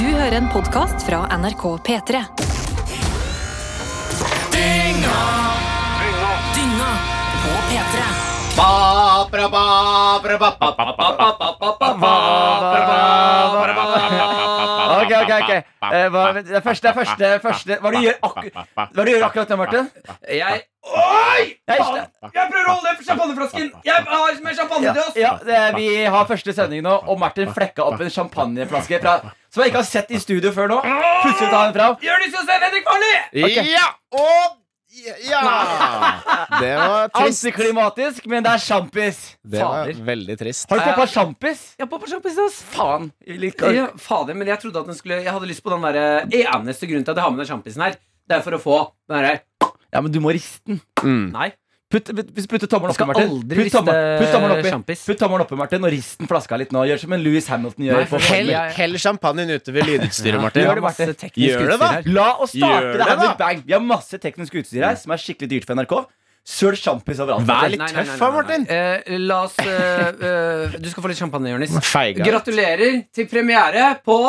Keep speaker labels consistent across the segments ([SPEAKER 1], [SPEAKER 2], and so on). [SPEAKER 1] Du hører en podkast fra NRK P3.
[SPEAKER 2] Ok, ok, ok. Eh, hva, det er første, det er første, første Hva du gjør, akkur hva du gjør akkurat nå, Martin?
[SPEAKER 3] Jeg
[SPEAKER 4] Oi!
[SPEAKER 2] Nei,
[SPEAKER 4] Faen! Jeg prøver å holde den champagneflasken! Jeg har med
[SPEAKER 2] Ja,
[SPEAKER 4] champagnedøs!
[SPEAKER 2] ja det, er- Vi har første sending nå, og Martin flekka opp en champagneflaske fra, som jeg ikke har sett i studio før nå. Plutselig tar han den fram.
[SPEAKER 4] Gjør det som Svein Henrik Farley!
[SPEAKER 3] Ja! Og ja! Det var trist.
[SPEAKER 2] Antiklimatisk, men det er sjampis.
[SPEAKER 3] Det var
[SPEAKER 2] Fader.
[SPEAKER 3] veldig trist.
[SPEAKER 2] Har du poppa sjampis?
[SPEAKER 4] Jeg popper champagne, ass.
[SPEAKER 2] Faen. Litt
[SPEAKER 4] Ja, fader, men jeg trodde at den skulle Jeg hadde lyst på den derre eneste grunnen til at jeg har med den sjampisen her. Det er for å få den her.
[SPEAKER 2] Ja, men du må riste den.
[SPEAKER 3] Mm.
[SPEAKER 4] Nei.
[SPEAKER 2] Putt, putt, putt tommelen oppi,
[SPEAKER 4] Skal
[SPEAKER 2] Martin.
[SPEAKER 4] aldri
[SPEAKER 2] Putt tommel-
[SPEAKER 4] riste
[SPEAKER 2] putt tommelen oppi,
[SPEAKER 4] sjampis.
[SPEAKER 2] Putt tommelen oppi, Martin, og rist den flaska litt nå. Gjør som en Louis Hamilton gjør.
[SPEAKER 4] Nei,
[SPEAKER 2] på
[SPEAKER 4] for
[SPEAKER 2] formel.
[SPEAKER 3] Hell,
[SPEAKER 4] Ja, ja.
[SPEAKER 3] hell champagnen ute ved lydutstyret, Martin.
[SPEAKER 2] Gjør det, Martin.
[SPEAKER 4] masse teknisk
[SPEAKER 3] Gjør det,
[SPEAKER 4] utstyr
[SPEAKER 3] da.
[SPEAKER 4] her.
[SPEAKER 2] La oss starte
[SPEAKER 3] Gjør
[SPEAKER 2] det her
[SPEAKER 3] det, da. Mm.
[SPEAKER 2] med bang. Vi har masse teknisk utstyr her som er skikkelig dyrt for NRK. Søl sjampis overalt.
[SPEAKER 3] Vær
[SPEAKER 2] Martin.
[SPEAKER 3] litt
[SPEAKER 4] Nei, nei, nei,
[SPEAKER 3] tøff,
[SPEAKER 4] nei,
[SPEAKER 3] da,
[SPEAKER 4] nei.
[SPEAKER 3] Martin.
[SPEAKER 4] Eh, la oss eh, eh, Du skal få litt champagne, Jonis.
[SPEAKER 3] Feiga.
[SPEAKER 4] Gratulerer til premiere på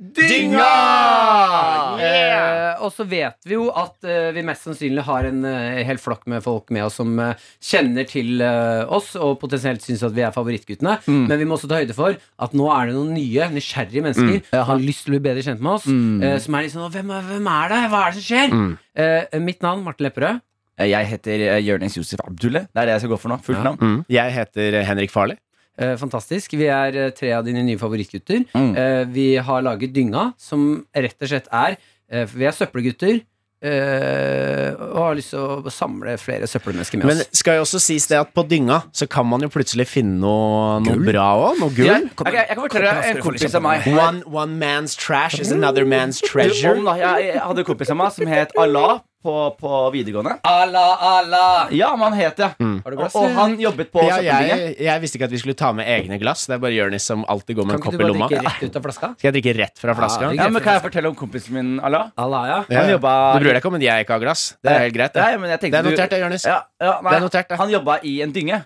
[SPEAKER 4] Dynga! Eh, og så vet vi jo at eh, vi mest sannsynlig har en eh, hel flokk med folk med oss som eh, kjenner til eh, oss og potensielt syns at vi er favorittguttene.
[SPEAKER 3] Mm.
[SPEAKER 4] Men vi må også ta høyde for at nå er det noen nye, nysgjerrige mennesker
[SPEAKER 3] Mm.
[SPEAKER 4] som har lyst til å bli bedre kjent med oss. eh, som er litt sånn hvem er, hvem er det? Hva er det som skjer?
[SPEAKER 3] Mm.
[SPEAKER 4] Eh, mitt navn Martin Lepperød.
[SPEAKER 2] Jeg heter eh, Jonis Josef Abdulle. Det er det jeg skal gå for nå. Fullt navn.
[SPEAKER 3] Mm. Jeg heter Henrik Farley.
[SPEAKER 4] Eh, fantastisk. Vi er eh, tre av dine nye favorittgutter.
[SPEAKER 2] Mm.
[SPEAKER 4] Eh, vi har laget Dynga, som rett og slett er eh, Vi er søppelgutter. eh, og har lyst til å samle flere søppelmennesker med
[SPEAKER 3] Men
[SPEAKER 4] oss.
[SPEAKER 3] skal jo også sies det at på dynga så kan man jo plutselig finne noe, noe
[SPEAKER 2] Gull?
[SPEAKER 3] bra òg. Noe gull.
[SPEAKER 2] Jeg, ok, jeg kan fortelle deg en kompis av meg.
[SPEAKER 3] One, one man's trash is another man's
[SPEAKER 2] Du,
[SPEAKER 3] treasure.
[SPEAKER 2] om da, jeg, jeg hadde en kompis av meg som het Allah på, på videregående.
[SPEAKER 4] Allah, Allah!
[SPEAKER 2] Ja, men han het det.
[SPEAKER 4] Har du
[SPEAKER 2] Og,
[SPEAKER 4] glass?
[SPEAKER 2] og han jobbet på
[SPEAKER 3] Mm. Ja,
[SPEAKER 2] søppelbinge.
[SPEAKER 3] jeg, jeg visste ikke at vi skulle ta med egne glass. Det er bare Jonis som alltid går med
[SPEAKER 4] kan
[SPEAKER 3] en
[SPEAKER 4] ikke
[SPEAKER 3] kopp i
[SPEAKER 4] du bare
[SPEAKER 3] lomma.
[SPEAKER 4] drikke rett ut av flaska?
[SPEAKER 3] Skal jeg drikke rett fra
[SPEAKER 4] Ja,
[SPEAKER 3] flaska?
[SPEAKER 4] det er
[SPEAKER 2] Ja, men Kan jeg fortelle om kompisen min Allah?
[SPEAKER 4] Allah, ja.
[SPEAKER 3] Ja.
[SPEAKER 2] Han jobba
[SPEAKER 3] Du bryr deg ikke om at jeg ikke har glass? Det er helt greit.
[SPEAKER 2] Nei,
[SPEAKER 3] Det,
[SPEAKER 2] men jeg
[SPEAKER 3] det
[SPEAKER 2] tenkte
[SPEAKER 3] er
[SPEAKER 2] du-
[SPEAKER 3] notert, det, Jonis.
[SPEAKER 2] Ja, ja, nei,
[SPEAKER 3] Det er notert, det.
[SPEAKER 2] Han jobba i en dynge.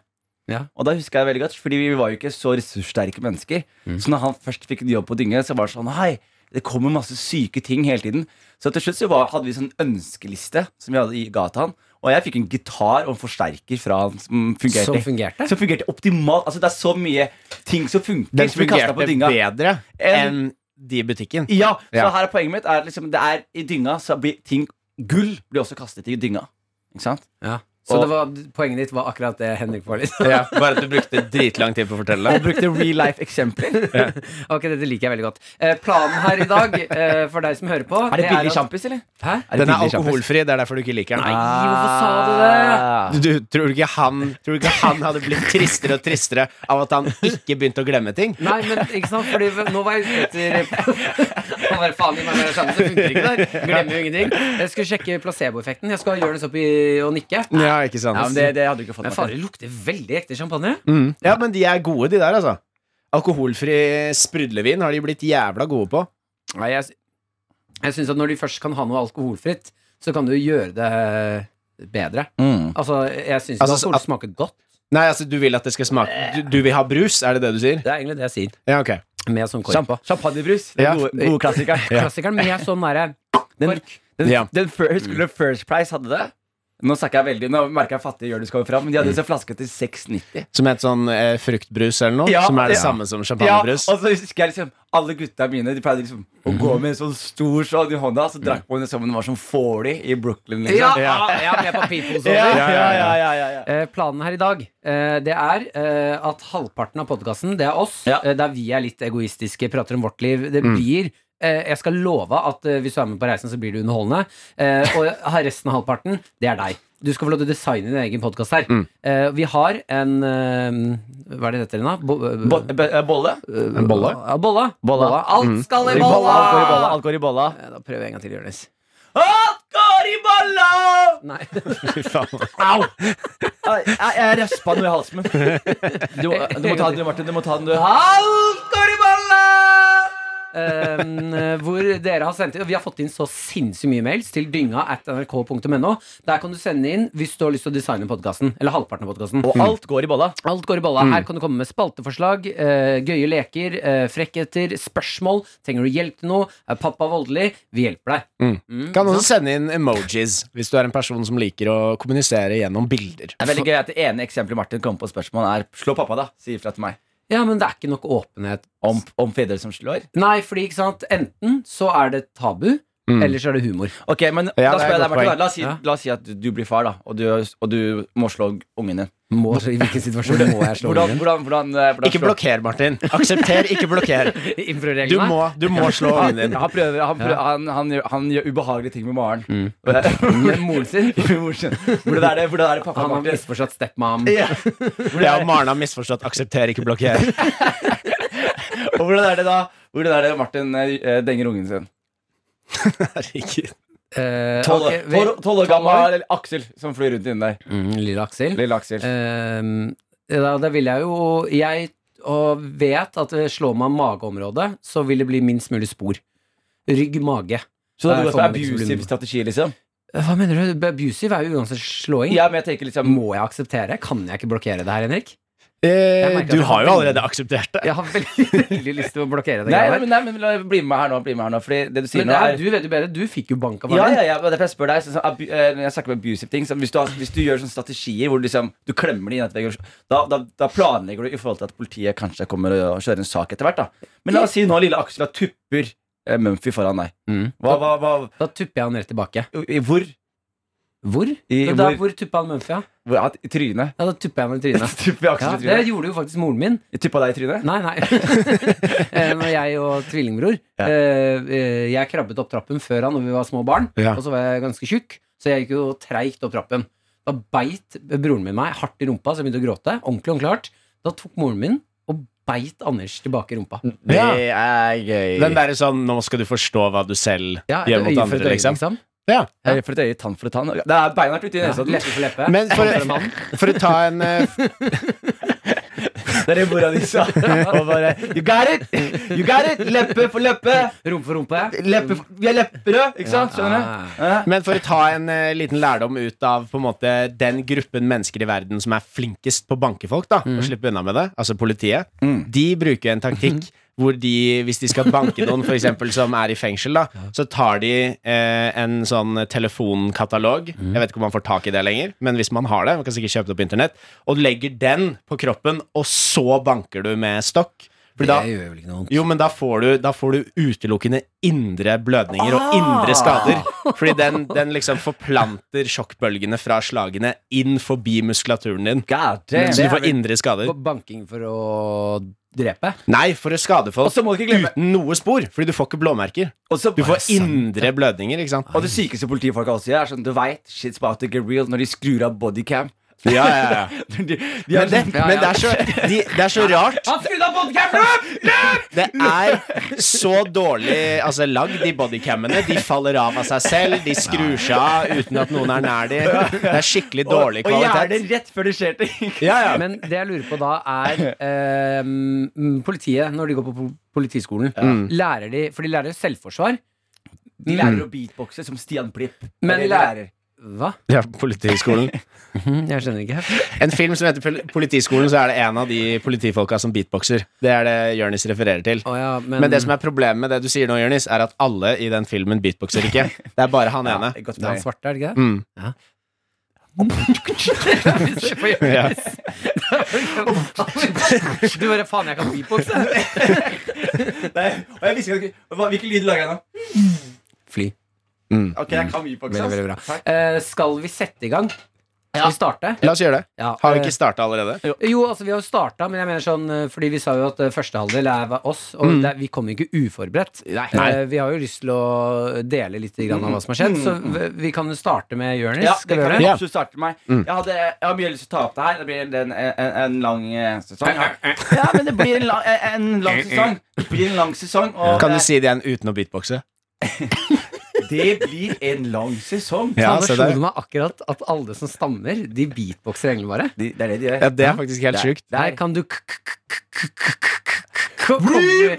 [SPEAKER 4] Ja.
[SPEAKER 2] Og da husker jeg veldig godt, fordi vi var jo ikke så ressurssterke mennesker.
[SPEAKER 3] Mm.
[SPEAKER 2] Så når han først fikk en jobb på dynge, så var det sånn Hei, det kommer masse syke ting hele tiden. Så til slutt så var, hadde vi sånn ønskeliste som vi hadde i- ga til han. Og jeg fikk en gitar og en forsterker fra han som fungerte.
[SPEAKER 4] Som fungerte?
[SPEAKER 2] Som fungerte optimalt. Altså Det er så mye ting som funker.
[SPEAKER 3] Den
[SPEAKER 2] som blir kastet
[SPEAKER 3] fungerte
[SPEAKER 2] på dynga.
[SPEAKER 3] bedre
[SPEAKER 2] En-
[SPEAKER 3] enn de i butikken.
[SPEAKER 2] Ja, så
[SPEAKER 3] Ja.
[SPEAKER 2] her er poenget mitt. Er at liksom, det er I dynga så blir ting Gull blir også kastet i dynga. Ikke sant?
[SPEAKER 4] Ja. Så det var, poenget ditt var akkurat det Henrik var litt
[SPEAKER 3] Ja, bare at du brukte dritlang tid på å fortelle
[SPEAKER 2] Og brukte real life-eksempler.
[SPEAKER 4] Ok, dette liker jeg veldig godt. Eh, planen her i dag, eh, for deg som hører på
[SPEAKER 2] Er det billig
[SPEAKER 4] at-
[SPEAKER 2] sjampis, eller?
[SPEAKER 4] Hæ?
[SPEAKER 2] Er det
[SPEAKER 3] Den er
[SPEAKER 2] billig sjampis?
[SPEAKER 3] alkoholfri, det er derfor du ikke liker den.
[SPEAKER 4] Nei, hvorfor sa du det?
[SPEAKER 2] Ah.
[SPEAKER 3] Du, du, tror, du ikke han, tror du ikke han hadde blitt tristere og tristere av at han ikke begynte å glemme ting?
[SPEAKER 4] Nei, men ikke sant, fordi nå var jeg ute etter Hva faen i meg med det samme, det funker ikke der. Glemmer jo ingenting. Jeg skulle sjekke placeboeffekten. Jeg skal gjøre det opp i å nikke.
[SPEAKER 3] Ja, ikke sant?
[SPEAKER 2] Ja, men det, det hadde du ikke fått
[SPEAKER 4] Men
[SPEAKER 2] med
[SPEAKER 4] fader,
[SPEAKER 2] deg.
[SPEAKER 4] det lukter veldig ekte champagne.
[SPEAKER 3] Mm. Ja, men de er gode, de der, altså. Alkoholfri sprudlevin har de blitt jævla gode på.
[SPEAKER 4] Nei, jeg, jeg synes at når de først kan ha noe alkoholfritt, så kan du gjøre det eh, bedre.
[SPEAKER 2] Mm.
[SPEAKER 4] Altså, jeg syns
[SPEAKER 3] Altså,
[SPEAKER 4] altså, alkohol
[SPEAKER 3] at-
[SPEAKER 4] smaker godt.
[SPEAKER 3] Nei, altså, du vil at det skal smake Du, du vil ha brus, er det det du sier?
[SPEAKER 4] Det er egentlig det jeg sier.
[SPEAKER 3] Eh. Ja, ok.
[SPEAKER 4] Med sånn kork.
[SPEAKER 2] Champ Champagnebrus. Den
[SPEAKER 3] Ja.
[SPEAKER 2] gode, gode klassikeren.
[SPEAKER 4] Klassikeren med sånn derre
[SPEAKER 2] Den, den,
[SPEAKER 3] Ja.
[SPEAKER 2] den fir- husker du First Price hadde det? Nå snakker jeg veldig, nå merker jeg fattig gjør det skal fram, men de hadde
[SPEAKER 3] Mm.
[SPEAKER 2] en sånn flaske til 6,90.
[SPEAKER 3] Som et sånn eh, fruktbrus eller noe?
[SPEAKER 2] Ja,
[SPEAKER 3] som er det
[SPEAKER 2] ja.
[SPEAKER 3] samme som
[SPEAKER 2] Ja, og
[SPEAKER 3] champagnebrus?
[SPEAKER 2] så husker jeg liksom alle gutta mine De pleide liksom å gå med en sånn stor sånn i hånda, så drakk man det som om den var sånn 40 i Brooklyn. Liksom.
[SPEAKER 4] Ja, ja, ja, med papirpose over.
[SPEAKER 3] ja, ja,
[SPEAKER 4] Eh, planen her i dag eh, Det er eh, at halvparten av podkasten, det er oss.
[SPEAKER 2] Ja.
[SPEAKER 4] eh, der vi er litt egoistiske, prater om vårt liv. Det blir eh, Jeg skal love at eh, hvis du er med på reisen, så blir du underholdende. Eh, og her resten av halvparten, det er deg. Du skal få lov til å designe din egen podkast her. Eh, vi har en eh, Hva er det dette, Lena? Bo,
[SPEAKER 2] Bo be- eh, bolle?
[SPEAKER 3] En bolle?
[SPEAKER 4] Ja, bolla.
[SPEAKER 2] Bolla.
[SPEAKER 4] Alt skal i
[SPEAKER 2] Alt
[SPEAKER 4] bolla!
[SPEAKER 2] går i bolla. Alt går i bolla.
[SPEAKER 4] Eh, Da prøver jeg en gang til, Jonis.
[SPEAKER 2] Alt går i bolla!
[SPEAKER 4] Nei.
[SPEAKER 3] Fy faen.
[SPEAKER 2] Au! Jeg, jeg, jeg raspa noe i halsen min. Du, du må ta den, du, Martin. Du må ta den, du. Alt går i bolla!
[SPEAKER 4] Eh, eh, hvor dere har sendt inn og Vi har fått inn så sinnssykt mye mails til dynga at nrk.no. Der kan du sende inn hvis du har lyst til å designe podkasten. Eller halvparten av podkasten.
[SPEAKER 2] Og alt går i bolla.
[SPEAKER 4] Alt går i balla.
[SPEAKER 3] Mm.
[SPEAKER 4] Her kan du komme med spalteforslag, eh, gøye leker, eh, frekkheter, spørsmål. Trenger du hjelp til noe? Er pappa voldelig? Vi hjelper deg.
[SPEAKER 3] Kan også sende inn emojis hvis du er en person som liker å kommunisere gjennom bilder.
[SPEAKER 2] Det er veldig gøy at det ene eksempelet Martin kom på spørsmål er Slå pappa, da, sier fra til meg.
[SPEAKER 4] Ja, men det er ikke nok åpenhet.
[SPEAKER 2] Om, om fedre som slår.
[SPEAKER 4] Nei, fordi ikke sant, enten så er det tabu,
[SPEAKER 3] Mm.
[SPEAKER 4] eller så er det humor.
[SPEAKER 2] Ok, men
[SPEAKER 3] Ja,
[SPEAKER 2] da
[SPEAKER 3] det er
[SPEAKER 2] spør
[SPEAKER 3] et
[SPEAKER 2] jeg deg,
[SPEAKER 3] godt
[SPEAKER 2] Martin.
[SPEAKER 3] poeng.
[SPEAKER 2] da. La oss, si,
[SPEAKER 4] Ja.
[SPEAKER 2] la oss si at du blir far, da, og du, og du må slå ungen din.
[SPEAKER 4] Må, I hvilken situasjon må jeg slå
[SPEAKER 2] Hvordan, hvordan, hvordan, eh, hvordan
[SPEAKER 3] Ikke
[SPEAKER 2] slår-
[SPEAKER 3] blokker, Martin. Aksepter, ikke blokker.
[SPEAKER 4] ungen?
[SPEAKER 3] Du må, du må slå ungen din.
[SPEAKER 2] Han prøver, han, prøver han, han, gjør, han gjør ubehagelige ting med Maren.
[SPEAKER 4] Mm.
[SPEAKER 2] Hvordan
[SPEAKER 4] Med moren sin?
[SPEAKER 2] er det, hvordan er det pappa
[SPEAKER 4] Han har
[SPEAKER 2] Martin?
[SPEAKER 4] misforstått stepmom.
[SPEAKER 2] Ja.
[SPEAKER 3] Jeg og Maren har misforstått 'aksepter, ikke blokker'.
[SPEAKER 2] Og hvordan er det da Hvordan er det Martin eh, denger ungen sin?
[SPEAKER 3] Herregud.
[SPEAKER 4] Eh,
[SPEAKER 2] Tolv
[SPEAKER 4] ok,
[SPEAKER 2] år-
[SPEAKER 4] vi-
[SPEAKER 2] tolv- tolv år gammel Aksel som flyr rundt inni der.
[SPEAKER 4] Mm, lille Aksel.
[SPEAKER 2] Lille Aksel.
[SPEAKER 4] Eh, da, da vil jeg jo Jeg og vet at det slår meg mageområdet, så vil det bli minst mulig spor. Rygg, mage.
[SPEAKER 2] Så det
[SPEAKER 4] der
[SPEAKER 2] er
[SPEAKER 4] får
[SPEAKER 2] en
[SPEAKER 4] man liksom
[SPEAKER 2] abusive
[SPEAKER 4] bli-
[SPEAKER 2] strategi, liksom?
[SPEAKER 4] Eh, Hva mener du? Abusive er jo uansett slåing.
[SPEAKER 2] Ja, men jeg tenker liksom
[SPEAKER 4] Må jeg akseptere? Kan jeg ikke blokkere det her, Henrik?
[SPEAKER 3] Eh,
[SPEAKER 4] merker at
[SPEAKER 3] du
[SPEAKER 4] jeg
[SPEAKER 3] har jo
[SPEAKER 4] har
[SPEAKER 3] allerede akseptert det.
[SPEAKER 4] Jeg har veldig, veldig lyst til å blokkere det.
[SPEAKER 2] Nei,
[SPEAKER 4] greia
[SPEAKER 2] nei,
[SPEAKER 4] her.
[SPEAKER 2] men, nei, men la- bli med meg her nå. Bli med her nå Fordi det du sier nå,
[SPEAKER 4] Men det
[SPEAKER 2] er
[SPEAKER 4] er, du vet jo bedre. Du fikk jo bank av
[SPEAKER 2] ja,
[SPEAKER 4] faren
[SPEAKER 2] ja, ja, men derfor jeg spør deg så, så, abu, eh, Når jeg snakker om abusive ting så hvis, du har, hvis du gjør sånne strategier hvor du, liksom, du klemmer de inn etter veggen, da, da, da planlegger du i forhold til at politiet kanskje kommer og kjører en sak etter hvert. da Men la oss si nå lille Aksel har tupper eh, Mumphy foran deg.
[SPEAKER 4] Mm.
[SPEAKER 2] Hva, hva, hva,
[SPEAKER 4] Da tupper jeg han rett tilbake.
[SPEAKER 2] i, Hvor?
[SPEAKER 4] Hvor?
[SPEAKER 2] I,
[SPEAKER 4] Da, da,
[SPEAKER 2] hvor,
[SPEAKER 4] hvor tuppa han Mumphy? Ja?
[SPEAKER 2] hvor ja, I trynet.
[SPEAKER 4] ja, da tupper jeg han i trynet.
[SPEAKER 2] Tupper
[SPEAKER 4] Ja,
[SPEAKER 2] Aksel i
[SPEAKER 4] det
[SPEAKER 2] trynet.
[SPEAKER 4] gjorde jo faktisk moren min.
[SPEAKER 2] Tuppa deg i trynet?
[SPEAKER 4] Nei, nei. Eh, Når jeg og tvillingbror
[SPEAKER 2] Ja.
[SPEAKER 4] eh, eh, Jeg krabbet opp trappen før han, når vi var små barn,
[SPEAKER 3] Ja.
[SPEAKER 4] og så var jeg ganske tjukk, så jeg gikk jo treigt opp trappen. Da beit broren min meg hardt i rumpa, så jeg begynte å gråte. Ordentlig, ordentlig hardt. Da tok moren min og beit Anders tilbake i rumpa.
[SPEAKER 3] Det
[SPEAKER 2] er gøy.
[SPEAKER 3] Den derre sånn 'nå skal du forstå hva du selv
[SPEAKER 4] Ja,
[SPEAKER 3] gjør mot
[SPEAKER 4] øye for et
[SPEAKER 3] andre',
[SPEAKER 4] øye,
[SPEAKER 3] liksom.
[SPEAKER 4] liksom.
[SPEAKER 3] Ja.
[SPEAKER 4] Ja.
[SPEAKER 2] Øye for et øye, tann for et tann. Det er beinhardt ute i
[SPEAKER 4] Ja,
[SPEAKER 2] nesa. den.
[SPEAKER 4] leppe for leppe.
[SPEAKER 3] Men for,
[SPEAKER 4] Hånd for en hånd.
[SPEAKER 3] for å ta en eh,
[SPEAKER 2] Det er liksom. det mora di sa. Og bare You got it! You got it! Leppe for leppe.
[SPEAKER 4] Rumpe for rumpe.
[SPEAKER 2] Leppe, vi er lepperød, ikke sant? Skjønner du? Ja.
[SPEAKER 3] Men for å ta en eh, liten lærdom ut av på en måte, den gruppen mennesker i verden som er flinkest på å banke folk, da, og slippe unna med det, altså politiet, de bruker en taktikk hvor de, hvis de skal banke noen for eksempel, som er i fengsel, da, så tar de eh, en sånn telefonkatalog. Jeg vet ikke om man får tak i det lenger, men hvis man har det, man kan sikkert kjøpe det på internett, og legger den på kroppen, og så banker du med stokk. Fordi da,
[SPEAKER 4] Det gjør vel ikke noe vondt.
[SPEAKER 3] jo, men da får du, da får du utelukkende indre blødninger og indre
[SPEAKER 2] Ah.
[SPEAKER 3] skader. Fordi den, den liksom forplanter sjokkbølgene fra slagene inn forbi muskulaturen din.
[SPEAKER 2] God
[SPEAKER 3] Så
[SPEAKER 2] damn.
[SPEAKER 3] du får indre skader.
[SPEAKER 4] Banking for å drepe?
[SPEAKER 3] Nei, for å skade
[SPEAKER 2] Og
[SPEAKER 3] folk
[SPEAKER 2] så må du ikke glemme
[SPEAKER 3] uten noe spor. Fordi du får ikke blåmerker.
[SPEAKER 2] Og så-
[SPEAKER 3] Du får indre blødninger, ikke sant.
[SPEAKER 2] Og det sykeste politifolk også gjør, er sånn Du vet, shit's about to get real når de skrur av bodycam.
[SPEAKER 3] Ja, ja, ja.
[SPEAKER 2] De, de er
[SPEAKER 3] Men det,
[SPEAKER 2] sånn-
[SPEAKER 3] men det, er, så, de, det er så rart.
[SPEAKER 4] Han skrudde av podcasten!
[SPEAKER 3] Det er så dårlig altså, lagd, de bodycammene. De faller av av seg selv, de skrur seg av uten at noen er nær de. Det er skikkelig dårlig
[SPEAKER 2] og, og gjerne
[SPEAKER 3] kvalitet.
[SPEAKER 2] rett før det skjer ting.
[SPEAKER 3] Ja, ja.
[SPEAKER 4] Men det jeg lurer på da, er ehm, politiet, når de går på po- politiskolen,
[SPEAKER 3] Mm.
[SPEAKER 4] lærer de For de lærer selvforsvar.
[SPEAKER 2] De lærer å beatboxe som Stian Blipp. Det er
[SPEAKER 4] Men
[SPEAKER 2] det de
[SPEAKER 4] lærer- Hva? Hm,
[SPEAKER 3] Ja, Politihøgskolen.
[SPEAKER 4] Jeg skjønner ikke.
[SPEAKER 3] En film som heter Pol- Politiskolen, så er det en av de politifolka som beatboxer. Det er det Jonis refererer til.
[SPEAKER 4] Å ja, men,
[SPEAKER 3] Men det som er problemet med det du sier nå, Jonis, er at alle i den filmen beatboxer ikke. Det er bare han ene.
[SPEAKER 2] Ja, godt
[SPEAKER 4] det er han
[SPEAKER 2] poeng.
[SPEAKER 4] svarte, er det ikke det?
[SPEAKER 3] Mm.
[SPEAKER 4] Se på Jonis.
[SPEAKER 3] Ja.
[SPEAKER 4] Du bare faen, jeg kan beatboxe.
[SPEAKER 2] Nei, og jeg visste ikke hva- Hvilken lyd lager jeg nå?
[SPEAKER 4] Fly.
[SPEAKER 2] Ok, jeg kan beatboxe.
[SPEAKER 4] Veldig,
[SPEAKER 2] ass.
[SPEAKER 4] veldig bra.
[SPEAKER 2] Takk.
[SPEAKER 4] Eh, skal vi sette i gang? Skal vi starte?
[SPEAKER 3] La oss gjøre det.
[SPEAKER 4] Ja,
[SPEAKER 3] Har vi
[SPEAKER 4] eh,
[SPEAKER 3] ikke starta allerede?
[SPEAKER 4] Jo, altså vi har jo starta, men jeg mener sånn eh, Fordi vi sa jo at eh, første halvdel er hva- oss, og det, er- vi kommer ikke uforberedt.
[SPEAKER 3] Nei.
[SPEAKER 4] Eh, Vi har jo lyst til å dele litt grann av hva som har skjedd, så v- vi kan jo starte med Jonis.
[SPEAKER 2] Ja, det
[SPEAKER 4] skal vi
[SPEAKER 2] kan
[SPEAKER 4] gjøre
[SPEAKER 2] vi
[SPEAKER 4] det?
[SPEAKER 3] Ja.
[SPEAKER 2] absolutt starte med. Jeg, hadde, jeg har mye lyst til å ta opp det her. Det blir en, en, en, en lang eh, sesong. Ja. ja, men det blir en, lang- en, en lang sesong. Det blir en lang sesong og
[SPEAKER 3] Kan du si det igjen uten å beatboxe?
[SPEAKER 2] Det blir en lang sesong.
[SPEAKER 3] Ja,
[SPEAKER 4] Faen, nå
[SPEAKER 3] se
[SPEAKER 4] slo
[SPEAKER 3] der.
[SPEAKER 4] det meg akkurat at alle som stammer, de beatboxer egentlig bare.
[SPEAKER 2] De, det er det de gjør.
[SPEAKER 3] Ja, det er faktisk helt sjukt.
[SPEAKER 4] Der kan du k- k- k- k- k- k- k- k- komme-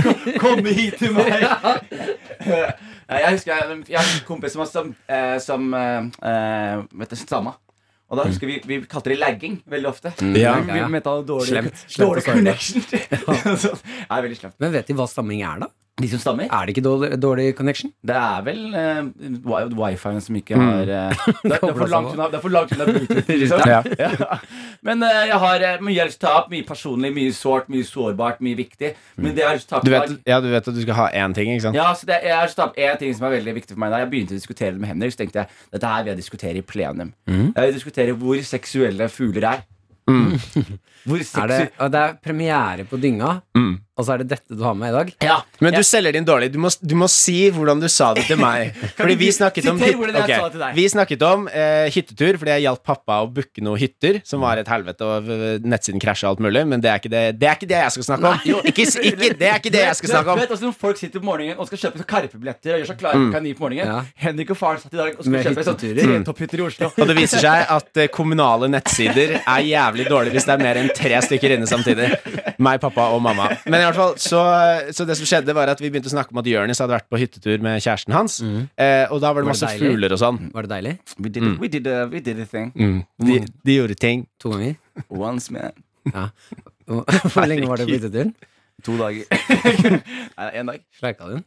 [SPEAKER 2] Kom- Kom hit til meg! Nei, Jeg husker jeg, jeg har en kompis som, har stam, eh, som eh, eh, vet du, stamma. Og da husker vi, vi kalte det lagging veldig ofte.
[SPEAKER 3] Ja.
[SPEAKER 2] Vi, vi mente han hadde dårlig,
[SPEAKER 4] Slemt. Slemt
[SPEAKER 2] dårlig
[SPEAKER 4] og sårbart.
[SPEAKER 2] connection. Så, det er veldig slemt.
[SPEAKER 4] Men vet de hva stamming er, da?
[SPEAKER 2] De som stammer,
[SPEAKER 4] Er det ikke dårlig, dårlig connection?
[SPEAKER 2] det er vel eh, wi- wifi-en som
[SPEAKER 3] Mm.
[SPEAKER 2] ikke har eh, det, er- det er for langt unna Det er for langt unna Bluetooth. Liksom.
[SPEAKER 3] Ja.
[SPEAKER 2] Ja. Men eh, jeg har eh, mye jeg har lyst til å ta opp. Mye personlig, mye sårt, mye sårbart, mye viktig. Men det jeg har lyst til å ta
[SPEAKER 3] Mm.
[SPEAKER 2] opp
[SPEAKER 3] Du,
[SPEAKER 2] i
[SPEAKER 3] vet,
[SPEAKER 2] dag
[SPEAKER 3] ja, du vet at du skal ha én ting, ikke sant?
[SPEAKER 2] Ja, så det, jeg har tatt opp en ting som er veldig viktig for meg da jeg begynte å diskutere det med Henrik. Så tenkte jeg dette her vil jeg diskutere i plenum.
[SPEAKER 3] Mm.
[SPEAKER 2] Jeg vil diskutere hvor seksuelle fugler er.
[SPEAKER 3] Mm.
[SPEAKER 2] Hvor
[SPEAKER 4] Er
[SPEAKER 2] seksu...
[SPEAKER 4] det, og det er premiere på dynga, og så er det dette du har med i dag?
[SPEAKER 2] Ja.
[SPEAKER 3] Men du
[SPEAKER 2] Ja.
[SPEAKER 3] selger din dårlig. Du må, du må si hvordan du sa det til meg. Fordi vi snakket om,
[SPEAKER 2] Siter hvordan jeg
[SPEAKER 3] Ok,
[SPEAKER 2] sa det til deg.
[SPEAKER 3] vi snakket om eh, hyttetur, fordi jeg hjalp pappa å booke noen hytter, som var et helvete, og eh, nettsiden krasja og alt mulig. Men det er ikke det, det, er ikke det jeg skal snakke om. Jo, ikke, s- ikke, det er ikke det jeg skal snakke
[SPEAKER 2] Du
[SPEAKER 3] om.
[SPEAKER 2] vet også når folk sitter på morgenen og skal kjøpe karpebilletter og gjør seg klare for kanin på morgenen.
[SPEAKER 4] Mm. Ja.
[SPEAKER 2] Henrik og faren satt i dag og skulle
[SPEAKER 4] Med Mm.
[SPEAKER 2] kjøpe sånn tretopphytter i Oslo.
[SPEAKER 3] Og det viser seg at eh, kommunale nettsider er jævlig dårlig hvis det er mer enn tre stykker inne samtidig. Meg, pappa og mamma. Men i hvert fall, så, så det som skjedde, var at vi begynte å snakke om at Jonis hadde vært på hyttetur med kjæresten hans.
[SPEAKER 2] Mm.
[SPEAKER 3] Eh, og da var det
[SPEAKER 4] Var det
[SPEAKER 3] masse
[SPEAKER 4] deilig?
[SPEAKER 3] fugler og sånn.
[SPEAKER 4] Var det deilig?
[SPEAKER 2] We did,
[SPEAKER 4] Mm.
[SPEAKER 2] it. we, did a, we did a thing.
[SPEAKER 3] De, de gjorde ting.
[SPEAKER 4] To ganger?
[SPEAKER 2] Once, man.
[SPEAKER 4] Ja. Hvor hvor lenge var det på hytteturen?
[SPEAKER 2] To dager. Nei, én dag.
[SPEAKER 4] Sleika du den?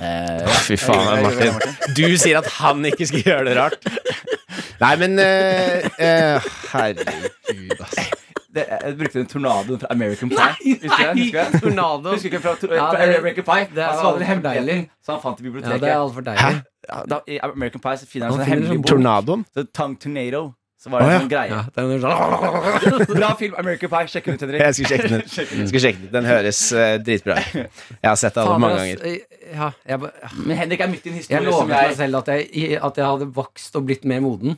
[SPEAKER 2] Eh,
[SPEAKER 3] Fy faen,
[SPEAKER 2] Jeg gjorde det,
[SPEAKER 3] Martin. Du sier at han ikke skal gjøre det rart. Nei, men eh, eh, Herregud, altså.
[SPEAKER 2] det, jeg brukte en tornado fra American Pie. Husker du det? Husker du det?
[SPEAKER 4] Tornado.
[SPEAKER 2] Husker ikke fra, fra
[SPEAKER 4] Ja, det-
[SPEAKER 2] American Pie? Altså,
[SPEAKER 4] det er
[SPEAKER 2] Han sa den
[SPEAKER 4] altfor
[SPEAKER 2] hemmeligheten
[SPEAKER 4] deilig.
[SPEAKER 2] som han fant i
[SPEAKER 4] Ja,
[SPEAKER 2] biblioteket.
[SPEAKER 4] det er altfor deilig.
[SPEAKER 2] Ja, da, I American Pie så finner
[SPEAKER 4] Han
[SPEAKER 2] han en sånn
[SPEAKER 4] finner
[SPEAKER 2] hemmelig
[SPEAKER 4] sånn
[SPEAKER 2] bok.
[SPEAKER 3] Tornadoen?
[SPEAKER 2] Så Tongue Tornado. Så var det
[SPEAKER 3] Å, ja.
[SPEAKER 2] en sånn greie.
[SPEAKER 4] Ja, det er noe sånn
[SPEAKER 2] Bra film, American Pie. Sjekk den ut, Henrik.
[SPEAKER 3] Jeg skal sjekke den ut. Jeg skal sjekke den. ut. den høres eh, dritbra ut. Jeg har sett alle
[SPEAKER 4] Fader,
[SPEAKER 3] mange
[SPEAKER 4] ass.
[SPEAKER 3] ganger.
[SPEAKER 4] Ja, jeg bare
[SPEAKER 2] Men Henrik er midt i en
[SPEAKER 4] liksom Jeg
[SPEAKER 2] historie
[SPEAKER 4] lovet
[SPEAKER 2] som
[SPEAKER 4] meg
[SPEAKER 2] jeg
[SPEAKER 4] selv at jeg, at jeg hadde vokst og blitt mer moden.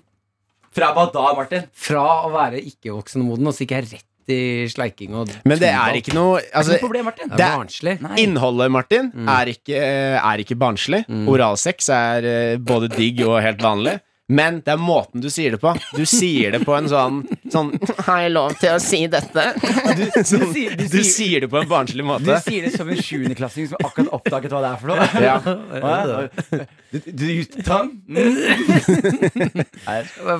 [SPEAKER 2] Fra Bada, Martin.
[SPEAKER 4] Fra å være ikke-voksen moden, og så gikk jeg rett i sleiking og
[SPEAKER 3] Men det er ikke noe altså,
[SPEAKER 2] Noe problem, Martin.
[SPEAKER 4] Det
[SPEAKER 3] det Mm.
[SPEAKER 4] er
[SPEAKER 3] er-
[SPEAKER 4] barnslig.
[SPEAKER 2] Nei.
[SPEAKER 3] Innholdet, Martin, er ikke, eh, er ikke barnslig. Oralsex er eh, både digg og helt vanlig. Men det er måten du sier det på. Du sier det på en sånn, sånn Har jeg lov til å si dette? Du, sånn, du,
[SPEAKER 2] sier-
[SPEAKER 3] sier,
[SPEAKER 2] du
[SPEAKER 3] det på en barnslig
[SPEAKER 2] Du
[SPEAKER 3] måte.
[SPEAKER 2] sier det som en sjuendeklassing som akkurat oppdaget hva det er for noe.
[SPEAKER 3] Ja.
[SPEAKER 2] Hva er det? Du, du, du tang? Mm.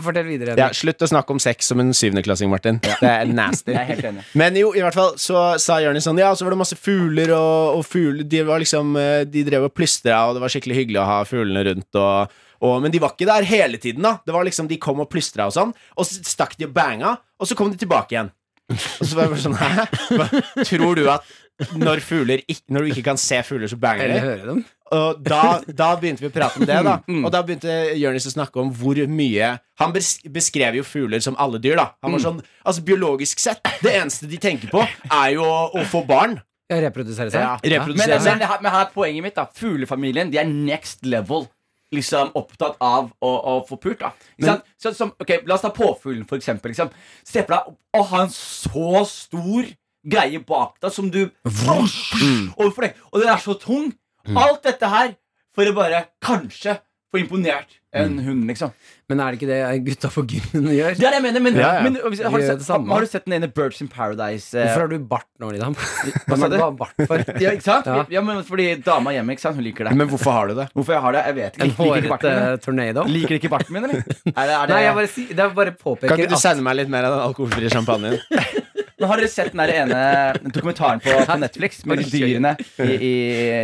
[SPEAKER 4] Fortell videre.
[SPEAKER 3] Ja,
[SPEAKER 4] Henrik.
[SPEAKER 3] slutt å snakke om sex som en syvendeklassing, Martin. Det er nasty.
[SPEAKER 2] Jeg er helt enig.
[SPEAKER 3] Men jo, i hvert fall så sa Jonis sånn Ja, så var det masse fugler, og, og fugler De var liksom eh, De drev og plystra, og det var skikkelig hyggelig å ha fuglene rundt, og, og Men de var ikke der hele tiden, da. Det var liksom De kom og plystra og sånn, og så stakk de og banga, og så kom de tilbake igjen. Og så var jeg bare sånn Hæ? Hva- Tror du at når, fugler, ikk- når du ikke kan se fugler, så banger de?
[SPEAKER 4] Eller høre dem.
[SPEAKER 3] Og da, da begynte vi å prate om det, da. Og da begynte Jonis å snakke om hvor mye Han bes- beskrev jo fugler som alle dyr, da. Han var sånn, altså Biologisk sett, det eneste de tenker på, er jo å, å få barn.
[SPEAKER 4] Ja, reprodusere
[SPEAKER 3] Ja,
[SPEAKER 4] seg.
[SPEAKER 3] reprodusere
[SPEAKER 2] Men,
[SPEAKER 3] Ser
[SPEAKER 2] men,
[SPEAKER 3] seg.
[SPEAKER 2] det her, men her er poenget mitt da Fuglefamilien, de er next level Liksom opptatt av å, å få pult da Ikke sant? Sånn som, ok, la oss ta påfuglen for eksempel liksom. Se på deg å ha en så stor greie bak deg Som du Mm. Overfor deg Og den er så tung Alt dette her for å bare kanskje få imponert en hund liksom
[SPEAKER 4] Men er det ikke det gutta på gymmen gjør?
[SPEAKER 2] Det er det jeg mener Men,
[SPEAKER 3] Ja, ja.
[SPEAKER 2] men hvis- har,
[SPEAKER 4] Gjør
[SPEAKER 2] du sett,
[SPEAKER 4] det samme.
[SPEAKER 2] har du sett den ene Birds in Paradise eh,
[SPEAKER 4] Hvorfor har du bart nå, Lidam?
[SPEAKER 2] Hva sa
[SPEAKER 4] Hvem er
[SPEAKER 2] du?
[SPEAKER 4] det du har bart for?
[SPEAKER 2] Ja, ikke sant?
[SPEAKER 4] Ja.
[SPEAKER 2] Ja, men fordi dama hjemme, ikke sant? Hun liker det
[SPEAKER 3] Men hvorfor har du det?
[SPEAKER 2] Hvorfor jeg har det? Jeg vet ikke
[SPEAKER 4] En
[SPEAKER 2] Liker ikke barten
[SPEAKER 4] hårete
[SPEAKER 2] min, jeg.
[SPEAKER 4] tornado?
[SPEAKER 2] Liker ikke barten min, eller? Er det, er det...
[SPEAKER 4] Nei, jeg bare, si, det er bare
[SPEAKER 3] Kan
[SPEAKER 4] påpeker
[SPEAKER 3] ikke du
[SPEAKER 4] at
[SPEAKER 3] sende meg litt mer av den alkoholfrie champagnen?
[SPEAKER 2] Nå har dere sett den der ene dokumentaren på, på Netflix med de dyrene i, i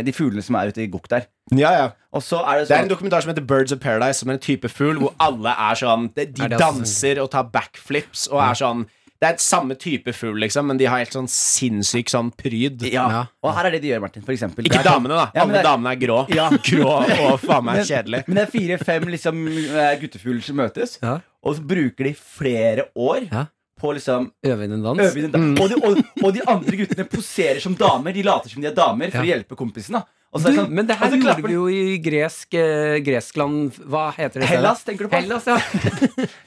[SPEAKER 2] De fuglene som er ute i gokk der.
[SPEAKER 3] Ja, ja.
[SPEAKER 2] Og så er det
[SPEAKER 3] Det er en
[SPEAKER 2] sånn
[SPEAKER 3] dokumentar som heter Birds of Paradise, som er en type fugl hvor alle er sånn De de
[SPEAKER 4] Er det altså-
[SPEAKER 3] danser og tar backflips og er sånn Det er et samme type fugl, liksom, men de har helt sånn sinnssyk sånn pryd.
[SPEAKER 2] ja.
[SPEAKER 4] Ja.
[SPEAKER 2] Og her er det de gjør, Martin. For eksempel.
[SPEAKER 3] Ikke
[SPEAKER 2] Det er- sånn-
[SPEAKER 3] damene, da.
[SPEAKER 2] Ja, men
[SPEAKER 3] Alle
[SPEAKER 2] det er-
[SPEAKER 3] damene er grå.
[SPEAKER 2] Ja.
[SPEAKER 3] Grå og faen meg kjedelig.
[SPEAKER 2] Men det er fire-fem liksom, eh, guttefugler som møtes,
[SPEAKER 4] ja,
[SPEAKER 2] og så bruker de flere år
[SPEAKER 4] Ja.
[SPEAKER 2] på liksom
[SPEAKER 4] Øve inn en dans?
[SPEAKER 2] øve inn en
[SPEAKER 4] mm.
[SPEAKER 2] dans. Og, de, og, og de andre guttene poserer som damer. De later som de er damer for å
[SPEAKER 4] Ja.
[SPEAKER 2] hjelpe kompisen. da og
[SPEAKER 4] Du,
[SPEAKER 2] er det sånn-
[SPEAKER 4] men det
[SPEAKER 2] og
[SPEAKER 4] her
[SPEAKER 2] så
[SPEAKER 4] gjorde
[SPEAKER 2] klapper
[SPEAKER 4] vi
[SPEAKER 2] de-
[SPEAKER 4] jo i gresk eh, Greskland Hva heter det? stedet?
[SPEAKER 2] Hellas, tenker du på?
[SPEAKER 4] Hellas, ja.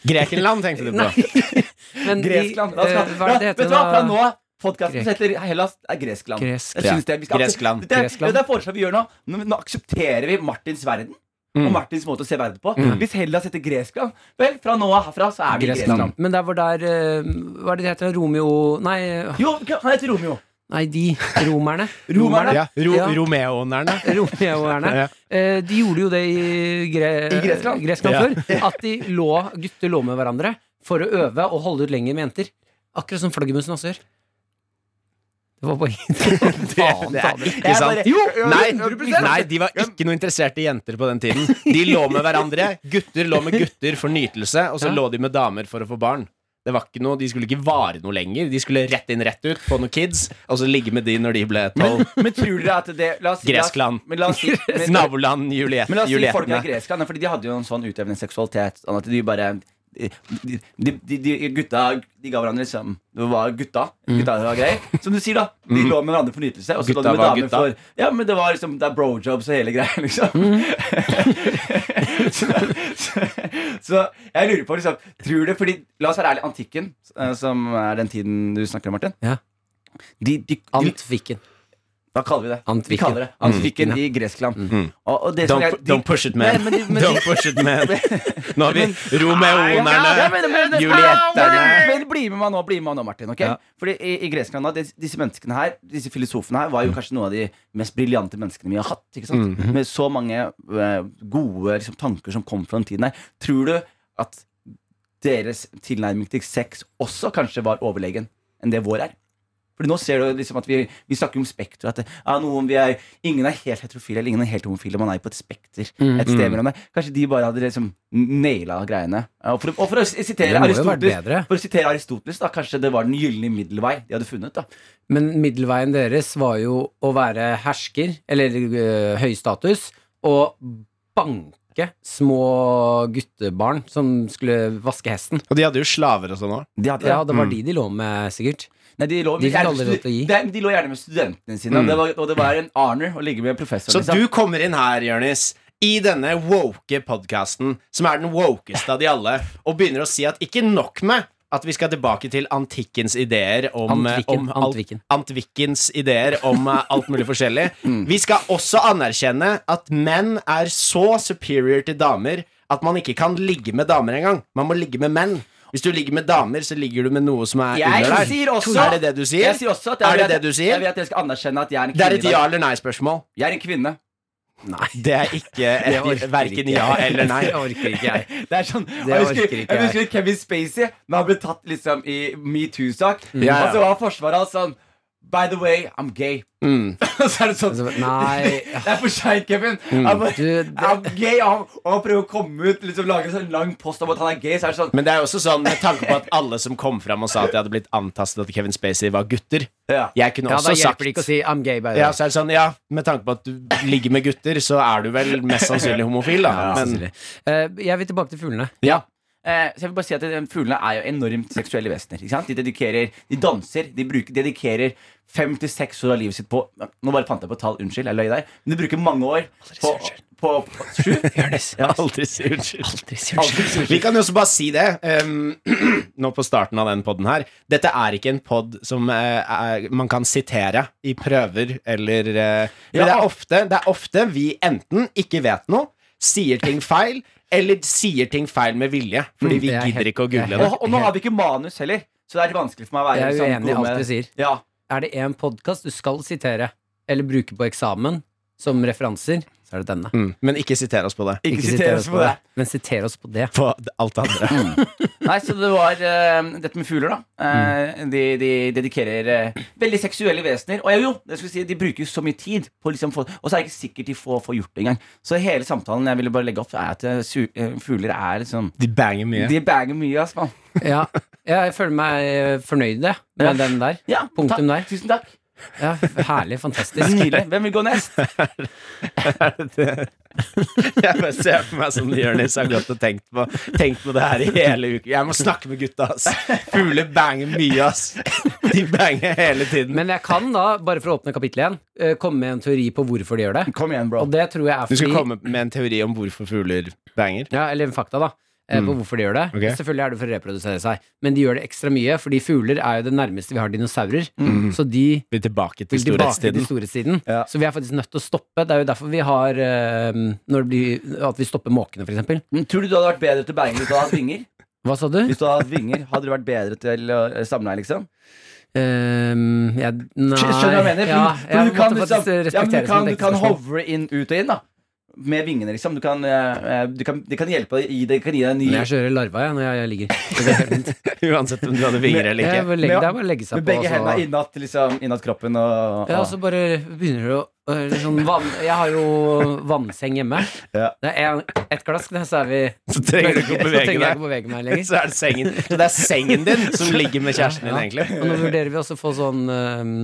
[SPEAKER 3] Grekenland tenkte du på.
[SPEAKER 4] Nei. Men de-
[SPEAKER 2] Greskland. Da skal,
[SPEAKER 4] eh, hva er det det
[SPEAKER 2] Ja,
[SPEAKER 4] heter
[SPEAKER 2] vet du hva, fra
[SPEAKER 4] da?
[SPEAKER 2] nå av Podkasten
[SPEAKER 4] Grek.
[SPEAKER 2] heter Hellas er Greskland.
[SPEAKER 4] Gresk.
[SPEAKER 2] Jeg synes det, vi skal,
[SPEAKER 3] Greskland.
[SPEAKER 2] Det, er-
[SPEAKER 4] Greskland.
[SPEAKER 2] det er foreslått vi gjør nå. Nå, nå aksepterer vi Martins verden.
[SPEAKER 4] Mm.
[SPEAKER 2] Og Martins måte å se verden på. Hvis Hellas heter Greskland, vel, fra nå av herfra så er vi i Greskland.
[SPEAKER 4] Gressland. Men der var der eh, Hva er det de heter? Romeo Nei, eh,
[SPEAKER 2] Jo, han heter Romeo.
[SPEAKER 4] nei de romerne.
[SPEAKER 2] Romerne?
[SPEAKER 3] Ja, ro
[SPEAKER 4] Ja.
[SPEAKER 3] Romeoerne.
[SPEAKER 4] Romeoerne.
[SPEAKER 3] Ja.
[SPEAKER 4] Eh, de gjorde jo det i, gre
[SPEAKER 2] I Gresland.
[SPEAKER 4] før. At de lå, gutter lå med hverandre for å øve og holde ut lenger med jenter. Akkurat som flaggermusen også gjør. Det var bare Faen
[SPEAKER 3] det
[SPEAKER 4] ta
[SPEAKER 3] er
[SPEAKER 4] det.
[SPEAKER 3] ikke sant.
[SPEAKER 2] Jo,
[SPEAKER 3] Nei, nei, de var ikke noe interessert i jenter på den tiden. De lå med hverandre. Gutter lå med gutter for nytelse, og så
[SPEAKER 4] Ja.
[SPEAKER 3] lå de med damer for å få barn. Det var ikke noe, De skulle ikke vare noe lenger. De skulle rett inn, rett ut, få noen kids, og så ligge med de når de ble tolv.
[SPEAKER 4] Oh.
[SPEAKER 2] Men tror dere at det la oss, si-
[SPEAKER 3] Greskland.
[SPEAKER 2] La oss, men la oss, si- men,
[SPEAKER 3] Naboland Juliet,
[SPEAKER 2] men la oss si folk er
[SPEAKER 3] Julietene.
[SPEAKER 2] Greskland, fordi de hadde jo en sånn utøvende seksualitet. Sånn at de bare de, de, de, de gutta De ga hverandre liksom Det var gutta. Gutta var greier. Som du sier, da. De lå med hverandre for nytelse. Og så
[SPEAKER 3] Mm. Gutta
[SPEAKER 2] lå de med
[SPEAKER 3] var
[SPEAKER 2] damer
[SPEAKER 3] gutta.
[SPEAKER 2] for Ja, men det var liksom Det er brojobs og hele greia, liksom.
[SPEAKER 3] Mm.
[SPEAKER 2] så, så, så jeg lurer på, liksom Tror du Fordi la oss være ærlig, antikken, eh, som er den tiden du snakker om, Martin
[SPEAKER 4] Ja.
[SPEAKER 2] de, de, de,
[SPEAKER 4] Antviken.
[SPEAKER 2] Hva kaller vi det? Vi
[SPEAKER 4] Antviken.
[SPEAKER 2] kaller det Antvikken i Greskland. Og, og det som
[SPEAKER 3] Mm. Don't,
[SPEAKER 2] jeg-
[SPEAKER 3] pu- don't push it, man.
[SPEAKER 2] Nei, men de- men de-
[SPEAKER 3] Don't push it, man. Nå har vi
[SPEAKER 2] Ja, men-
[SPEAKER 3] romeonerne.
[SPEAKER 2] men- men-
[SPEAKER 3] Julietene.
[SPEAKER 2] Men bli med meg nå, bli med meg nå Martin. ok?
[SPEAKER 4] Ja.
[SPEAKER 2] Fordi i, i Greskland, da, disse, disse menneskene her, disse filosofene her, var jo kanskje noen av de mest briljante menneskene vi har hatt. ikke sant? Med så mange eh, gode liksom, tanker som kom fra den tiden her. Tror du at deres tilnærming til sex også kanskje var overlegen enn det vår er? Fordi nå ser du liksom at Vi, vi snakker om spekter. At det, ja, noen vi er, ingen er helt heterofile, eller ingen er helt homofile. Man er jo på et spekter. et sted mellom det Kanskje de bare hadde liksom naila greiene. Og for, og for å sitere
[SPEAKER 4] Det må jo være
[SPEAKER 2] Aristoteles,
[SPEAKER 4] bedre.
[SPEAKER 2] for å sitere Aristoteles da kanskje det var den gylne middelvei de hadde funnet. da
[SPEAKER 4] Men middelveien deres var jo å være hersker, eller eh, høy status, og banke små guttebarn som skulle vaske hesten.
[SPEAKER 3] Og de hadde jo slaver og sånn òg.
[SPEAKER 2] De hadde,
[SPEAKER 4] Ja, det var de de lå med, sikkert.
[SPEAKER 2] Nei, de, lå,
[SPEAKER 4] De fikk
[SPEAKER 2] gjerne-
[SPEAKER 4] aldri lov til å gi.
[SPEAKER 2] Nei, men de lå gjerne med studentene sine, og, det var, og det var en honor å ligge med en professor.
[SPEAKER 3] Mm. Så
[SPEAKER 2] liksom.
[SPEAKER 3] du kommer inn her, Jørnis, i denne woke podkasten, som er den wokeste av de alle, og begynner å si at ikke nok med at vi skal tilbake til antikkens ideer om,
[SPEAKER 4] Antvikken,
[SPEAKER 3] om alt-
[SPEAKER 4] antvikken.
[SPEAKER 3] Antvikkens ideer om eh, alt mulig forskjellig.
[SPEAKER 2] Mm.
[SPEAKER 3] Vi skal også anerkjenne at menn er så superior til damer at man ikke kan ligge med damer engang. Man må ligge med menn. Hvis du ligger med damer, så ligger du med noe som er
[SPEAKER 2] Jeg
[SPEAKER 3] under der.
[SPEAKER 2] sier også-
[SPEAKER 3] er det det du sier?
[SPEAKER 2] Jeg sier også at jeg,
[SPEAKER 3] er det
[SPEAKER 2] vil
[SPEAKER 3] det
[SPEAKER 2] at-
[SPEAKER 3] du sier?
[SPEAKER 2] Jeg vil at dere skal anerkjenne at jeg er en
[SPEAKER 3] det er et
[SPEAKER 2] kvinne. i
[SPEAKER 3] ja
[SPEAKER 2] dag.
[SPEAKER 3] eller nei-spørsmål.
[SPEAKER 2] Jeg er en kvinne.
[SPEAKER 3] Det er ikke
[SPEAKER 4] Det orker
[SPEAKER 3] et verken
[SPEAKER 4] ikke jeg.
[SPEAKER 3] ja eller nei.
[SPEAKER 4] Det orker ikke jeg.
[SPEAKER 2] Det er sånn,
[SPEAKER 4] Det
[SPEAKER 2] jeg,
[SPEAKER 4] orker
[SPEAKER 2] husker,
[SPEAKER 4] ikke
[SPEAKER 2] jeg
[SPEAKER 4] jeg.
[SPEAKER 2] husker Kevin Spacey Når han ble tatt liksom i MeToo-sak
[SPEAKER 4] Mm.
[SPEAKER 3] Ja, ja.
[SPEAKER 2] Og så var forsvaret hans sånn By the way, I'm gay Og så er det sånn
[SPEAKER 4] Altså, nei. Mm.
[SPEAKER 2] Det er for seint, Kevin. Han bare,
[SPEAKER 4] Du, det-
[SPEAKER 2] I'm gay, og han, og han prøver å komme ut Liksom lage en sånn lang post om at han er gay. Så er det sånn
[SPEAKER 3] Men det er jo også sånn med tanke på at alle som kom fram og sa at de hadde blitt antastet at Kevin Spacey var gutter
[SPEAKER 2] ja.
[SPEAKER 3] Jeg kunne
[SPEAKER 4] Ja, da
[SPEAKER 3] også sagt
[SPEAKER 4] hjelper det ikke å si 'I'm gay', by the
[SPEAKER 3] ja,
[SPEAKER 4] way.
[SPEAKER 3] så er det sånn, ja, med tanke på at du ligger med gutter, så er du vel mest sannsynlig homofil, da.
[SPEAKER 4] Ja,
[SPEAKER 3] Men
[SPEAKER 4] sannsynlig. Eh, jeg vil tilbake til fuglene.
[SPEAKER 3] ja.
[SPEAKER 2] Eh, så jeg vil bare si at eh, Fuglene er jo enormt seksuelle vesener. Ikke sant? De dedikerer, de danser, de bruker, dedikerer fem til seks år av livet sitt på Nå bare fant jeg på tall, unnskyld, jeg løy der. Men de bruker mange år på, på, på Sju?
[SPEAKER 3] Aldri si unnskyld.
[SPEAKER 2] Aldri si
[SPEAKER 3] Vi kan jo også bare si det, ehm, nå på starten av den podden her. Dette er ikke en podd som eh, er, man kan sitere i prøver eller eh, Men
[SPEAKER 2] Ja.
[SPEAKER 3] det, er ofte, det er ofte vi enten ikke vet noe, sier ting feil, eller sier ting feil med vilje. Fordi vi
[SPEAKER 4] jeg er
[SPEAKER 3] gidder
[SPEAKER 4] helt-
[SPEAKER 3] ikke å
[SPEAKER 4] jeg er
[SPEAKER 3] google det.
[SPEAKER 2] Og, og nå har vi ikke manus heller, så det er litt vanskelig for meg å være
[SPEAKER 4] Jeg er
[SPEAKER 2] liksom,
[SPEAKER 4] uenig
[SPEAKER 2] god
[SPEAKER 4] i alt
[SPEAKER 2] med-
[SPEAKER 4] du sier.
[SPEAKER 2] Ja.
[SPEAKER 4] Er det én podkast du skal sitere, eller bruke på eksamen som referanser, så er det denne.
[SPEAKER 3] Mm, men ikke siter oss på det.
[SPEAKER 2] Ikke siter oss på det.
[SPEAKER 4] men siter oss på det.
[SPEAKER 3] På alt det andre.
[SPEAKER 2] Nei, så det var eh, dette med fugler, da. Eh, de, de dedikerer eh, veldig seksuelle vesener. Og jo, det skulle jeg si, de bruker så mye tid, på å liksom få, og så er det ikke sikkert de får, får gjort det engang. Så hele samtalen jeg ville bare legge opp, er at eh, su eh, fugler er liksom
[SPEAKER 3] De banger mye.
[SPEAKER 2] De banger mye, ass, mann.
[SPEAKER 4] Ja, jeg føler meg eh, fornøyd jeg, med den der.
[SPEAKER 2] Ja,
[SPEAKER 4] Punktum
[SPEAKER 2] takk.
[SPEAKER 4] der.
[SPEAKER 2] Tusen takk.
[SPEAKER 4] Ja, herlig, fantastisk.
[SPEAKER 2] Nydelig. Hvem vil gå nest?
[SPEAKER 3] Jeg bare ser for meg som Jonis har gått og tenkt på, tenkt på det her i hele uken. Jeg må snakke med gutta, ass. Fugler banger mye, ass. De banger hele tiden.
[SPEAKER 4] Men jeg kan da, bare for å åpne kapittel igjen, eh, komme med en teori på hvorfor de gjør det.
[SPEAKER 2] Kom igjen, bro.
[SPEAKER 4] Og det tror jeg er
[SPEAKER 3] du skal
[SPEAKER 4] fordi
[SPEAKER 3] komme med en teori om hvorfor fugler banger?
[SPEAKER 4] Ja, eller fakta, da. eh,
[SPEAKER 2] Mm.
[SPEAKER 4] på hvorfor de gjør det.
[SPEAKER 3] Ok.
[SPEAKER 4] Selvfølgelig er det for å reprodusere seg, men de gjør det ekstra mye, fordi fugler er jo det nærmeste vi har dinosaurer.
[SPEAKER 2] Mm.
[SPEAKER 4] Så de
[SPEAKER 3] Vi er tilbake til
[SPEAKER 4] vil tilbake til
[SPEAKER 3] storhetstiden.
[SPEAKER 4] storhetstiden.
[SPEAKER 2] Ja.
[SPEAKER 4] Så vi er faktisk nødt til å stoppe. Det er jo derfor vi har eh, når det blir, At vi stopper måkene, f.eks.
[SPEAKER 2] Men Tror du du hadde vært bedre til bæring hvis du hadde hatt vinger?
[SPEAKER 4] Hva sa du?
[SPEAKER 2] Hvis du hadde hatt vinger, Hadde du vært bedre til å eh, samleie, liksom?
[SPEAKER 4] Ehm, jeg, nei
[SPEAKER 2] Skjønner du hva jeg mener? For,
[SPEAKER 4] Ja,
[SPEAKER 2] for
[SPEAKER 4] jeg
[SPEAKER 2] du kan,
[SPEAKER 4] måtte
[SPEAKER 2] liksom,
[SPEAKER 4] faktisk
[SPEAKER 2] ja, men
[SPEAKER 4] respektere
[SPEAKER 2] du kan,
[SPEAKER 4] det
[SPEAKER 2] du
[SPEAKER 4] som
[SPEAKER 2] kan
[SPEAKER 4] et ektespill.
[SPEAKER 2] hovre inn, ut og inn, da. Med vingene, liksom. Du kan, eh, eh, du kan, de kan hjelpe deg, gi deg, kan gi deg en ny
[SPEAKER 4] Men jeg kjører larva jeg, når jeg, jeg ligger. Det går helt fint.
[SPEAKER 3] Uansett om du hadde vinger eller
[SPEAKER 4] Jeg
[SPEAKER 3] ikke.
[SPEAKER 4] bare legger,
[SPEAKER 2] Men ja,
[SPEAKER 4] det er bare å legge seg
[SPEAKER 2] Med
[SPEAKER 4] på.
[SPEAKER 2] begge
[SPEAKER 4] og så-
[SPEAKER 2] hendene innatt liksom, innatt kroppen og,
[SPEAKER 4] altså. Ja, altså,
[SPEAKER 2] og
[SPEAKER 4] og så bare begynner du å øh, liksom, vann, Jeg har jo vannseng hjemme.
[SPEAKER 2] Ja.
[SPEAKER 4] Det er en, et glass, da, så er vi
[SPEAKER 3] Så trenger du
[SPEAKER 4] Så
[SPEAKER 3] ikke å
[SPEAKER 4] trenger
[SPEAKER 3] bevege
[SPEAKER 4] jeg ikke
[SPEAKER 3] deg.
[SPEAKER 4] å bevege meg lenger.
[SPEAKER 3] Så er det sengen Så det er sengen din som ligger med kjæresten din,
[SPEAKER 4] Ja.
[SPEAKER 3] egentlig.
[SPEAKER 4] Og nå vurderer vi også å få sånn øhm,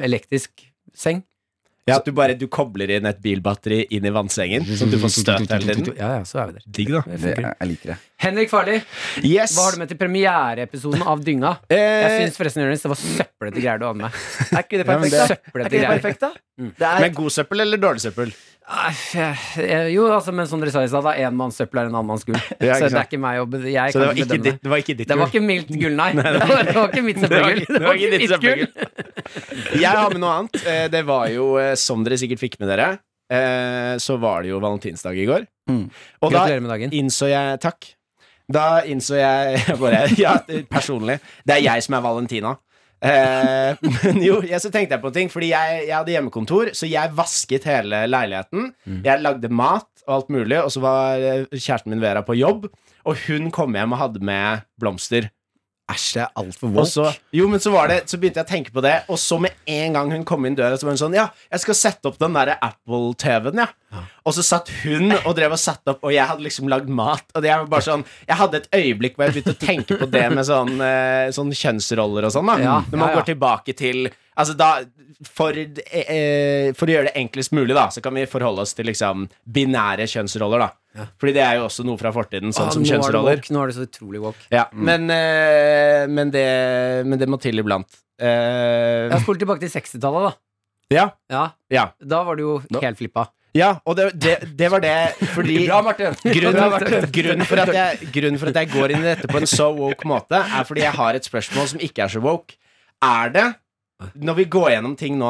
[SPEAKER 4] elektrisk seng.
[SPEAKER 3] Ja, at du bare du kobler inn et bilbatteri inn i vannsengen, sånn at du får støt hele tiden.
[SPEAKER 4] Ja, ja, så er vi der.
[SPEAKER 3] Digg, da.
[SPEAKER 4] Det
[SPEAKER 2] det,
[SPEAKER 4] funker.
[SPEAKER 2] Jeg liker det.
[SPEAKER 4] Henrik Farli,
[SPEAKER 3] Yes!
[SPEAKER 4] hva har du med til premiereepisoden av Dynga? Jeg
[SPEAKER 3] Eh,
[SPEAKER 4] syns forresten Jonas, det var søplete greier du hadde med.
[SPEAKER 2] Er ikke det
[SPEAKER 3] Ja, men
[SPEAKER 2] perfekt,
[SPEAKER 3] det-
[SPEAKER 2] da? Er
[SPEAKER 4] Søplete
[SPEAKER 2] ikke det
[SPEAKER 4] greier.
[SPEAKER 2] perfekt, da?
[SPEAKER 4] Mm.
[SPEAKER 2] Det er
[SPEAKER 3] men god søppel eller dårlig søppel?
[SPEAKER 4] Nei, jeg- Jo, altså, men som dere sa i stad, da, én manns søppel er en annen manns gull.
[SPEAKER 3] Ja,
[SPEAKER 4] så
[SPEAKER 3] ikke
[SPEAKER 4] det er
[SPEAKER 3] sant.
[SPEAKER 4] ikke meg å be- jeg
[SPEAKER 3] Så det
[SPEAKER 4] kan
[SPEAKER 3] var ikke
[SPEAKER 4] bedømme
[SPEAKER 3] ditt, det var ikke ditt
[SPEAKER 4] Det var
[SPEAKER 3] gull.
[SPEAKER 4] ikke mildt gull, nei. Det var, det var ikke mitt
[SPEAKER 3] Det var
[SPEAKER 4] søppelgull.
[SPEAKER 3] ikke- det var ikke ditt Jeg har med noe annet. Eh, Det var jo, eh, som dere sikkert fikk med dere, eh, så var det jo valentinsdag i går.
[SPEAKER 2] Mm.
[SPEAKER 3] Og da
[SPEAKER 4] Gratulerer med dagen.
[SPEAKER 3] innså jeg Takk. Da innså jeg bare, Ja, personlig. Det er jeg som er Valentina. Eh, men jo, jeg, så tenkte jeg på en ting, fordi jeg, jeg hadde hjemmekontor, så jeg vasket hele leiligheten. Jeg lagde mat og alt mulig, og så var eh, kjæresten min Vera på jobb, og hun kom hjem og hadde med blomster.
[SPEAKER 4] Æsj, det er altfor
[SPEAKER 3] Og så, jo, men så, var det, så begynte jeg å tenke på det, og så med en gang hun kom inn døra, så var hun sånn Ja, jeg skal sette opp den derre Apple-TV-en, ja. Og så satt hun og drev og satte opp, og jeg hadde liksom lagd mat. Og det, jeg var bare sånn Jeg hadde et øyeblikk hvor jeg begynte å tenke på det med sånn, eh, sånn kjønnsroller og sånn, da.
[SPEAKER 4] Ja,
[SPEAKER 3] Når man
[SPEAKER 4] ja, ja.
[SPEAKER 3] går tilbake til Altså da for, eh, eh, for å gjøre det enklest mulig, da, så kan vi forholde oss til liksom binære kjønnsroller, da. Fordi det er jo også noe fra fortiden, sånn som kjønnsroller.
[SPEAKER 4] Nå er det så utrolig woke.
[SPEAKER 3] Ja, men, eh, men, det, men det må til iblant. Eh,
[SPEAKER 4] Jeg har spolt tilbake til 60-tallet, da.
[SPEAKER 3] ja.
[SPEAKER 4] Ja,
[SPEAKER 3] ja.
[SPEAKER 4] da var du jo helt flippa.
[SPEAKER 3] Ja, og det, det, det var det fordi
[SPEAKER 2] Bra, Marte.
[SPEAKER 3] grunnen, grunnen, for at jeg, grunnen for at jeg går inn i dette på en så woke måte, er fordi jeg har et spørsmål som ikke er så woke. Er det, når vi går gjennom ting nå,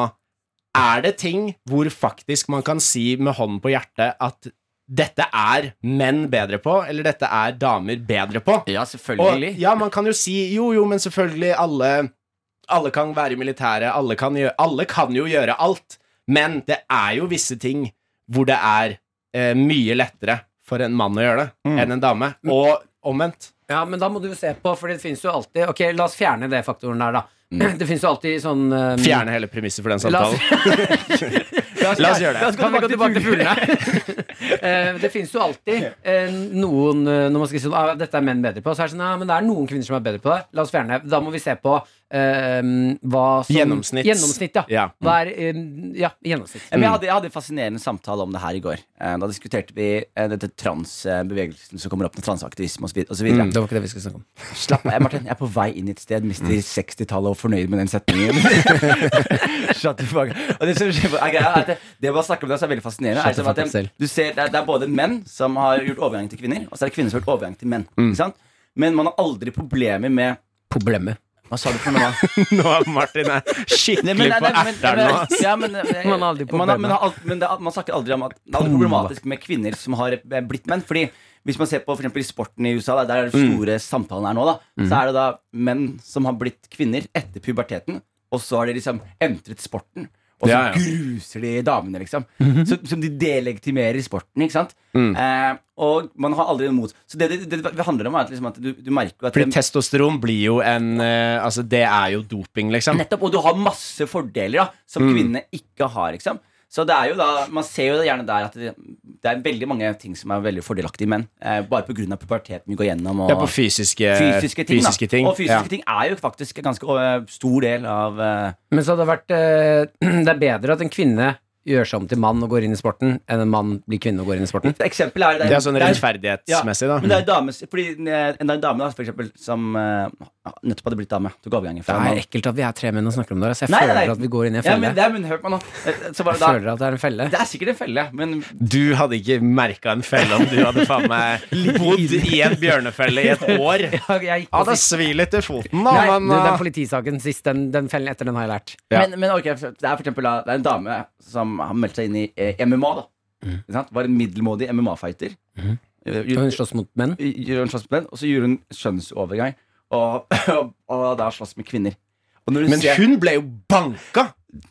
[SPEAKER 3] er det ting hvor faktisk man kan si med hånden på hjertet at dette er menn bedre på, eller dette er damer bedre på?
[SPEAKER 4] Ja,
[SPEAKER 3] Og, ja, man kan jo si Jo, jo, men selvfølgelig alle Alle kan være i militæret, alle kan, gjø- alle kan jo gjøre alt. Men det er jo visse ting hvor det er eh, mye lettere for en mann å gjøre det
[SPEAKER 2] Mm.
[SPEAKER 3] enn en dame. Og omvendt.
[SPEAKER 4] Ja, men da må du jo se på, for det finnes jo alltid Ok, la oss fjerne det faktoren der, da. Det finnes jo alltid sånn um,
[SPEAKER 3] Fjerne hele premisset for den
[SPEAKER 4] La oss-
[SPEAKER 3] samtalen. La oss, gjøre det.
[SPEAKER 4] Kan vi gå tilbake til fuglene? Eh, det finnes jo alltid eh, noen eh, Når man skal si sånn, ah, dette er menn bedre på, så er det sånn ja, men det er noen kvinner som er bedre på det. La oss fjerne det. Da må vi se på eh, hva som
[SPEAKER 3] Gjennomsnitt.
[SPEAKER 4] Gjennomsnitt, ja.
[SPEAKER 3] Ja.
[SPEAKER 4] Hva er eh, Ja, gjennomsnitt.
[SPEAKER 2] Ja, men Jeg hadde, jeg hadde en fascinerende samtale om det her i går. Eh, Da diskuterte vi eh, dette transbevegelsen som kommer opp med transaktivisme osv.
[SPEAKER 4] Det var ikke det vi skulle snakke om.
[SPEAKER 2] Slapp av, Martin. Jeg er på vei inn i et sted, mister
[SPEAKER 4] Mm.
[SPEAKER 2] 60-tallet og fornøyd med den setningen. Shut the fuck up. og det, som skjer- er greia er at det, det å bare snakke om det som er veldig fascinerende, er
[SPEAKER 4] Shut the
[SPEAKER 2] som at
[SPEAKER 4] fuck up
[SPEAKER 2] det, du ser, det, er, det er både menn som har gjort overgang til kvinner, og så er det kvinner som har gjort overgang til menn.
[SPEAKER 4] Mm.
[SPEAKER 2] Ikke sant? Men man har aldri problemer med
[SPEAKER 4] Problemet.
[SPEAKER 2] Hva sa du for noe?
[SPEAKER 3] Nå er Martin er
[SPEAKER 2] Nei, men-
[SPEAKER 3] skikkelig
[SPEAKER 2] nei,
[SPEAKER 3] på
[SPEAKER 2] nei, men-
[SPEAKER 3] erteren nå. ass.
[SPEAKER 2] ja, men- eh,
[SPEAKER 4] Man har
[SPEAKER 2] man har-
[SPEAKER 4] aldri problemer.
[SPEAKER 2] men har alt- Men det er- man snakker aldri om at det er aldri problematisk med kvinner som har eh, blitt menn. Fordi hvis man ser på for eksempel i sporten i USA, da, der er det
[SPEAKER 3] Mm.
[SPEAKER 2] store samtalen er nå, da, så er det da menn som har blitt kvinner etter puberteten, og så har de liksom entret sporten. Og så
[SPEAKER 3] Ja, Mhm. ja.
[SPEAKER 2] gruser de damene, liksom. så, som de delegitimerer sporten, ikke sant.
[SPEAKER 3] Mm.
[SPEAKER 2] Eh, og man har aldri noe mot. Så det det, det det handler om, er at, liksom, at du, du merker jo at
[SPEAKER 3] Fordi testosteron blir jo en eh, Altså, det er jo doping, liksom.
[SPEAKER 2] Nettopp, og du har masse fordeler da, som kvinnene ikke har. Ikke sant? Så det er jo da, Man ser jo det gjerne der at det, det er veldig mange ting som er veldig fordelaktige i menn. Eh, bare pga. puberteten vi går gjennom. Og
[SPEAKER 3] Ja, på fysiske,
[SPEAKER 2] fysiske ting.
[SPEAKER 3] fysiske
[SPEAKER 2] da. Og fysiske
[SPEAKER 3] ja.
[SPEAKER 2] ting er jo faktisk en ganske eh, stor del av eh,
[SPEAKER 4] Men så hadde det vært eh, Det er bedre at en kvinne gjør seg om til mann og går inn i sporten, enn en mann blir kvinne og går inn i sporten.
[SPEAKER 2] Et eksempel er det
[SPEAKER 3] Det er sånn
[SPEAKER 2] det er- ja,
[SPEAKER 3] rettferdighetsmessig, da.
[SPEAKER 2] Men det er dames, fordi eh, en, en dame da, for eksempel, som eh, ja, nettopp hadde blitt dame. Tok avgangen
[SPEAKER 4] Det
[SPEAKER 2] fra en
[SPEAKER 4] er
[SPEAKER 2] mann.
[SPEAKER 4] ekkelt at vi er tre menn og snakker om det. her, Så jeg
[SPEAKER 2] Nei, nei,
[SPEAKER 4] føler
[SPEAKER 2] nei.
[SPEAKER 4] at vi går inn i en
[SPEAKER 2] Ja,
[SPEAKER 4] felle.
[SPEAKER 2] men det er munnhørt, man. eh, Så var det
[SPEAKER 4] jeg
[SPEAKER 2] da.
[SPEAKER 4] føler at det er en felle.
[SPEAKER 2] Det er sikkert en felle, men
[SPEAKER 3] Du hadde ikke merka en felle om du hadde faen meg bodd i en bjørnefelle i et år.
[SPEAKER 4] Ja, jeg gikk
[SPEAKER 3] Ja,
[SPEAKER 4] på
[SPEAKER 3] det
[SPEAKER 4] sist-
[SPEAKER 3] svir litt i foten,
[SPEAKER 4] Nei,
[SPEAKER 3] da.
[SPEAKER 4] du,
[SPEAKER 2] eh,
[SPEAKER 4] den
[SPEAKER 3] Men, eh,
[SPEAKER 4] politisaken sist, den, den fellen etter den har jeg lært.
[SPEAKER 3] Ja.
[SPEAKER 2] Men, men ok, det er for eksempel da, Det er en dame som har meldt seg inn i eh, MMA da Ikke sant? Var en middelmådig MMA-fighter Eh,
[SPEAKER 4] Og
[SPEAKER 2] gjorde-
[SPEAKER 4] hun slåss mot menn.
[SPEAKER 2] gjorde en slags plan, Og så gjorde hun kjønnsovergang Og, og, og da slåss med kvinner Og når hun
[SPEAKER 3] men
[SPEAKER 2] ser
[SPEAKER 3] hun ble jo banka!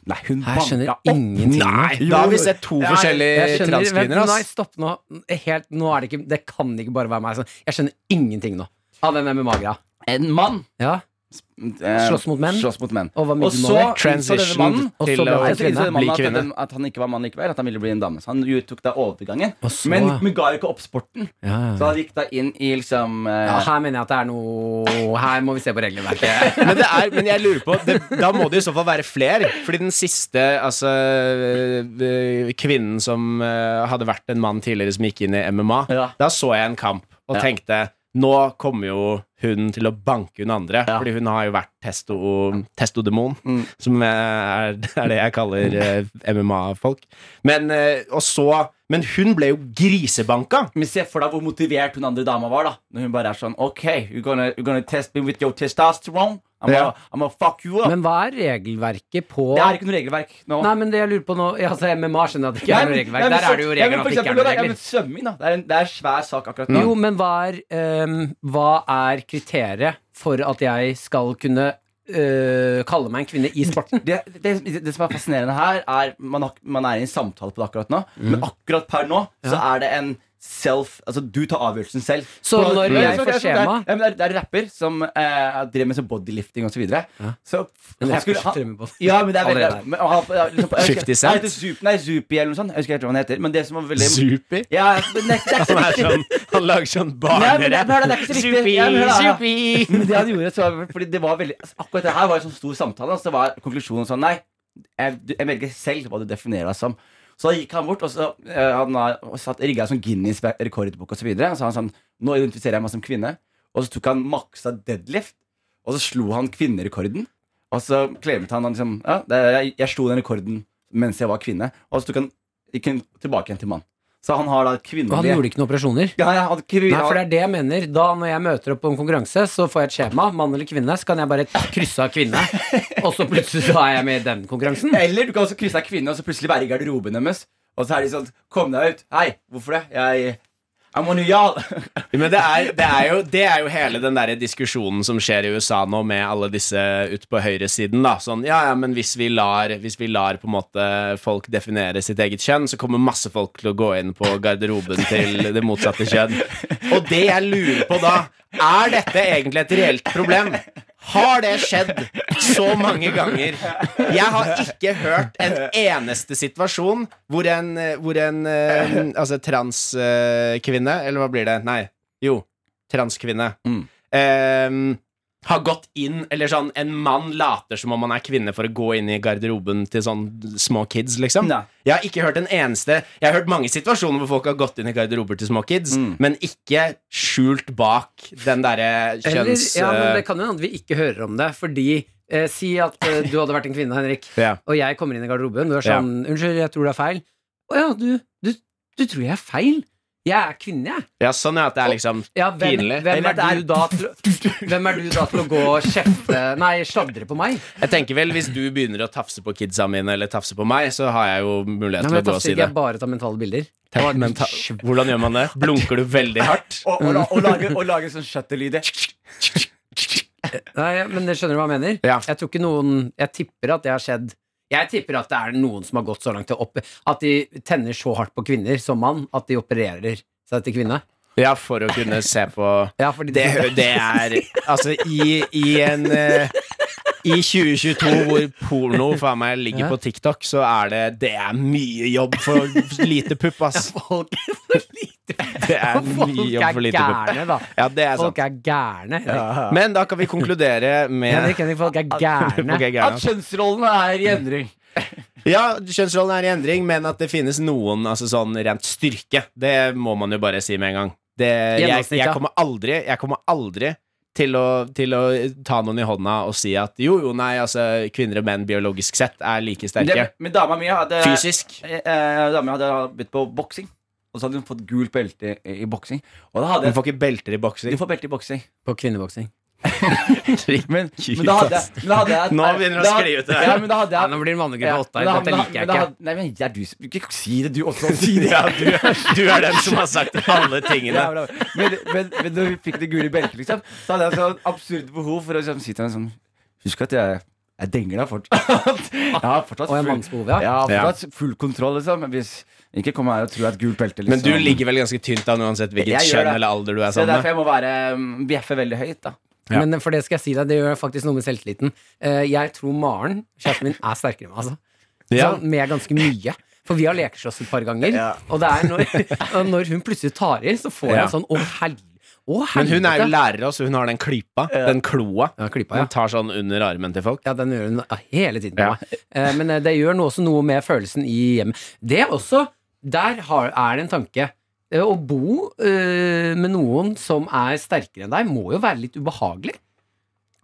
[SPEAKER 2] Nei, hun
[SPEAKER 4] Jeg skjønner
[SPEAKER 2] banka opp Eh,
[SPEAKER 4] ingenting.
[SPEAKER 3] Da har vi sett to
[SPEAKER 2] Nei,
[SPEAKER 3] forskjellige
[SPEAKER 4] Jeg skjønner, vent,
[SPEAKER 3] transkvinner,
[SPEAKER 4] nei,
[SPEAKER 3] ass.
[SPEAKER 4] stopp nå. Helt, nå er det, ikke, det kan ikke bare være meg. sånn. Jeg skjønner ingenting nå av den MMA-greia.
[SPEAKER 2] En mann
[SPEAKER 4] Ja.
[SPEAKER 2] eh,
[SPEAKER 4] Slåss mot menn.
[SPEAKER 2] Slåss mot menn
[SPEAKER 4] Og var
[SPEAKER 2] Og så
[SPEAKER 4] middelmådig.
[SPEAKER 2] innså denne mannen
[SPEAKER 3] Transition
[SPEAKER 4] og så
[SPEAKER 3] til
[SPEAKER 4] ble
[SPEAKER 3] å
[SPEAKER 4] han
[SPEAKER 2] Nei, så innså denne
[SPEAKER 3] bli
[SPEAKER 2] mannen at,
[SPEAKER 3] kvinne.
[SPEAKER 2] den- at han ikke var mann likevel At han ville bli en dame Så han jo tok da overgangen
[SPEAKER 4] Og så-
[SPEAKER 2] men, men ga ikke opp sporten
[SPEAKER 4] Ja, ja,
[SPEAKER 2] Så
[SPEAKER 4] ja.
[SPEAKER 2] han gikk da inn i liksom eh,
[SPEAKER 4] Ja, her mener jeg at det er noe Her må vi se på regelverket.
[SPEAKER 3] Men, det er, men jeg lurer på det, Da må det i så fall være flere. Fordi den siste altså, øh, kvinnen som øh, hadde vært en mann tidligere som gikk inn i MMA,
[SPEAKER 2] Ja.
[SPEAKER 3] da så jeg en kamp og
[SPEAKER 2] Ja.
[SPEAKER 3] tenkte nå kommer jo hun til å banke hun andre.
[SPEAKER 2] Ja.
[SPEAKER 3] Fordi hun har jo vært testo, testodemon,
[SPEAKER 2] Mm.
[SPEAKER 3] som øh, er, er det jeg kaller øh, MMA-folk. Men, øh, og så, men hun ble jo grisebanka!
[SPEAKER 2] Men se for deg hvor motivert hun andre dama var da Når hun bare er sånn Ok, you're gonna, you're gonna test me with your testosterone I'm,
[SPEAKER 3] Ja.
[SPEAKER 2] gonna, I'm gonna fuck you up
[SPEAKER 4] Men hva er regelverket på
[SPEAKER 2] Det er ikke noe regelverk nå
[SPEAKER 4] Nei, men det jeg lurer på nå Altså, MMA skjønner jeg at det ikke
[SPEAKER 2] Nei,
[SPEAKER 4] er
[SPEAKER 2] men- nei, men
[SPEAKER 4] noe regelverk. Der
[SPEAKER 2] så-
[SPEAKER 4] er det
[SPEAKER 2] ja,
[SPEAKER 4] jo
[SPEAKER 2] men
[SPEAKER 4] regler
[SPEAKER 2] for
[SPEAKER 4] at det ikke
[SPEAKER 2] eksempel,
[SPEAKER 4] er noe
[SPEAKER 2] da, ja, men
[SPEAKER 4] regler.
[SPEAKER 2] Svømming da, det er en, det er en svær sak akkurat nå
[SPEAKER 4] Jo, men hva er, ehm, hva er kriteriet for at jeg skal kunne øh, kalle meg en kvinne i sporten?
[SPEAKER 2] det, det, det som er fascinerende her Er man, har- man er i en samtale på det akkurat nå
[SPEAKER 4] Mm.
[SPEAKER 2] Men akkurat per nå Så er det en self Altså du tar avgjørelsen selv
[SPEAKER 4] Så
[SPEAKER 2] Hvordan-
[SPEAKER 4] når
[SPEAKER 2] Ja,
[SPEAKER 4] jeg
[SPEAKER 2] så- så
[SPEAKER 4] får
[SPEAKER 2] det er-
[SPEAKER 4] skjema-
[SPEAKER 2] ja, men det, er, det er rapper som eh, drev med sånn bodylifting og så videre Så
[SPEAKER 4] Men
[SPEAKER 2] han
[SPEAKER 4] jeg
[SPEAKER 2] skulle,
[SPEAKER 4] skulle
[SPEAKER 2] han,
[SPEAKER 4] drømme på det.
[SPEAKER 2] Ja, men det er veldig
[SPEAKER 4] Allerede.
[SPEAKER 2] men han- ja, liksom, jeg husker-
[SPEAKER 3] 50 Cent?
[SPEAKER 2] Nei, det er Zup- Nei, Zupi eller noe sånt. Jeg husker ikke hva han heter. Men det som var veldig
[SPEAKER 3] Super.
[SPEAKER 2] Ja, men det er ikke
[SPEAKER 3] Han, er
[SPEAKER 2] det er ikke så riktig.
[SPEAKER 3] sånn, han lager sånn
[SPEAKER 2] Nei, men det-
[SPEAKER 3] barnerett.
[SPEAKER 2] hør da, det er ikke så riktig. Ja, men hør da, ja. Men det han gjorde, så var, fordi det var veldig altså, Akkurat det her var en sånn stor samtale. Altså, det var konklusjonen sånn Nei, jeg, du- jeg velger selv hva du definerer deg som. Så da gikk han bort og så eh, han har- og satt, rigga en sånn Guinness-rekordbok og så videre. Og så han sånn Nå identifiserer jeg meg som kvinne. Og så tok han maksa deadlift, og så slo han kvinnerekorden. Og så claimet han han liksom Ja, det, jeg, jeg slo den rekorden mens jeg var kvinne. Og så tok han, gikk han tilbake igjen til mann. Så han har da et
[SPEAKER 4] Og han
[SPEAKER 2] kvinnelig
[SPEAKER 4] gjorde ikke noen operasjoner?
[SPEAKER 2] ja, ja, han, kvin-
[SPEAKER 4] Nei, for det er det jeg mener. Da Når jeg møter opp på en konkurranse, så får jeg et skjema, mann eller kvinne, så kan jeg bare krysse av kvinne, og så plutselig så er jeg med i den konkurransen.
[SPEAKER 2] Eller du kan også krysse av kvinne, og så plutselig være i garderoben deres. Og så er de sånn Kom deg ut. Hei, hvorfor det? Jeg I'm on y'all.
[SPEAKER 3] Men det er, det, er jo, det er jo hele den der diskusjonen som skjer i USA nå, med alle disse ute på høyresiden. da Sånn, ja, ja, men hvis vi, lar, hvis vi lar på en måte folk definere sitt eget kjønn, så kommer masse folk til å gå inn på garderoben til det motsatte kjønn. Og det jeg lurer på da, er dette egentlig et reelt problem? Har det skjedd så mange ganger? Jeg har ikke hørt en eneste situasjon hvor en, hvor en eh, altså transkvinne, eller hva blir det? Nei, jo, transkvinne.
[SPEAKER 2] Mm.
[SPEAKER 3] Eh, har gått inn, eller sånn, en mann later som om han er kvinne for å gå inn i garderoben til sånn små kids, liksom.
[SPEAKER 2] Nei.
[SPEAKER 3] Jeg har ikke hørt en eneste Jeg har hørt mange situasjoner hvor folk har gått inn i garderober til små kids,
[SPEAKER 2] Mm.
[SPEAKER 3] men ikke skjult bak den derre
[SPEAKER 4] Eller,
[SPEAKER 3] kjønns... eh,
[SPEAKER 4] ja, men det kan jo hende at vi ikke hører om det, fordi eh, Si at eh, du hadde vært en kvinne, Henrik,
[SPEAKER 3] ja.
[SPEAKER 4] og jeg kommer inn i garderoben. Du er sånn 'Unnskyld, jeg tror det er feil'. 'Å ja, du, du, du tror jeg er feil? Jeg er kvinne, jeg'.
[SPEAKER 3] ja, sånn ja, at det er liksom
[SPEAKER 4] Ja, hvem,
[SPEAKER 3] Pinlig.
[SPEAKER 4] hvem,
[SPEAKER 2] Eller
[SPEAKER 4] er
[SPEAKER 2] at det er-
[SPEAKER 4] du da til, å- hvem er du da til å gå og kjefte Nei, sladre på meg?
[SPEAKER 3] Jeg tenker vel, hvis du begynner å tafse på kidsa mine, eller tafse på meg, så har jeg jo mulighet til
[SPEAKER 4] Nei,
[SPEAKER 3] å
[SPEAKER 4] men jeg
[SPEAKER 3] gå og
[SPEAKER 4] tafser
[SPEAKER 3] si
[SPEAKER 4] ikke,
[SPEAKER 3] det.
[SPEAKER 4] jeg bare tar mentale bilder.
[SPEAKER 3] Tenk, men ta Hvordan gjør man det? Blunker du veldig hardt?
[SPEAKER 2] Og, og, la- og, lage, og lage sånn shutterlyd.
[SPEAKER 4] Nei, men dere skjønner hva jeg mener?
[SPEAKER 3] Ja.
[SPEAKER 4] Jeg tror ikke noen Jeg tipper at det har skjedd Jeg tipper at det er noen som har gått så langt til å opp, At de tenner så hardt på kvinner som mann at de opererer seg til kvinne.
[SPEAKER 3] Ja, for å kunne se på
[SPEAKER 4] Ja, fordi
[SPEAKER 3] Det,
[SPEAKER 4] de,
[SPEAKER 3] det er Altså, i, i en eh, I 2022, hvor porno faen meg ligger
[SPEAKER 4] Ja.
[SPEAKER 3] på TikTok, så er det Det er mye jobb for lite pupp, ass.
[SPEAKER 4] folk er for lite
[SPEAKER 3] Det er mye
[SPEAKER 4] Folk
[SPEAKER 3] jobb
[SPEAKER 4] er
[SPEAKER 3] for lite pupp.
[SPEAKER 4] gærne, da.
[SPEAKER 3] Ja, det er sant.
[SPEAKER 4] Folk er gærne. Henrik.
[SPEAKER 3] Men da kan vi konkludere med
[SPEAKER 4] Henrik, Henrik, folk er gærne.
[SPEAKER 3] Ok, gærne,
[SPEAKER 2] At
[SPEAKER 3] ass.
[SPEAKER 2] kjønnsrollene er i endring.
[SPEAKER 3] Ja, kjønnsrollen er i endring, men at det finnes noen altså sånn rent styrke, det må man jo bare si med en gang. Det, jeg,
[SPEAKER 4] Gjennomsnitt,
[SPEAKER 3] jeg
[SPEAKER 4] ja.
[SPEAKER 3] kommer aldri Jeg kommer aldri til å, til å ta noen i hånda og si at jo, jo, nei, altså kvinner og menn biologisk sett er like sterke.
[SPEAKER 2] Det, men dama mi hadde
[SPEAKER 3] Fysisk.
[SPEAKER 2] eh, eh, Dama mi hadde begynt på boksing. Og så hadde hun fått gult belte i, i boksing. Og da hadde
[SPEAKER 3] Hun får ikke belter i
[SPEAKER 2] Du
[SPEAKER 3] boksing.
[SPEAKER 2] får belte i boksing.
[SPEAKER 4] På kvinneboksing.
[SPEAKER 2] Men, men da hadde jeg men da hadde jeg-
[SPEAKER 3] Nå begynner det å
[SPEAKER 2] da-
[SPEAKER 3] skli ut det her.
[SPEAKER 2] Ja, men da hadde
[SPEAKER 4] Ja,
[SPEAKER 2] jeg
[SPEAKER 4] nå blir det mannegruppe
[SPEAKER 2] ja,
[SPEAKER 4] åtta
[SPEAKER 2] men
[SPEAKER 4] her.
[SPEAKER 2] da-
[SPEAKER 4] Dette
[SPEAKER 2] men da-
[SPEAKER 4] liker jeg
[SPEAKER 2] men da
[SPEAKER 4] ikke.
[SPEAKER 2] hadde- Nei, men det er du som Ikke si det, du også. Si det.
[SPEAKER 3] Ja, du, du er den som har sagt alle tingene.
[SPEAKER 2] Ja, bra. Men, men, men når vi fikk det gule beltet, liksom, så hadde jeg et sånn absurd behov for å liksom, si til henne sånn Husk at jeg, jeg denger deg fortsatt. Jeg har fortsatt
[SPEAKER 4] Og en
[SPEAKER 2] full-
[SPEAKER 4] mannsbehov, ja.
[SPEAKER 2] Jeg har fortsatt full kontroll, liksom. Men hvis ikke kom her og tro at gult belte liksom.
[SPEAKER 3] Men du ligger vel ganske tynt an uansett hvilket
[SPEAKER 2] Jeg gjør
[SPEAKER 3] kjønn
[SPEAKER 2] det.
[SPEAKER 3] eller alder du er
[SPEAKER 2] Så det er
[SPEAKER 3] sammen med.
[SPEAKER 2] derfor jeg må være um, bjeffe veldig høyt, da.
[SPEAKER 3] Ja.
[SPEAKER 4] Men eh, for det skal jeg si deg, det gjør faktisk noe med selvtilliten. Eh, Jeg tror Maren, kjæresten min, er sterkere enn meg, altså.
[SPEAKER 3] Ja.
[SPEAKER 4] Sånn, med ganske mye. For vi har lekeslåss et par ganger, og det er når, og når hun plutselig tar i, så får jeg
[SPEAKER 3] Ja.
[SPEAKER 4] en sånn å, hel å helvete.
[SPEAKER 3] Men hun er jo lærer også, hun har den klypa. Den kloa.
[SPEAKER 4] Ja, klypa, ja.
[SPEAKER 3] Hun tar sånn under armen til folk.
[SPEAKER 4] Ja, den gjør hun ah, hele tiden. på
[SPEAKER 3] Ja.
[SPEAKER 4] meg. Eh, Men eh, det gjør noe- også noe med følelsen i hjemmet. Det er også Der har, er det en tanke. Eh, Å bo eh, med noen som er sterkere enn deg, må jo være litt ubehagelig.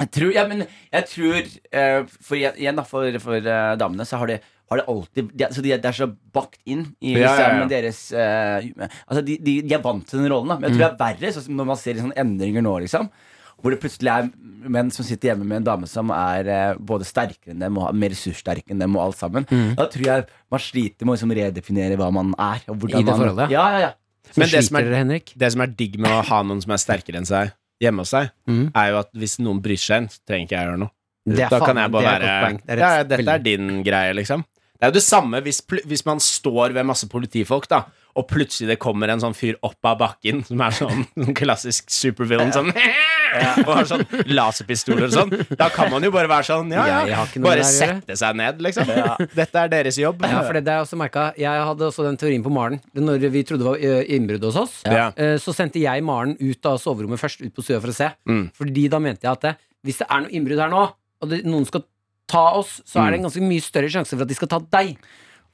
[SPEAKER 2] Jeg tror, ja, men jeg tror eh, For igjen- igjen, da, for, for eh, damene, så har de har det alltid de, altså de, Det er så bakt inn i
[SPEAKER 3] Ja, ja, ja.
[SPEAKER 2] stjernen deres eh, Altså de, de, de er vant til den rollen, da. Men jeg tror det er verre sånn som når man ser sånne endringer nå, liksom. Hvor det plutselig er menn som sitter hjemme med en dame som er eh, både sterkere enn dem og mer ressurssterk enn dem. og alt sammen Da tror jeg man sliter med å liksom redefinere hva man er. Og hvordan
[SPEAKER 4] I det
[SPEAKER 2] man,
[SPEAKER 4] forholdet,
[SPEAKER 2] Ja, ja, ja
[SPEAKER 4] Så
[SPEAKER 3] Men det som
[SPEAKER 4] sliter
[SPEAKER 3] er-
[SPEAKER 4] dere, Henrik.
[SPEAKER 3] Det som er digg med å ha noen som er sterkere enn seg hjemme hos seg,
[SPEAKER 4] Mhm.
[SPEAKER 3] er jo at hvis noen bryr seg en, så trenger ikke jeg gjøre noe.
[SPEAKER 4] Det er
[SPEAKER 3] Da
[SPEAKER 4] faen-
[SPEAKER 3] kan jeg bare
[SPEAKER 4] det er et
[SPEAKER 3] være
[SPEAKER 4] godt poeng. Det er et
[SPEAKER 3] ja, ja, Dette er
[SPEAKER 4] veldig-
[SPEAKER 3] din greie, liksom. Det er jo det samme hvis, pl hvis man står ved masse politifolk, da, og plutselig det kommer en sånn fyr opp av bakken, som er sånn en klassisk supervillain, sånn Og har sånn laserpistoler og sånn. Da kan man jo bare være sånn, ja
[SPEAKER 4] Jeg
[SPEAKER 3] ja,
[SPEAKER 4] har ikke noe
[SPEAKER 3] bare
[SPEAKER 4] med det å gjøre.
[SPEAKER 3] sette seg ned, liksom. Dette er deres jobb.
[SPEAKER 4] Ja, for det, det er også merket. Jeg hadde også den teorien på Maren. Det Når vi trodde det var eh, innbrudd hos oss,
[SPEAKER 3] Ja.
[SPEAKER 4] eh, så sendte jeg Maren ut av soverommet først, ut på stua for å se.
[SPEAKER 3] Mm.
[SPEAKER 4] Fordi da mente jeg at det, hvis det er noe innbrudd her nå, og det, noen skal ta oss, så
[SPEAKER 3] Mm.
[SPEAKER 4] er det en ganske mye større sjanse for at de skal ta deg.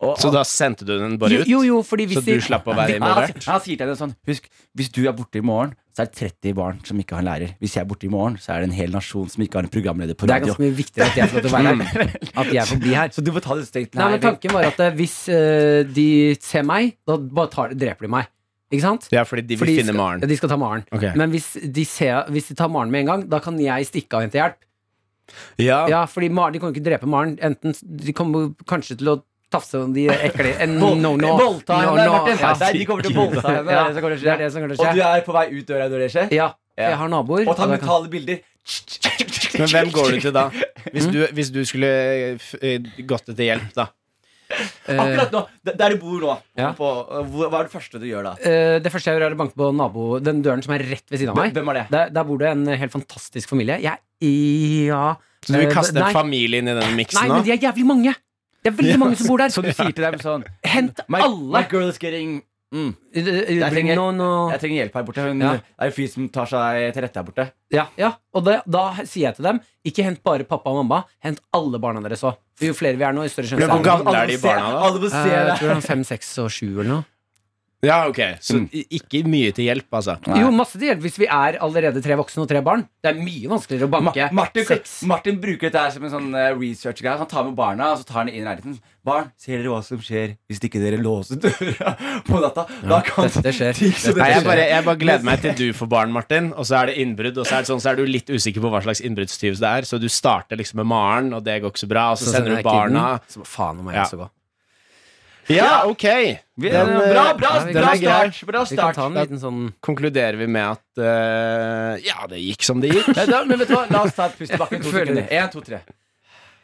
[SPEAKER 2] og,
[SPEAKER 3] Så da sendte du den bare
[SPEAKER 4] Jo,
[SPEAKER 3] ut?
[SPEAKER 4] jo, jo, fordi hvis
[SPEAKER 3] Så du
[SPEAKER 4] de-
[SPEAKER 3] slapp å være
[SPEAKER 2] Ja, Han,
[SPEAKER 3] involvert?
[SPEAKER 2] han, sier til henne sånn Husk, hvis du er borte i morgen, så er det 30 barn som ikke har en lærer. Hvis jeg er borte i morgen, så er det en hel nasjon som ikke har en programleder på
[SPEAKER 4] Det er
[SPEAKER 2] radio. Mm.
[SPEAKER 4] ganske mye viktigere at jeg får lov til å
[SPEAKER 3] Mm.
[SPEAKER 4] være her. At jeg får bli her.
[SPEAKER 2] Så du får ta det stengt.
[SPEAKER 4] Nei, men tanken var at eh, hvis eh, de ser meg, da bare tar, dreper de meg. Ikke sant?
[SPEAKER 3] Ja, fordi de vil
[SPEAKER 4] Fordi
[SPEAKER 3] finne
[SPEAKER 4] skal- Ja,
[SPEAKER 3] Maren.
[SPEAKER 4] de skal ta Maren.
[SPEAKER 3] Ok.
[SPEAKER 4] Men hvis de, ser, hvis de tar Maren med en gang, da kan jeg stikke av og hente hjelp.
[SPEAKER 3] Ja,
[SPEAKER 2] Ah.
[SPEAKER 4] Ja, fordi Maren, De kommer ikke til å drepe Maren. Enten De kommer kanskje til å tafse om de ekle en-
[SPEAKER 2] Vold-
[SPEAKER 4] No, no.
[SPEAKER 2] voldta
[SPEAKER 4] no,
[SPEAKER 2] henne,
[SPEAKER 4] no.
[SPEAKER 2] Martin.
[SPEAKER 4] Ja.
[SPEAKER 2] Nei, de kommer til å voldta henne. det
[SPEAKER 4] Ja,
[SPEAKER 2] er det som kommer til å
[SPEAKER 4] Det er
[SPEAKER 2] skje.
[SPEAKER 4] det som kommer til å
[SPEAKER 2] Og du
[SPEAKER 4] skje.
[SPEAKER 2] er på vei ut døra når det skjer?
[SPEAKER 4] Ja, for jeg har naboer.
[SPEAKER 2] Og ta
[SPEAKER 4] og da kan-
[SPEAKER 2] mentale bilder.
[SPEAKER 3] Men hvem går du til da? Hvis du, hvis du skulle f- eh, gått etter hjelp, da?
[SPEAKER 2] Akkurat nå, d- der du bor nå.
[SPEAKER 4] Ja.
[SPEAKER 2] På, hvor- hva er det første du gjør da?
[SPEAKER 4] Eh, det første jeg gjør, er å banke på nabo, den døren som er rett ved siden av meg.
[SPEAKER 2] Hvem er det?
[SPEAKER 4] Der, der bor det en helt fantastisk familie. Jeg ja
[SPEAKER 3] Så du vil kaste
[SPEAKER 4] Eh, Nei.
[SPEAKER 3] en familie inn i denne miksen
[SPEAKER 4] Nei,
[SPEAKER 3] nå?
[SPEAKER 4] men de er jævlig mange! Det er veldig mange som bor der.
[SPEAKER 2] Så du sier til dem sånn
[SPEAKER 4] Hent
[SPEAKER 2] my,
[SPEAKER 4] alle!
[SPEAKER 2] my girl is getting mm,
[SPEAKER 4] Jeg
[SPEAKER 2] trenger-
[SPEAKER 4] no, no.
[SPEAKER 2] Jeg trenger hjelp her borte. Hun
[SPEAKER 4] Ja.
[SPEAKER 2] det er en fyr som tar seg til rette her borte.
[SPEAKER 4] Ja, ja. og det, da sier jeg til dem Ikke hent bare pappa og mamma, hent alle barna deres òg. Jo flere vi er nå, jo større sjanse
[SPEAKER 3] Men hvor
[SPEAKER 4] er det.
[SPEAKER 3] gamle er de
[SPEAKER 2] må se-
[SPEAKER 3] barna, da?
[SPEAKER 2] Alle må se
[SPEAKER 4] Eh,
[SPEAKER 2] det.
[SPEAKER 4] Jeg tror det er fem, seks og sju eller noe.
[SPEAKER 3] Ja, ok. Så
[SPEAKER 2] Mm.
[SPEAKER 3] i- ikke mye til hjelp, altså.
[SPEAKER 4] Jo, masse til hjelp hvis vi er allerede tre voksne og tre barn. Det er mye vanskeligere å banke
[SPEAKER 2] Ma- Martin,
[SPEAKER 4] seks.
[SPEAKER 2] Martin bruker dette her som en sånn eh, research-greie. Han tar med barna og så tar han det inn i leiligheten. Barn, ser dere hva som skjer hvis ikke dere låser døra på natta? Da kan
[SPEAKER 4] dette skjer.
[SPEAKER 2] ting som
[SPEAKER 3] Nei,
[SPEAKER 2] dette
[SPEAKER 3] jeg bare,
[SPEAKER 2] skje.
[SPEAKER 3] jeg bare gleder meg til du får barn, Martin, og så er det innbrudd. Og så er, det sånn, så er du litt usikker på hva slags innbruddstyv det er, så du starter liksom med Maren, og det går ikke så bra, og så, sender du
[SPEAKER 4] jeg
[SPEAKER 3] barna
[SPEAKER 4] kidden, Så faen om jeg
[SPEAKER 3] Ja.
[SPEAKER 4] også går.
[SPEAKER 3] Ja, ok!
[SPEAKER 2] Vi-
[SPEAKER 3] Den, eh,
[SPEAKER 2] bra, bra,
[SPEAKER 4] den er
[SPEAKER 2] bra
[SPEAKER 3] grei.
[SPEAKER 2] start! Bra
[SPEAKER 4] Vi kan
[SPEAKER 2] start.
[SPEAKER 4] ta en liten sånn
[SPEAKER 3] Konkluderer vi med at eh, Ja, det gikk som det gikk.
[SPEAKER 2] Nei, da, men vet du hva, La oss ta et pust i bakken. To
[SPEAKER 4] Jeg føler-
[SPEAKER 2] sekunder. En, to, tre.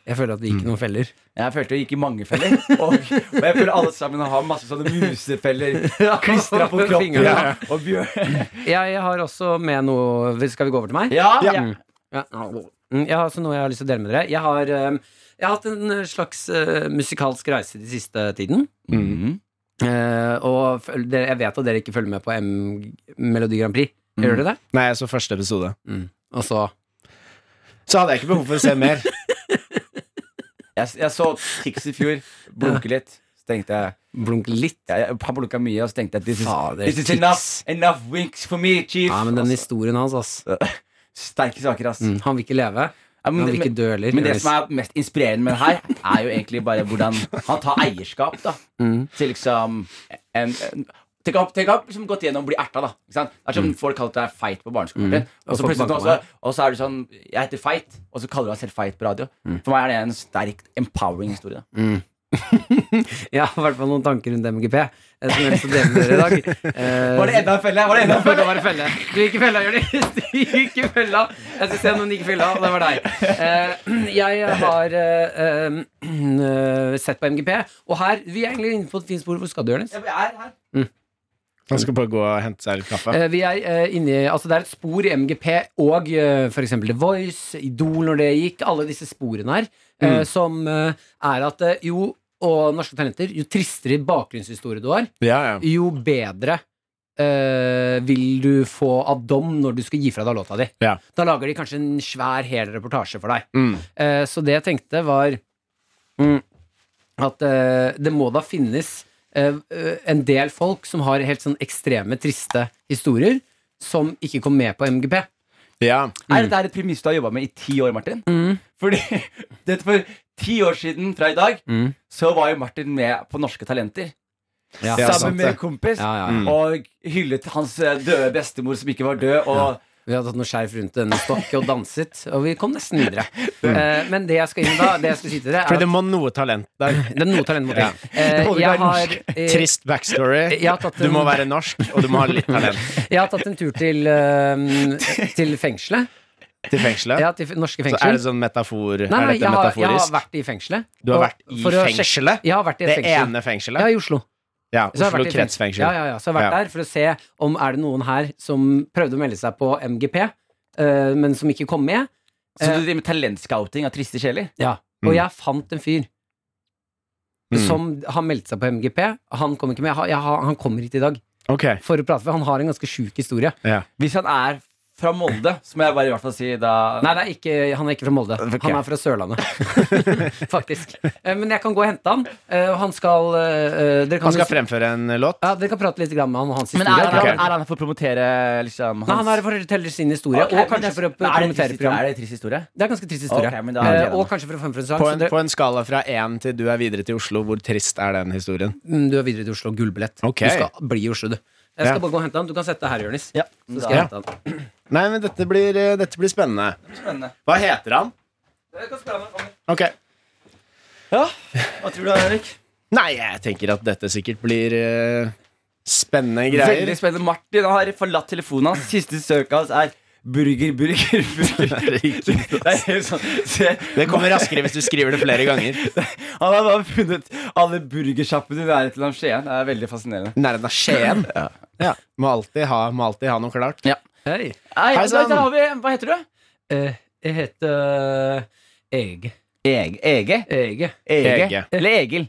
[SPEAKER 4] Jeg føler at vi
[SPEAKER 3] Mm.
[SPEAKER 4] gikk i noen feller.
[SPEAKER 2] Jeg følte jeg gikk i mange feller. Og, og jeg føler alle sammen har masse sånne musefeller klistra på kroppen.
[SPEAKER 4] Fingrene.
[SPEAKER 2] Ja, og bjørn.
[SPEAKER 4] Jeg har også med noe Skal vi gå over til meg?
[SPEAKER 2] Ja,
[SPEAKER 3] Ja.
[SPEAKER 2] ja.
[SPEAKER 4] Ja. Mm, Jeg har også noe jeg har lyst til å dele med dere. Jeg har, eh, jeg har hatt en eh, slags eh, musikalsk reise de siste tiden.
[SPEAKER 2] Mhm.
[SPEAKER 4] Eh, og føl- dere, jeg vet at dere ikke følger med på M Melodi Grand Prix.
[SPEAKER 2] Mm.
[SPEAKER 4] Gjør dere det?
[SPEAKER 3] Nei, jeg så første episode.
[SPEAKER 4] Og så
[SPEAKER 3] Så hadde jeg ikke behov for å se mer.
[SPEAKER 2] Jeg, jeg så Tix i fjor. Blunke litt. Så tenkte jeg
[SPEAKER 4] blunk litt.
[SPEAKER 2] Ja, jeg, han blunka mye, og så tenkte jeg at this is,
[SPEAKER 4] Fader,
[SPEAKER 2] this is
[SPEAKER 4] tics.
[SPEAKER 2] enough, enough winks for me, chief.
[SPEAKER 4] Ja, men den
[SPEAKER 2] Og
[SPEAKER 4] historien hans, ass.
[SPEAKER 2] så, Sterke saker, ass.
[SPEAKER 4] Mm, Han vil ikke leve.
[SPEAKER 2] Ja, men,
[SPEAKER 4] Han vil
[SPEAKER 2] men,
[SPEAKER 4] ikke dø heller.
[SPEAKER 2] men det som er mest inspirerende med det her, er jo egentlig bare hvordan han tar eierskap da
[SPEAKER 4] Mm.
[SPEAKER 2] til liksom en, en Tenk å ha liksom, gått gjennom å bli erta, da. Ikke sant? Det er som folk kalte deg feit på barneskolen. din, Og, så
[SPEAKER 4] Mm. folk
[SPEAKER 2] plutselig-
[SPEAKER 4] banker
[SPEAKER 2] og, så, og så er du sånn Jeg heter Feit, og så kaller du deg selv Feit på radio.
[SPEAKER 4] Mm.
[SPEAKER 2] For meg er det en sterk, empowering historie. da.
[SPEAKER 4] Jeg har i hvert fall noen tanker rundt MGP eh, som jeg har lyst til å dele med dere i dag. Eh,
[SPEAKER 2] Var det enda en felle? Var det enda en
[SPEAKER 4] Det
[SPEAKER 2] felle?
[SPEAKER 4] var en felle. Du gikk i fella, Jonis. Du gikk i fella. Jeg skal se om noen gikk i fella, og det var deg. Eh, jeg har eh, eh, sett på MGP, og her Vi er egentlig inne på et fint spor. Hvor skal du, Jonis?
[SPEAKER 2] Ja, vi er her.
[SPEAKER 3] Han skal bare gå og hente seg litt kaffe.
[SPEAKER 4] Eh, vi er eh, inne i Altså, det er et spor i MGP og eh, for f.eks. The Voice, Idol når det gikk, alle disse sporene her, eh, som eh, er at eh, jo og norske talenter, jo tristere bakgrunnshistorie du har,
[SPEAKER 3] Ja, ja.
[SPEAKER 4] jo bedre eh, vil du få av dom når du skal gi fra deg låta di.
[SPEAKER 3] Ja.
[SPEAKER 4] Da lager de kanskje en svær, hel reportasje for deg.
[SPEAKER 3] Mm.
[SPEAKER 4] Eh, så det jeg tenkte, var mm, at eh, det må da finnes eh, eh, en del folk som har helt sånn ekstreme, triste historier, som ikke kom med på MGP.
[SPEAKER 3] ja.
[SPEAKER 4] Mm.
[SPEAKER 2] Er dette her et premiss du har jobba med i ti år, Martin? Fordi dette for ti år siden fra i dag,
[SPEAKER 4] Mm.
[SPEAKER 2] så var jo Martin med på Norske Talenter.
[SPEAKER 4] Ja.
[SPEAKER 3] Ja, sant
[SPEAKER 2] sammen med
[SPEAKER 3] det.
[SPEAKER 2] en kompis.
[SPEAKER 4] Ja, ja, ja.
[SPEAKER 3] Mm.
[SPEAKER 2] Og hyllet hans eh, døde bestemor som ikke var død. Og
[SPEAKER 4] Vi hadde hatt noe skjerf rundt en stokk og danset, og vi kom nesten videre. Eh, men det jeg skal inn da, det jeg skal si til dere,
[SPEAKER 3] For
[SPEAKER 4] er
[SPEAKER 3] Mm. det må noe talent der.
[SPEAKER 4] at det er noe talent mot det. Eh,
[SPEAKER 2] Det må du være
[SPEAKER 4] jeg har
[SPEAKER 2] norsk.
[SPEAKER 4] eh,
[SPEAKER 3] Trist backstory.
[SPEAKER 4] Jeg har tatt
[SPEAKER 3] Du
[SPEAKER 4] en-
[SPEAKER 3] må være norsk, og du må ha litt talent
[SPEAKER 4] Jeg har tatt en tur til, eh, til fengselet.
[SPEAKER 3] til fengselet.
[SPEAKER 4] Ja, til f- norske
[SPEAKER 3] Så er
[SPEAKER 4] fengsel.
[SPEAKER 3] det sånn metafor
[SPEAKER 4] Nei,
[SPEAKER 3] Er
[SPEAKER 4] nei,
[SPEAKER 3] dette
[SPEAKER 4] jeg har, jeg har
[SPEAKER 3] metaforisk?
[SPEAKER 4] vært i fengselet.
[SPEAKER 3] Du har
[SPEAKER 4] Og-
[SPEAKER 3] vært i
[SPEAKER 4] for å sjekke-
[SPEAKER 3] fengselet?
[SPEAKER 4] Jeg har vært i et
[SPEAKER 3] Det
[SPEAKER 4] fengsel.
[SPEAKER 3] ene
[SPEAKER 4] Ja,
[SPEAKER 3] fengselet?
[SPEAKER 4] i Oslo.
[SPEAKER 3] Ja,
[SPEAKER 4] Så jeg
[SPEAKER 3] Oslo
[SPEAKER 4] har vært i fengsel.
[SPEAKER 3] kretsfengsel.
[SPEAKER 4] Ja, ja, ja. Så jeg har vært
[SPEAKER 3] Ja.
[SPEAKER 4] der for å se om er det noen her som prøvde å melde seg på MGP, eh, men som ikke kom med.
[SPEAKER 2] Så du driver med talentscouting av triste sjeler?
[SPEAKER 4] Eh. Ja.
[SPEAKER 3] Mm.
[SPEAKER 4] Og jeg fant en fyr
[SPEAKER 3] Mm.
[SPEAKER 4] som har meldt seg på MGP. Han kom ikke med. Jeg har, jeg har, han kommer hit i dag
[SPEAKER 3] Ok.
[SPEAKER 4] for å prate, for han har en ganske sjuk historie.
[SPEAKER 3] Ja.
[SPEAKER 2] Hvis han er fra Molde, så må jeg bare i hvert fall si da
[SPEAKER 4] Nei, det er ikke, han er ikke fra Molde. Han er fra Sørlandet, faktisk. Eh, Men jeg kan gå og hente han. eh, Og han skal eh, eh, Dere
[SPEAKER 3] Han
[SPEAKER 4] kan,
[SPEAKER 3] skal fremføre en låt.
[SPEAKER 4] ja, dere kan prate litt grann med han og hans
[SPEAKER 2] Men
[SPEAKER 4] historie.
[SPEAKER 2] er han,
[SPEAKER 3] Ok.
[SPEAKER 2] er han her for å promotere liksom, hans
[SPEAKER 4] Nei, han er for å fortelle sin historie,
[SPEAKER 2] Ok,
[SPEAKER 4] og
[SPEAKER 2] men
[SPEAKER 4] kanskje
[SPEAKER 2] det-
[SPEAKER 4] for å
[SPEAKER 2] er det en trist
[SPEAKER 4] promotere
[SPEAKER 2] historie?
[SPEAKER 4] programmet.
[SPEAKER 2] Er det en trist historie?
[SPEAKER 4] Det er ganske trist historie.
[SPEAKER 2] Ok, men da gleder jeg
[SPEAKER 4] Eh, og
[SPEAKER 2] meg.
[SPEAKER 4] kanskje for å fremføre en sang.
[SPEAKER 3] På
[SPEAKER 4] så
[SPEAKER 3] en,
[SPEAKER 4] dere-
[SPEAKER 3] på en skala fra én til du er videre til Oslo, hvor trist er den historien?
[SPEAKER 4] Mm, du er videre til Oslo. Gullbillett.
[SPEAKER 3] Ok.
[SPEAKER 4] Du skal bli i Oslo, du. Jeg
[SPEAKER 3] Ja.
[SPEAKER 4] skal bare gå og hente han. Du kan sette deg her, Jonis.
[SPEAKER 2] Ja.
[SPEAKER 4] Så skal jeg
[SPEAKER 3] Ja.
[SPEAKER 4] hente han.
[SPEAKER 3] Nei, men dette blir, eh, dette blir spennende.
[SPEAKER 2] Spennende.
[SPEAKER 3] Hva heter han? Ok.
[SPEAKER 2] Ja, Hva tror du, Erik?
[SPEAKER 3] Nei, jeg tenker at dette sikkert blir eh, spennende greier.
[SPEAKER 2] Veldig spennende. Martin han har forlatt telefonen hans. Siste søket hans er burger, burger, burger. Det er helt sånn Se,
[SPEAKER 3] Det kommer raskere hvis du skriver det flere ganger.
[SPEAKER 2] Han har bare funnet alle burgersjappene i nærheten av Skien. Det er veldig fascinerende.
[SPEAKER 3] Nærheten av Skien. Ja. Må, alltid ha, må alltid ha noe klart.
[SPEAKER 4] Hei.
[SPEAKER 2] Hei,
[SPEAKER 3] Hei,
[SPEAKER 2] da,
[SPEAKER 3] sann.
[SPEAKER 2] da har vi, hva heter du?
[SPEAKER 4] Eh, jeg heter eh, Ege.
[SPEAKER 2] Ege. Ege.
[SPEAKER 4] Ege.
[SPEAKER 2] Ege.
[SPEAKER 3] Ege.
[SPEAKER 2] Eller Egil.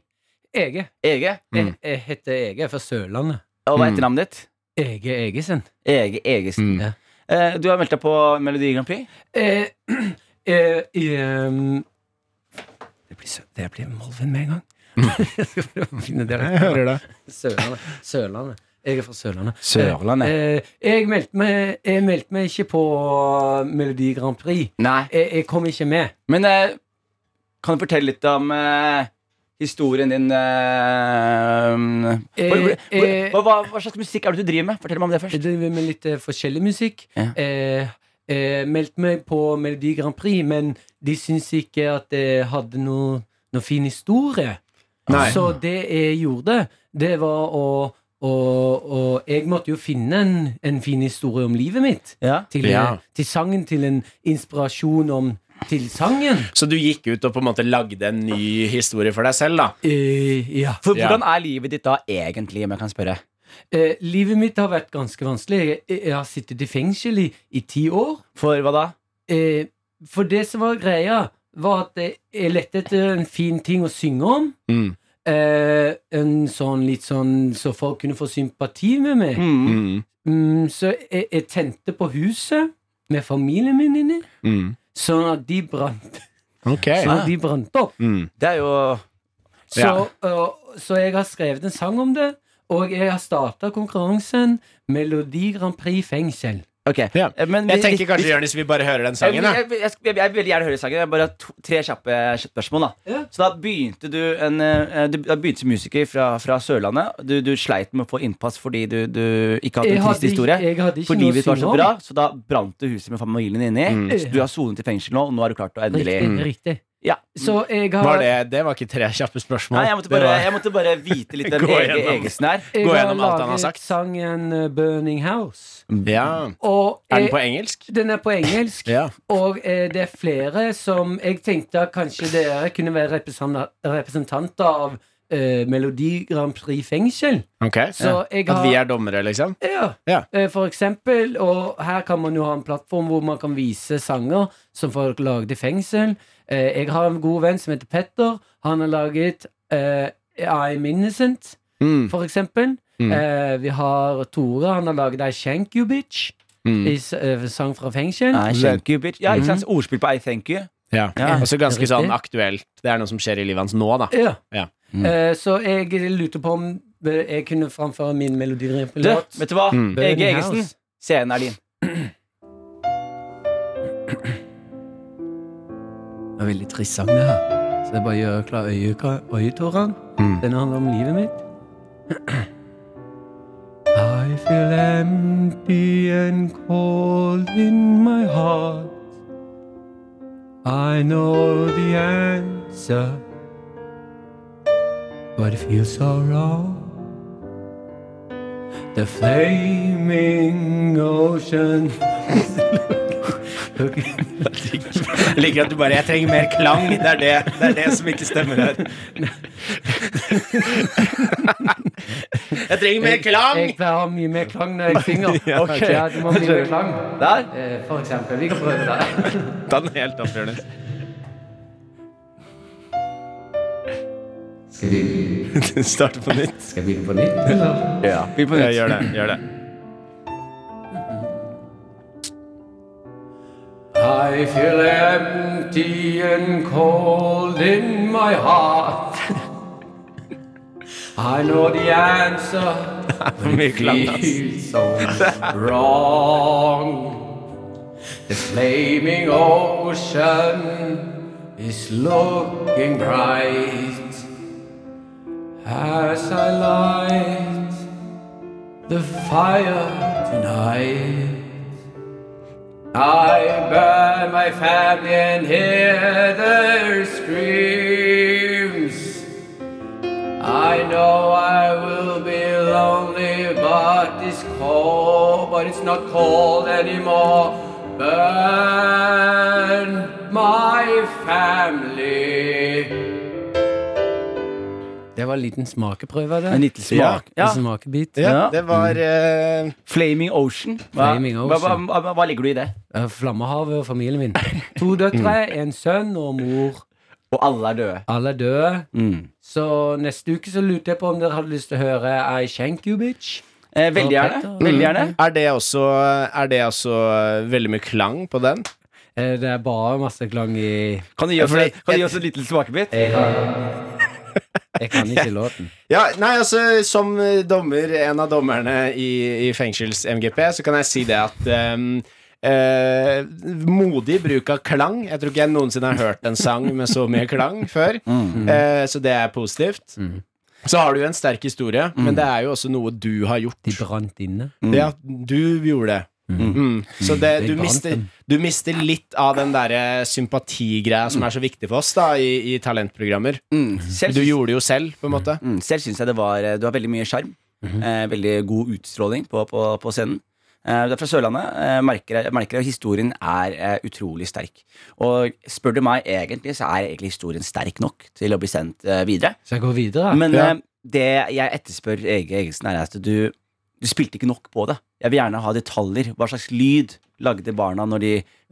[SPEAKER 4] Ege.
[SPEAKER 2] Ege.
[SPEAKER 4] Jeg, jeg heter Ege. Jeg er fra Sørlandet.
[SPEAKER 2] Og hva er
[SPEAKER 3] Mm.
[SPEAKER 2] etternavnet ditt?
[SPEAKER 4] Ege Egesen.
[SPEAKER 2] Ege Egesen.
[SPEAKER 3] Mm.
[SPEAKER 4] Ja.
[SPEAKER 2] Eh, du har meldt deg på Melodi Grand Prix.
[SPEAKER 4] Eh, eh, ehm, det blir, sø- det blir Molven med en gang. jeg skal prøve å finne
[SPEAKER 3] Jeg
[SPEAKER 4] dialekten.
[SPEAKER 3] hører det.
[SPEAKER 4] Sørlandet. Sørlandet. Jeg er fra Sørlandet.
[SPEAKER 2] Sørlandet.
[SPEAKER 4] Eh, eh, jeg, meldte meg, jeg meldte meg ikke på eh, Melodi Grand Prix.
[SPEAKER 2] Nei.
[SPEAKER 4] Jeg, jeg kom ikke med.
[SPEAKER 2] Men eh, kan du fortelle litt om eh, historien din eh, um,
[SPEAKER 4] Eh,
[SPEAKER 2] hvor- hvor-
[SPEAKER 4] eh.
[SPEAKER 2] hva, hva, hva slags musikk er det du driver med? Fortell meg om det først.
[SPEAKER 4] Jeg driver med litt eh, forskjellig musikk.
[SPEAKER 2] Ja.
[SPEAKER 4] Eh, eh, meldte meg på Melodi Grand Prix, men de syntes ikke at jeg hadde noe, noe fin historie.
[SPEAKER 3] Nei.
[SPEAKER 4] Så det jeg gjorde, det var å og, jeg måtte jo finne en, en fin historie om livet mitt.
[SPEAKER 2] Ja.
[SPEAKER 4] Til, eh,
[SPEAKER 3] Ja.
[SPEAKER 4] til sangen, til en inspirasjon om til sangen.
[SPEAKER 3] Så du gikk ut og på en måte lagde en ny historie for deg selv, da?
[SPEAKER 4] Eh, ja.
[SPEAKER 2] For
[SPEAKER 3] Ja.
[SPEAKER 2] hvordan er livet ditt da egentlig, om jeg kan spørre?
[SPEAKER 4] Eh, livet mitt har vært ganske vanskelig. Jeg, jeg har sittet i fengsel i, i ti år.
[SPEAKER 2] For hva da?
[SPEAKER 4] Eh, for det som var greia, var at eh, jeg lette etter en fin ting å synge om.
[SPEAKER 3] Mm.
[SPEAKER 4] Eh, en sånn litt sånn Så folk kunne få sympati med meg.
[SPEAKER 2] Mm.
[SPEAKER 3] Mm.
[SPEAKER 4] Mm, så jeg, jeg tente på huset med familien min inni,
[SPEAKER 3] Mm.
[SPEAKER 4] sånn at de brant,
[SPEAKER 3] Ok.
[SPEAKER 4] sånn at de brant opp.
[SPEAKER 3] Mm.
[SPEAKER 2] Det er jo
[SPEAKER 4] Så,
[SPEAKER 3] Ja.
[SPEAKER 4] øh, så jeg har skrevet en sang om det, og jeg har starta konkurransen Melodi Grand Prix fengsel.
[SPEAKER 2] Ok.
[SPEAKER 3] Ja.
[SPEAKER 2] Eh, Men
[SPEAKER 3] Jeg
[SPEAKER 2] vi-
[SPEAKER 3] tenker kanskje Jonis vil bare høre den
[SPEAKER 2] Jeg,
[SPEAKER 3] sangen.
[SPEAKER 2] jeg,
[SPEAKER 3] da.
[SPEAKER 2] jeg, jeg, jeg, jeg vil gjerne høre sangen. Jeg bare har to, tre kjappe spørsmål. Da
[SPEAKER 4] Ja.
[SPEAKER 2] Så da begynte du en eh, du, Da begynte som musiker fra, fra Sørlandet. Du, du sleit med å få innpass fordi du, du ikke hadde
[SPEAKER 4] Jeg
[SPEAKER 2] en
[SPEAKER 4] hadde
[SPEAKER 2] trist historie.
[SPEAKER 4] ikke- jeg hadde ikke
[SPEAKER 2] For
[SPEAKER 4] noe å
[SPEAKER 2] livet var så
[SPEAKER 4] synge om.
[SPEAKER 2] bra, så da brant det huset med familien inni. Så du har sonet i fengsel nå, og nå har du klart å endelig Mm.
[SPEAKER 4] Riktig. riktig
[SPEAKER 2] ja.
[SPEAKER 4] Så jeg har
[SPEAKER 3] Mm. Var det, det var ikke tre kjappe spørsmål.
[SPEAKER 2] Nei, jeg måtte
[SPEAKER 3] Det
[SPEAKER 2] bare,
[SPEAKER 3] var-
[SPEAKER 2] jeg måtte bare vite litt hvem
[SPEAKER 3] Gå
[SPEAKER 2] Ege
[SPEAKER 3] gjennom.
[SPEAKER 2] Egesen er.
[SPEAKER 4] jeg
[SPEAKER 3] Gå
[SPEAKER 4] har
[SPEAKER 3] gjennom alt han har
[SPEAKER 4] laget
[SPEAKER 3] sagt.
[SPEAKER 4] sangen eh, 'Burning House'.
[SPEAKER 3] ja.
[SPEAKER 4] Og
[SPEAKER 3] Er den
[SPEAKER 4] jeg-
[SPEAKER 2] Eh,
[SPEAKER 3] på engelsk?
[SPEAKER 4] Den er på engelsk,
[SPEAKER 3] Ja.
[SPEAKER 4] og eh, det er flere som Jeg tenkte at kanskje dere kunne være representan- representanter av eh, Melodi Grand Prix fengsel.
[SPEAKER 3] Ok
[SPEAKER 4] Så jeg
[SPEAKER 3] At vi
[SPEAKER 4] har
[SPEAKER 3] er dommere, liksom?
[SPEAKER 4] ja,
[SPEAKER 3] Ja.
[SPEAKER 4] eh, for eksempel. Og her kan man jo ha en plattform hvor man kan vise sanger som folk lagde i fengsel. Eh, jeg har en god venn som heter Petter. Han har laget eh, I'm Innocent,
[SPEAKER 3] Mm.
[SPEAKER 4] for eksempel.
[SPEAKER 3] Mm.
[SPEAKER 4] Eh, vi har Tore. Han har laget I Shank You Bitch,
[SPEAKER 3] Mm.
[SPEAKER 4] i, s- eh, sang fra fengsel.
[SPEAKER 2] I thank you, bitch. Ja, ikke sant? Ordspill på I thank you.
[SPEAKER 3] Ja.
[SPEAKER 2] Ja.
[SPEAKER 3] Og så ganske
[SPEAKER 4] Riktig.
[SPEAKER 3] sånn aktuelt. Det er noe som skjer i livet hans nå, da.
[SPEAKER 4] Ja.
[SPEAKER 3] Ja.
[SPEAKER 4] Eh, så jeg lurte på om eh, jeg kunne framføre min melodilåt.
[SPEAKER 2] Du, vet du hva?
[SPEAKER 3] Mm.
[SPEAKER 2] Ege Egesen, scenen er din.
[SPEAKER 4] Det er veldig trist sang, det her. Så jeg bare gjør klar øye- øyetårene.
[SPEAKER 3] Mm.
[SPEAKER 4] Den handler om livet mitt. I feel empty and cold in my heart. I know the answer. But it feels so wrong. The flaming ocean
[SPEAKER 3] Jeg liker at du bare Jeg trenger mer klang. Det er det, det, er det som ikke stemmer her. Jeg trenger mer klang!
[SPEAKER 4] Jeg pleier å ha mye mer klang når jeg synger.
[SPEAKER 3] Ja,
[SPEAKER 4] ok. ja, det må bli mer klang.
[SPEAKER 2] Der.
[SPEAKER 4] Eh, For eksempel. Vi kan prøve det.
[SPEAKER 3] Ta den helt opp, Jonis.
[SPEAKER 4] Skal vi,
[SPEAKER 3] Starte på nytt.
[SPEAKER 4] skal vi begynne på nytt, eller?
[SPEAKER 2] Ja, vi på
[SPEAKER 3] Ja,
[SPEAKER 2] nytt.
[SPEAKER 3] gjør det. Gjør det.
[SPEAKER 4] I feel empty and cold in my heart. I know the answer.
[SPEAKER 3] For mye klang, ass.
[SPEAKER 4] Feels so wrong. The flaming ocean is looking bright as I light the fire tonight. I bear my family and hear their screams. I know I will be lonely, but it's cold, but it's not cold anymore. Burn my family. Det var en liten smakeprøve av
[SPEAKER 2] En
[SPEAKER 4] det.
[SPEAKER 2] liten smak. Ja.
[SPEAKER 4] smakebit.
[SPEAKER 2] Ja.
[SPEAKER 3] Det var eh,
[SPEAKER 2] Flaming Ocean. Hva,
[SPEAKER 4] Flaming
[SPEAKER 2] hva, hva,
[SPEAKER 4] Ocean.
[SPEAKER 2] hva, hva ligger du i det?
[SPEAKER 4] Eh, Flammehavet og familien min. To døtre, en sønn og mor.
[SPEAKER 2] Og alle er døde.
[SPEAKER 4] Alle er døde.
[SPEAKER 2] Mm.
[SPEAKER 4] Så neste uke så lurte jeg på om dere hadde lyst til å høre I Shank You Bitch.
[SPEAKER 2] Eh, veldig gjerne.
[SPEAKER 4] Petter.
[SPEAKER 2] Veldig gjerne.
[SPEAKER 3] Er det også Er det også eh, veldig mye klang på den?
[SPEAKER 4] Eh, Det er bare masse klang i
[SPEAKER 2] Kan du gi oss,
[SPEAKER 3] Ja, fordi-
[SPEAKER 2] kan du gi oss en liten smakebit?
[SPEAKER 4] Jeg kan, jeg kan ikke låten.
[SPEAKER 3] Ja, nei, altså Som dommer, en av dommerne i, i fengsels-MGP, så kan jeg si det at ehm, eh, Modig bruk av klang. Jeg tror ikke jeg noensinne har hørt en sang med så mye klang før. Eh, så det er positivt. Så har du en sterk historie, men det er jo også noe du har gjort.
[SPEAKER 4] De brant inne.
[SPEAKER 3] Ja, du gjorde det. Mm. Så det,
[SPEAKER 4] Jeg
[SPEAKER 3] du,
[SPEAKER 4] vant
[SPEAKER 3] mister,
[SPEAKER 4] den.
[SPEAKER 3] du mister litt av den derre sympatigreia som er så viktig for oss da i, i talentprogrammer.
[SPEAKER 2] Mm. Selv,
[SPEAKER 3] Du gjorde det jo selv, på en måte.
[SPEAKER 2] mm, selv syns jeg det var eh, Du har veldig mye sjarm. eh, veldig god utstråling på, på, på scenen. Eh, du er fra Sørlandet. Eh, merker, jeg- merker jeg at historien er eh, utrolig sterk. Og spør du meg, egentlig så er egentlig historien sterk nok til å bli sendt eh, videre.
[SPEAKER 4] Så jeg går videre.
[SPEAKER 2] Men
[SPEAKER 3] Ja.
[SPEAKER 2] eh, det jeg etterspør Ege Egesen er at du, du spilte ikke nok på det. Jeg vil gjerne ha detaljer. Hva slags lyd lagde barna når de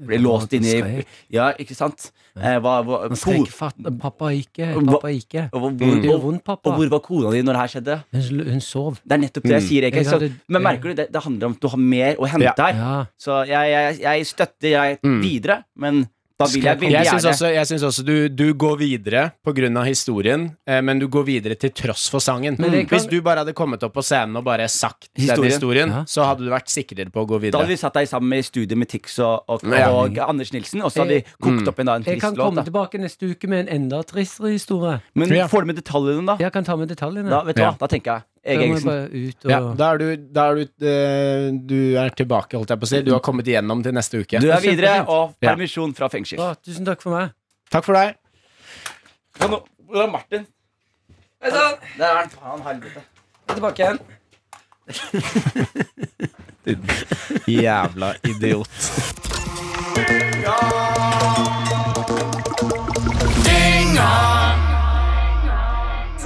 [SPEAKER 2] ble låst inne i
[SPEAKER 4] skrek.
[SPEAKER 2] Ja, ikke sant? Eh, hva, hva, ko-
[SPEAKER 4] Han skrek fatt, 'pappa ikke',
[SPEAKER 2] Hva-
[SPEAKER 4] 'pappa ikke'.
[SPEAKER 2] og, hvor,
[SPEAKER 4] Det gjør
[SPEAKER 2] og,
[SPEAKER 4] vondt,
[SPEAKER 2] og
[SPEAKER 4] pappa.
[SPEAKER 2] hvor var kona di når det her skjedde?
[SPEAKER 4] Hun, sl- hun sov.
[SPEAKER 2] Det er nettopp
[SPEAKER 3] Mm.
[SPEAKER 2] det jeg sier. Ege.
[SPEAKER 4] Jeg
[SPEAKER 2] Så,
[SPEAKER 4] hadde-
[SPEAKER 2] men merker du det? Det handler om at du har mer å hente
[SPEAKER 3] Ja.
[SPEAKER 2] her.
[SPEAKER 4] Ja.
[SPEAKER 2] Så jeg, jeg, jeg støtter jeg
[SPEAKER 3] Mm.
[SPEAKER 2] videre, men Da vil jeg veldig
[SPEAKER 3] Jeg syns
[SPEAKER 2] gjerne
[SPEAKER 3] også, jeg synes også du, du går videre pga. historien, eh, men du går videre til tross for sangen.
[SPEAKER 4] Men det kan-
[SPEAKER 3] Hvis du bare hadde kommet opp på scenen og bare sagt den
[SPEAKER 2] Historien.
[SPEAKER 3] historien,
[SPEAKER 5] Ja.
[SPEAKER 3] så hadde du vært sikrere på å gå
[SPEAKER 2] Da
[SPEAKER 3] videre.
[SPEAKER 2] hadde vi satt deg sammen med i studio med Tix og, og,
[SPEAKER 3] Ja. Mm.
[SPEAKER 2] og Anders Nilsen, og så hadde vi kokt opp en, da, en
[SPEAKER 4] Jeg kan
[SPEAKER 2] trist låt.
[SPEAKER 4] komme
[SPEAKER 2] Da.
[SPEAKER 4] tilbake neste uke med en enda tristere historie.
[SPEAKER 2] Men
[SPEAKER 3] Ja.
[SPEAKER 2] får du med detaljene, da?
[SPEAKER 4] Jeg kan ta med detaljene.
[SPEAKER 2] Da, vet du hva,
[SPEAKER 3] Ja.
[SPEAKER 2] da tenker jeg
[SPEAKER 4] Da
[SPEAKER 2] Ege
[SPEAKER 4] må jeg
[SPEAKER 2] Eriksen.
[SPEAKER 4] bare ut og
[SPEAKER 3] Ja, da er du, da er du, eh, du er tilbake, holdt jeg på å si. Du har kommet igjennom til neste uke.
[SPEAKER 2] Du er videre,
[SPEAKER 4] Kjempefint.
[SPEAKER 2] og
[SPEAKER 3] Ja.
[SPEAKER 2] permisjon fra fengsel.
[SPEAKER 4] Bra, Tusen takk for meg.
[SPEAKER 3] Takk for deg.
[SPEAKER 2] Ja, nå- Hvor er Martin?
[SPEAKER 4] Hei sann!
[SPEAKER 2] Der er han. Faen helvete.
[SPEAKER 4] Jeg er tilbake igjen.
[SPEAKER 3] Jævla idiot.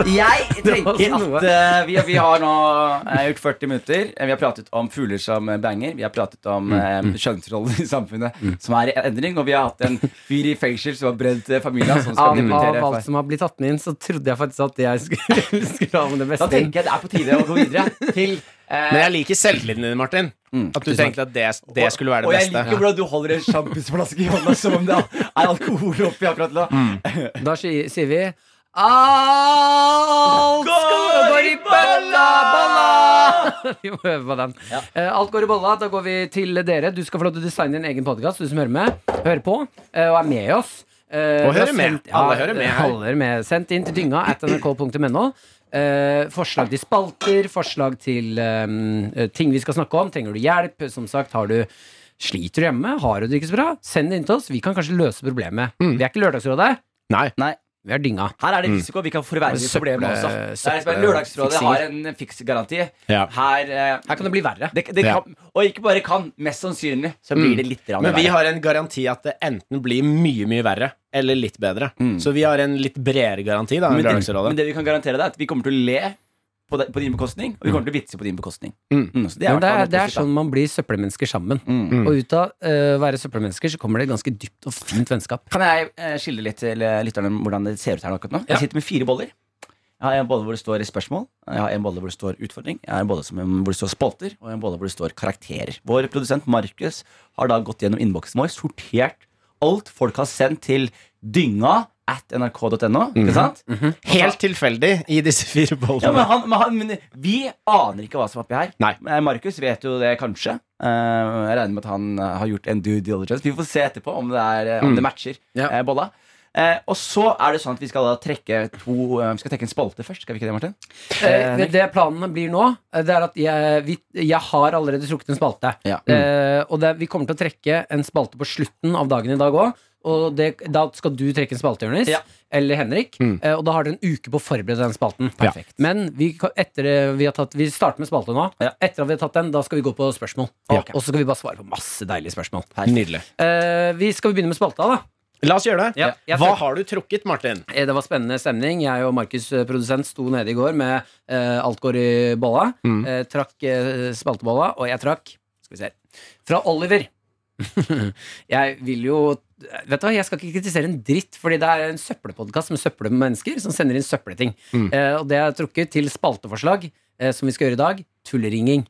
[SPEAKER 2] Jeg tenker
[SPEAKER 4] var noe.
[SPEAKER 2] at eh, vi, vi har nå eh, gjort 40 minutter. Eh, Vi har pratet om fugler som eh, banger. Vi har pratet
[SPEAKER 3] Mm,
[SPEAKER 2] om eh, kjønnsroller i samfunnet som er i endring. Og vi har hatt en fyr i fengsel som har brent eh, familien. Som skal
[SPEAKER 4] Av,
[SPEAKER 2] debutere.
[SPEAKER 4] av
[SPEAKER 2] for-
[SPEAKER 4] alt som har blitt tatt med inn, så trodde jeg faktisk at jeg skulle, skulle ha med det
[SPEAKER 2] Da
[SPEAKER 4] beste inn.
[SPEAKER 2] tenker jeg det er på tide å gå videre til eh,
[SPEAKER 3] Men jeg liker selvtilliten din, Martin. At du tenkte at det, det skulle være
[SPEAKER 2] Mm, Og
[SPEAKER 3] det
[SPEAKER 2] jeg
[SPEAKER 3] beste.
[SPEAKER 2] liker hvordan du holder en sjampisflaske i hånda som om det er alkohol oppi akkurat nå.
[SPEAKER 3] Mm.
[SPEAKER 4] Da sier sier vi Alt går i bølla, balla! Vi må øve på den. Eh, alt går i bolla. Da går vi til dere. Du skal få lov til å designe din egen podkast, du som hører med. Hører på eh, og er med i oss. Eh,
[SPEAKER 3] Og
[SPEAKER 4] vi har
[SPEAKER 3] hører med.
[SPEAKER 4] sendt-
[SPEAKER 3] Alle hører med her.
[SPEAKER 4] Alle hører med. Sendt inn til dynga at nrk.no. Eh, forslag til spalter, forslag til eh, ting vi skal snakke om. Trenger du hjelp? Som sagt, har du Sliter du hjemme? Har du det ikke så bra? Send det inn til oss. Vi kan kanskje løse problemet.
[SPEAKER 3] Mm.
[SPEAKER 4] Vi er ikke Lørdagsrådet.
[SPEAKER 3] Nei.
[SPEAKER 2] Nei,
[SPEAKER 4] Vi er dynga.
[SPEAKER 2] her
[SPEAKER 3] Mm.
[SPEAKER 2] er det risiko. Vi kan forverre
[SPEAKER 4] Søppel-
[SPEAKER 2] problemet også. Det er liksom
[SPEAKER 4] søppelfiksing.
[SPEAKER 2] Lørdagsrådet har en fiksgaranti.
[SPEAKER 3] Ja.
[SPEAKER 2] Her, eh,
[SPEAKER 4] Her kan det bli verre.
[SPEAKER 2] det, det
[SPEAKER 3] Ja. Mm.
[SPEAKER 2] kan, og ikke bare kan, mest sannsynlig så blir det litt rann
[SPEAKER 3] Men vi
[SPEAKER 2] verre.
[SPEAKER 3] har en garanti at det enten blir mye, mye verre eller litt bedre. Så vi har en litt bredere garanti da, enn
[SPEAKER 2] men, det,
[SPEAKER 3] Lørdagsrådet.
[SPEAKER 2] men det vi kan garantere deg, er at vi kommer til å le på, de, på din bekostning, og vi kommer til å vitse på din bekostning.
[SPEAKER 3] Mm.
[SPEAKER 2] Mm, så det er, i
[SPEAKER 4] Men
[SPEAKER 2] hvert fall noe
[SPEAKER 4] det er, det er
[SPEAKER 2] positivt,
[SPEAKER 4] sånn man blir søppelmennesker sammen.
[SPEAKER 2] da. Mm.
[SPEAKER 4] Og ut av eh, å være søppelmennesker så kommer det et ganske dypt og fint vennskap.
[SPEAKER 2] Kan jeg eh, skille litt til eh, lytterne om hvordan det ser ut her akkurat nå? Jeg sitter med fire boller. Jeg har en bolle hvor det står spørsmål, jeg har en bolle hvor det står utfordring, jeg har en bolle som, eh, hvor det står spalter, og en bolle hvor det står karakterer. Vår produsent Markus har da gått gjennom innboksen vår, sortert alt folk har sendt til dynga at nrk.no. Ikke sant?
[SPEAKER 3] Helt tilfeldig i disse fire
[SPEAKER 2] Ja, men,
[SPEAKER 3] bollene.
[SPEAKER 2] han, men, han, men vi aner ikke hva som er oppi her.
[SPEAKER 3] Nei.
[SPEAKER 2] Eh, Markus vet jo det kanskje. Eh, jeg regner med at han eh, har gjort en due diligence. Vi får se etterpå om det, er, eh, om det matcher
[SPEAKER 4] Ja.
[SPEAKER 2] eh, bolla. Eh, og så er det sånn at vi skal da trekke to eh, Vi skal trekke en spalte først. Skal vi ikke det, Martin?
[SPEAKER 4] Eh, det planen blir nå, eh, det er at jeg, vi, jeg har allerede trukket en spalte.
[SPEAKER 2] Ja.
[SPEAKER 4] Eh, og det, vi kommer til å trekke en spalte på slutten av dagen i dag òg. Og det, da skal du trekke en spalte, Jonis.
[SPEAKER 2] Ja.
[SPEAKER 4] Eller Henrik. Eh, og da har dere en uke på å forberede den spalten.
[SPEAKER 3] Ja.
[SPEAKER 4] Men vi, kan- etter, eh, vi, har tatt, vi starter med spalte nå.
[SPEAKER 2] Ja.
[SPEAKER 4] Etter at vi har tatt den, da skal vi gå på spørsmål.
[SPEAKER 2] Ja.
[SPEAKER 4] Og så skal vi bare svare på masse deilige spørsmål.
[SPEAKER 3] Nydelig.
[SPEAKER 4] Eh, vi skal begynne med spalta, da.
[SPEAKER 3] La oss gjøre det.
[SPEAKER 4] Ja. Jeg
[SPEAKER 3] Hva
[SPEAKER 4] tror-
[SPEAKER 3] har du trukket, Martin?
[SPEAKER 4] Eh, Det var spennende stemning. Jeg og Markus, eh, produsent, sto nede i går med eh, Alt går i bolla. Eh, trakk eh, spaltebolla, og jeg trakk Skal vi se her. Fra Oliver. jeg vil jo Vet du hva, Jeg skal ikke kritisere en dritt, Fordi det er en søppelpodkast med søple mennesker som sender inn søppelting. Eh, og det er trukket til spalteforslag, eh, som vi skal gjøre i dag. Tulleringing.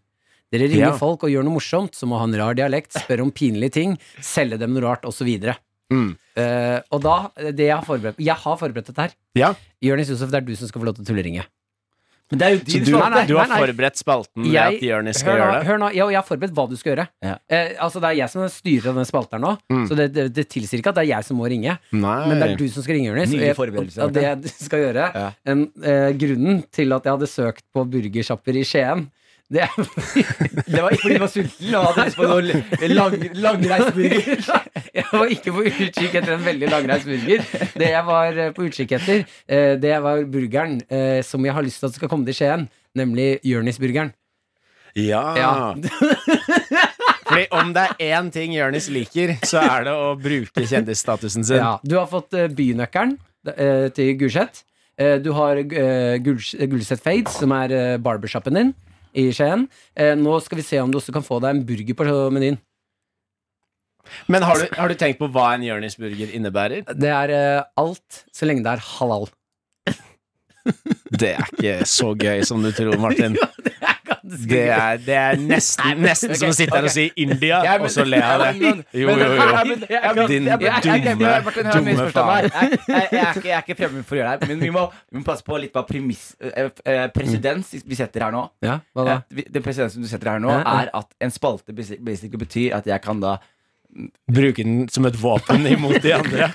[SPEAKER 4] Dere ringer
[SPEAKER 3] Ja.
[SPEAKER 4] folk og gjør noe morsomt, som å ha en rar dialekt, spørre om pinlige ting, selge dem noe rart, osv.
[SPEAKER 3] Mm.
[SPEAKER 4] Eh, og da, det jeg har forberedt Jeg har forberedt dette her.
[SPEAKER 3] Ja.
[SPEAKER 4] Jonis Josef, det er du som skal få lov til å tulleringe.
[SPEAKER 2] Men det er jo
[SPEAKER 3] Så
[SPEAKER 2] din
[SPEAKER 3] du,
[SPEAKER 4] Nei, nei,
[SPEAKER 3] du har
[SPEAKER 4] nei, nei.
[SPEAKER 3] forberedt spalten med
[SPEAKER 4] Jeg-
[SPEAKER 3] at Jonis skal
[SPEAKER 4] Hør nå,
[SPEAKER 3] gjøre det?
[SPEAKER 4] hør nå jeg, jeg har forberedt hva du skal gjøre.
[SPEAKER 2] Ja.
[SPEAKER 4] Eh, altså, det er jeg som styrer den spalten her nå,
[SPEAKER 3] Mm.
[SPEAKER 4] så det, det, det tilsier ikke at det er jeg som må ringe.
[SPEAKER 3] Nei.
[SPEAKER 4] Men det er du som skal ringe, Jonis. Og,
[SPEAKER 2] Nye
[SPEAKER 4] jeg-
[SPEAKER 2] forberedelser,
[SPEAKER 4] og det du skal gjøre
[SPEAKER 2] Ja.
[SPEAKER 4] en, eh, Grunnen til at jeg hadde søkt på burgersjapper i Skien, det er
[SPEAKER 2] Det var ikke fordi du var sulten og hadde lyst på noe l- lang, langreisburger.
[SPEAKER 4] Jeg var ikke på utkikk etter en veldig langreist burger. Det jeg var eh, på utkikk etter, eh, det var burgeren eh, som jeg har lyst til at skal komme til Skien, nemlig Jonis-burgeren.
[SPEAKER 3] Ja.
[SPEAKER 4] Ja.
[SPEAKER 3] Fordi om det er én ting Jonis liker, så er det å bruke kjendisstatusen sin.
[SPEAKER 4] Ja, du har fått eh, bynøkkelen eh, til Gulset. Eh, Du har eh, Guls- Gulset Fades, som er eh, barbershoppen din i Skien. Eh, Nå skal vi se om du også kan få deg en burger på menyen.
[SPEAKER 3] Men har du, har du tenkt på hva en Jonis-burger innebærer?
[SPEAKER 4] Det er eh, alt så lenge det er halal.
[SPEAKER 3] Det er ikke så gøy som du tror, Martin.
[SPEAKER 4] Det er,
[SPEAKER 3] Det er, det er nesten, nesten som å sitte her og si India, og så le av det. Jo, jo, jo. Din dumme, dumme faen.
[SPEAKER 2] Jeg, jeg, jeg, er ikke- jeg er ikke fremmed for å gjøre det her, men vi må, vi må passe på litt på premiss eh, eh, Presedens vi setter her nå.
[SPEAKER 4] Ja, hva da?
[SPEAKER 2] Eh, vi- Den presedensen du setter her nå,
[SPEAKER 4] Ja, ja.
[SPEAKER 2] er at en spalte basi- basically betyr at jeg kan da
[SPEAKER 3] Bruke den som et våpen imot de andre.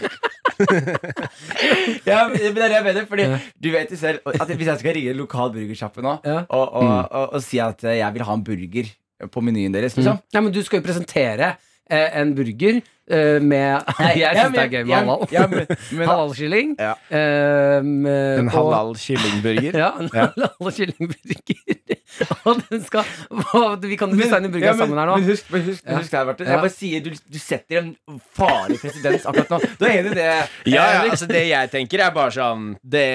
[SPEAKER 2] Ja, men det er det jeg mener, fordi
[SPEAKER 4] Ja.
[SPEAKER 2] du vet jo selv at hvis jeg skal ringe en lokal burgersjappe nå
[SPEAKER 4] Ja. Mm.
[SPEAKER 2] og, og, og, og si at jeg vil ha en burger på menyen deres, liksom
[SPEAKER 4] Nei, men du skal jo presentere eh, en burger eh, med Jeg
[SPEAKER 2] ja, men-
[SPEAKER 4] syns det er gøy med
[SPEAKER 2] ja,
[SPEAKER 4] halal.
[SPEAKER 2] ja, men- men-
[SPEAKER 4] Halalkylling.
[SPEAKER 2] Ja.
[SPEAKER 4] eh, med-
[SPEAKER 3] En
[SPEAKER 4] og-
[SPEAKER 3] halal kyllingburger.
[SPEAKER 4] Ja, en halalkyllingburger. og den skal hva- Vi kan jo designe burger
[SPEAKER 2] ja, men-
[SPEAKER 4] sammen her nå.
[SPEAKER 2] Men husk, men husk, men
[SPEAKER 4] Ja.
[SPEAKER 2] husk det her, Martin.
[SPEAKER 4] Ja.
[SPEAKER 2] Jeg bare sier, du, du setter en farlig presedens akkurat nå. Du er enig i det?
[SPEAKER 3] Ja, ja,
[SPEAKER 2] Henrik?
[SPEAKER 3] altså Det jeg tenker, er bare sånn Det,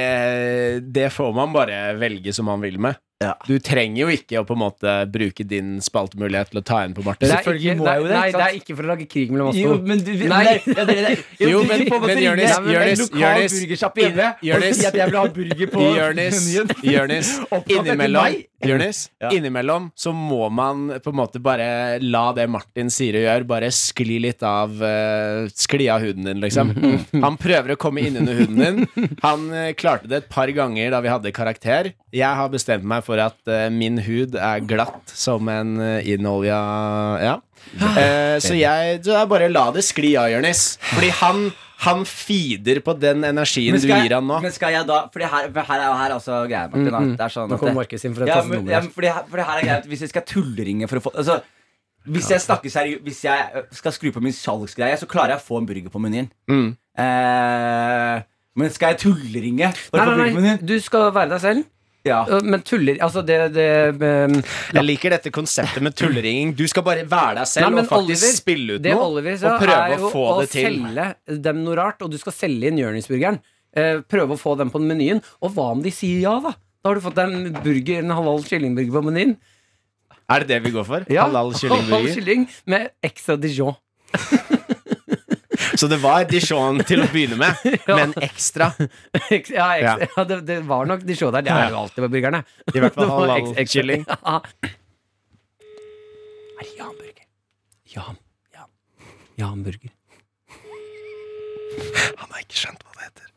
[SPEAKER 3] det får man bare velge som man vil med.
[SPEAKER 2] Ja.
[SPEAKER 3] Du trenger jo ikke å på en måte bruke din spaltemulighet til å ta inn på Martin.
[SPEAKER 4] Det er
[SPEAKER 2] selvfølgelig
[SPEAKER 4] ikke-
[SPEAKER 2] må
[SPEAKER 4] nei,
[SPEAKER 2] jeg jo det,
[SPEAKER 4] Nei,
[SPEAKER 2] ikke
[SPEAKER 4] det
[SPEAKER 2] sant?
[SPEAKER 4] er ikke for å lage krig mellom oss
[SPEAKER 2] Jo,
[SPEAKER 4] to.
[SPEAKER 2] men du vi-
[SPEAKER 4] Nei.
[SPEAKER 2] det- ja, det- det- jo,
[SPEAKER 3] Jo,
[SPEAKER 2] du
[SPEAKER 3] men-
[SPEAKER 2] vil på en måte
[SPEAKER 3] men
[SPEAKER 2] ringe
[SPEAKER 3] Jonis,
[SPEAKER 2] en
[SPEAKER 3] Jonis,
[SPEAKER 2] lokal
[SPEAKER 3] Jonis,
[SPEAKER 2] burgersjappe inne og
[SPEAKER 3] Jonis.
[SPEAKER 2] si at jeg vil ha burger på
[SPEAKER 3] Jonis,
[SPEAKER 2] menyen.
[SPEAKER 3] Jonis,
[SPEAKER 2] Opptatt etter
[SPEAKER 3] innimellom,
[SPEAKER 2] meg?
[SPEAKER 3] Jonis,
[SPEAKER 2] Ja.
[SPEAKER 3] innimellom så må man på en måte bare la det Martin sier og gjør, bare skli litt av eh, Skli av huden din, liksom. Han prøver å komme inn under huden din. Han eh, klarte det et par ganger da vi hadde karakter. Jeg har bestemt meg for at eh, min hud er glatt som en uh, innolja Ja.
[SPEAKER 2] Ah.
[SPEAKER 3] Eh, så jeg så jeg bare la det skli av, Jonis. Fordi han, han feeder på den energien
[SPEAKER 2] Men
[SPEAKER 3] du
[SPEAKER 2] skal jeg-
[SPEAKER 3] gir han nå.
[SPEAKER 2] Men skal jeg da For her, for her er her er altså greia, Martin. at Det er sånn
[SPEAKER 4] Mm, Nå
[SPEAKER 2] at
[SPEAKER 4] kommer
[SPEAKER 2] det-
[SPEAKER 4] Markus inn for å
[SPEAKER 2] ja,
[SPEAKER 4] ta seg
[SPEAKER 2] men,
[SPEAKER 4] nummer
[SPEAKER 2] ja,
[SPEAKER 4] her.
[SPEAKER 2] men fordi her- for det her er greia at Hvis jeg skal tulleringe for å få Altså hvis jeg snakker seriøst Hvis jeg ø, skal skru på min salgsgreie, så klarer jeg å få en burger på menyen.
[SPEAKER 3] Mm.
[SPEAKER 2] Eh, men skal jeg tulleringe for å få
[SPEAKER 4] Nei,
[SPEAKER 2] burger på
[SPEAKER 4] nei, nei,
[SPEAKER 2] menyen?
[SPEAKER 4] du skal være deg selv.
[SPEAKER 2] Ja.
[SPEAKER 4] Øh, Men tuller Altså, det, det ehm,
[SPEAKER 3] Jeg liker dette konseptet med tulleringing. Du skal bare være deg selv
[SPEAKER 4] Nei, men
[SPEAKER 3] og faktisk
[SPEAKER 4] Oliver,
[SPEAKER 3] spille ut
[SPEAKER 4] Det
[SPEAKER 3] noe.
[SPEAKER 4] Oliver sa,
[SPEAKER 3] og prøve
[SPEAKER 4] er jo
[SPEAKER 3] å få det til.
[SPEAKER 4] selge dem noe rart, og du skal selge inn Jonis-burgeren. Eh, prøve å få dem på menyen. Og hva om de sier ja, da? Da har du fått deg en burger, en halal kyllingburger på menyen.
[SPEAKER 3] Er det det vi går for? Halal
[SPEAKER 4] halal
[SPEAKER 3] kyllingburger.
[SPEAKER 4] kylling med extra dijon.
[SPEAKER 3] Så det var Dijon til å begynne med,
[SPEAKER 4] Ja.
[SPEAKER 3] men ekstra.
[SPEAKER 4] Ex- ja,
[SPEAKER 3] Ja.
[SPEAKER 4] ekstra. Ja, det, det var nok dijon der. Det er jo alltid på burgerne.
[SPEAKER 3] I hvert fall
[SPEAKER 4] Det var
[SPEAKER 3] halal
[SPEAKER 4] ex- ekstra-
[SPEAKER 3] kylling.
[SPEAKER 4] Ja. Er det Jan-burger? Jan. Jan. Jan-burger.
[SPEAKER 3] Han har ikke skjønt hva det heter.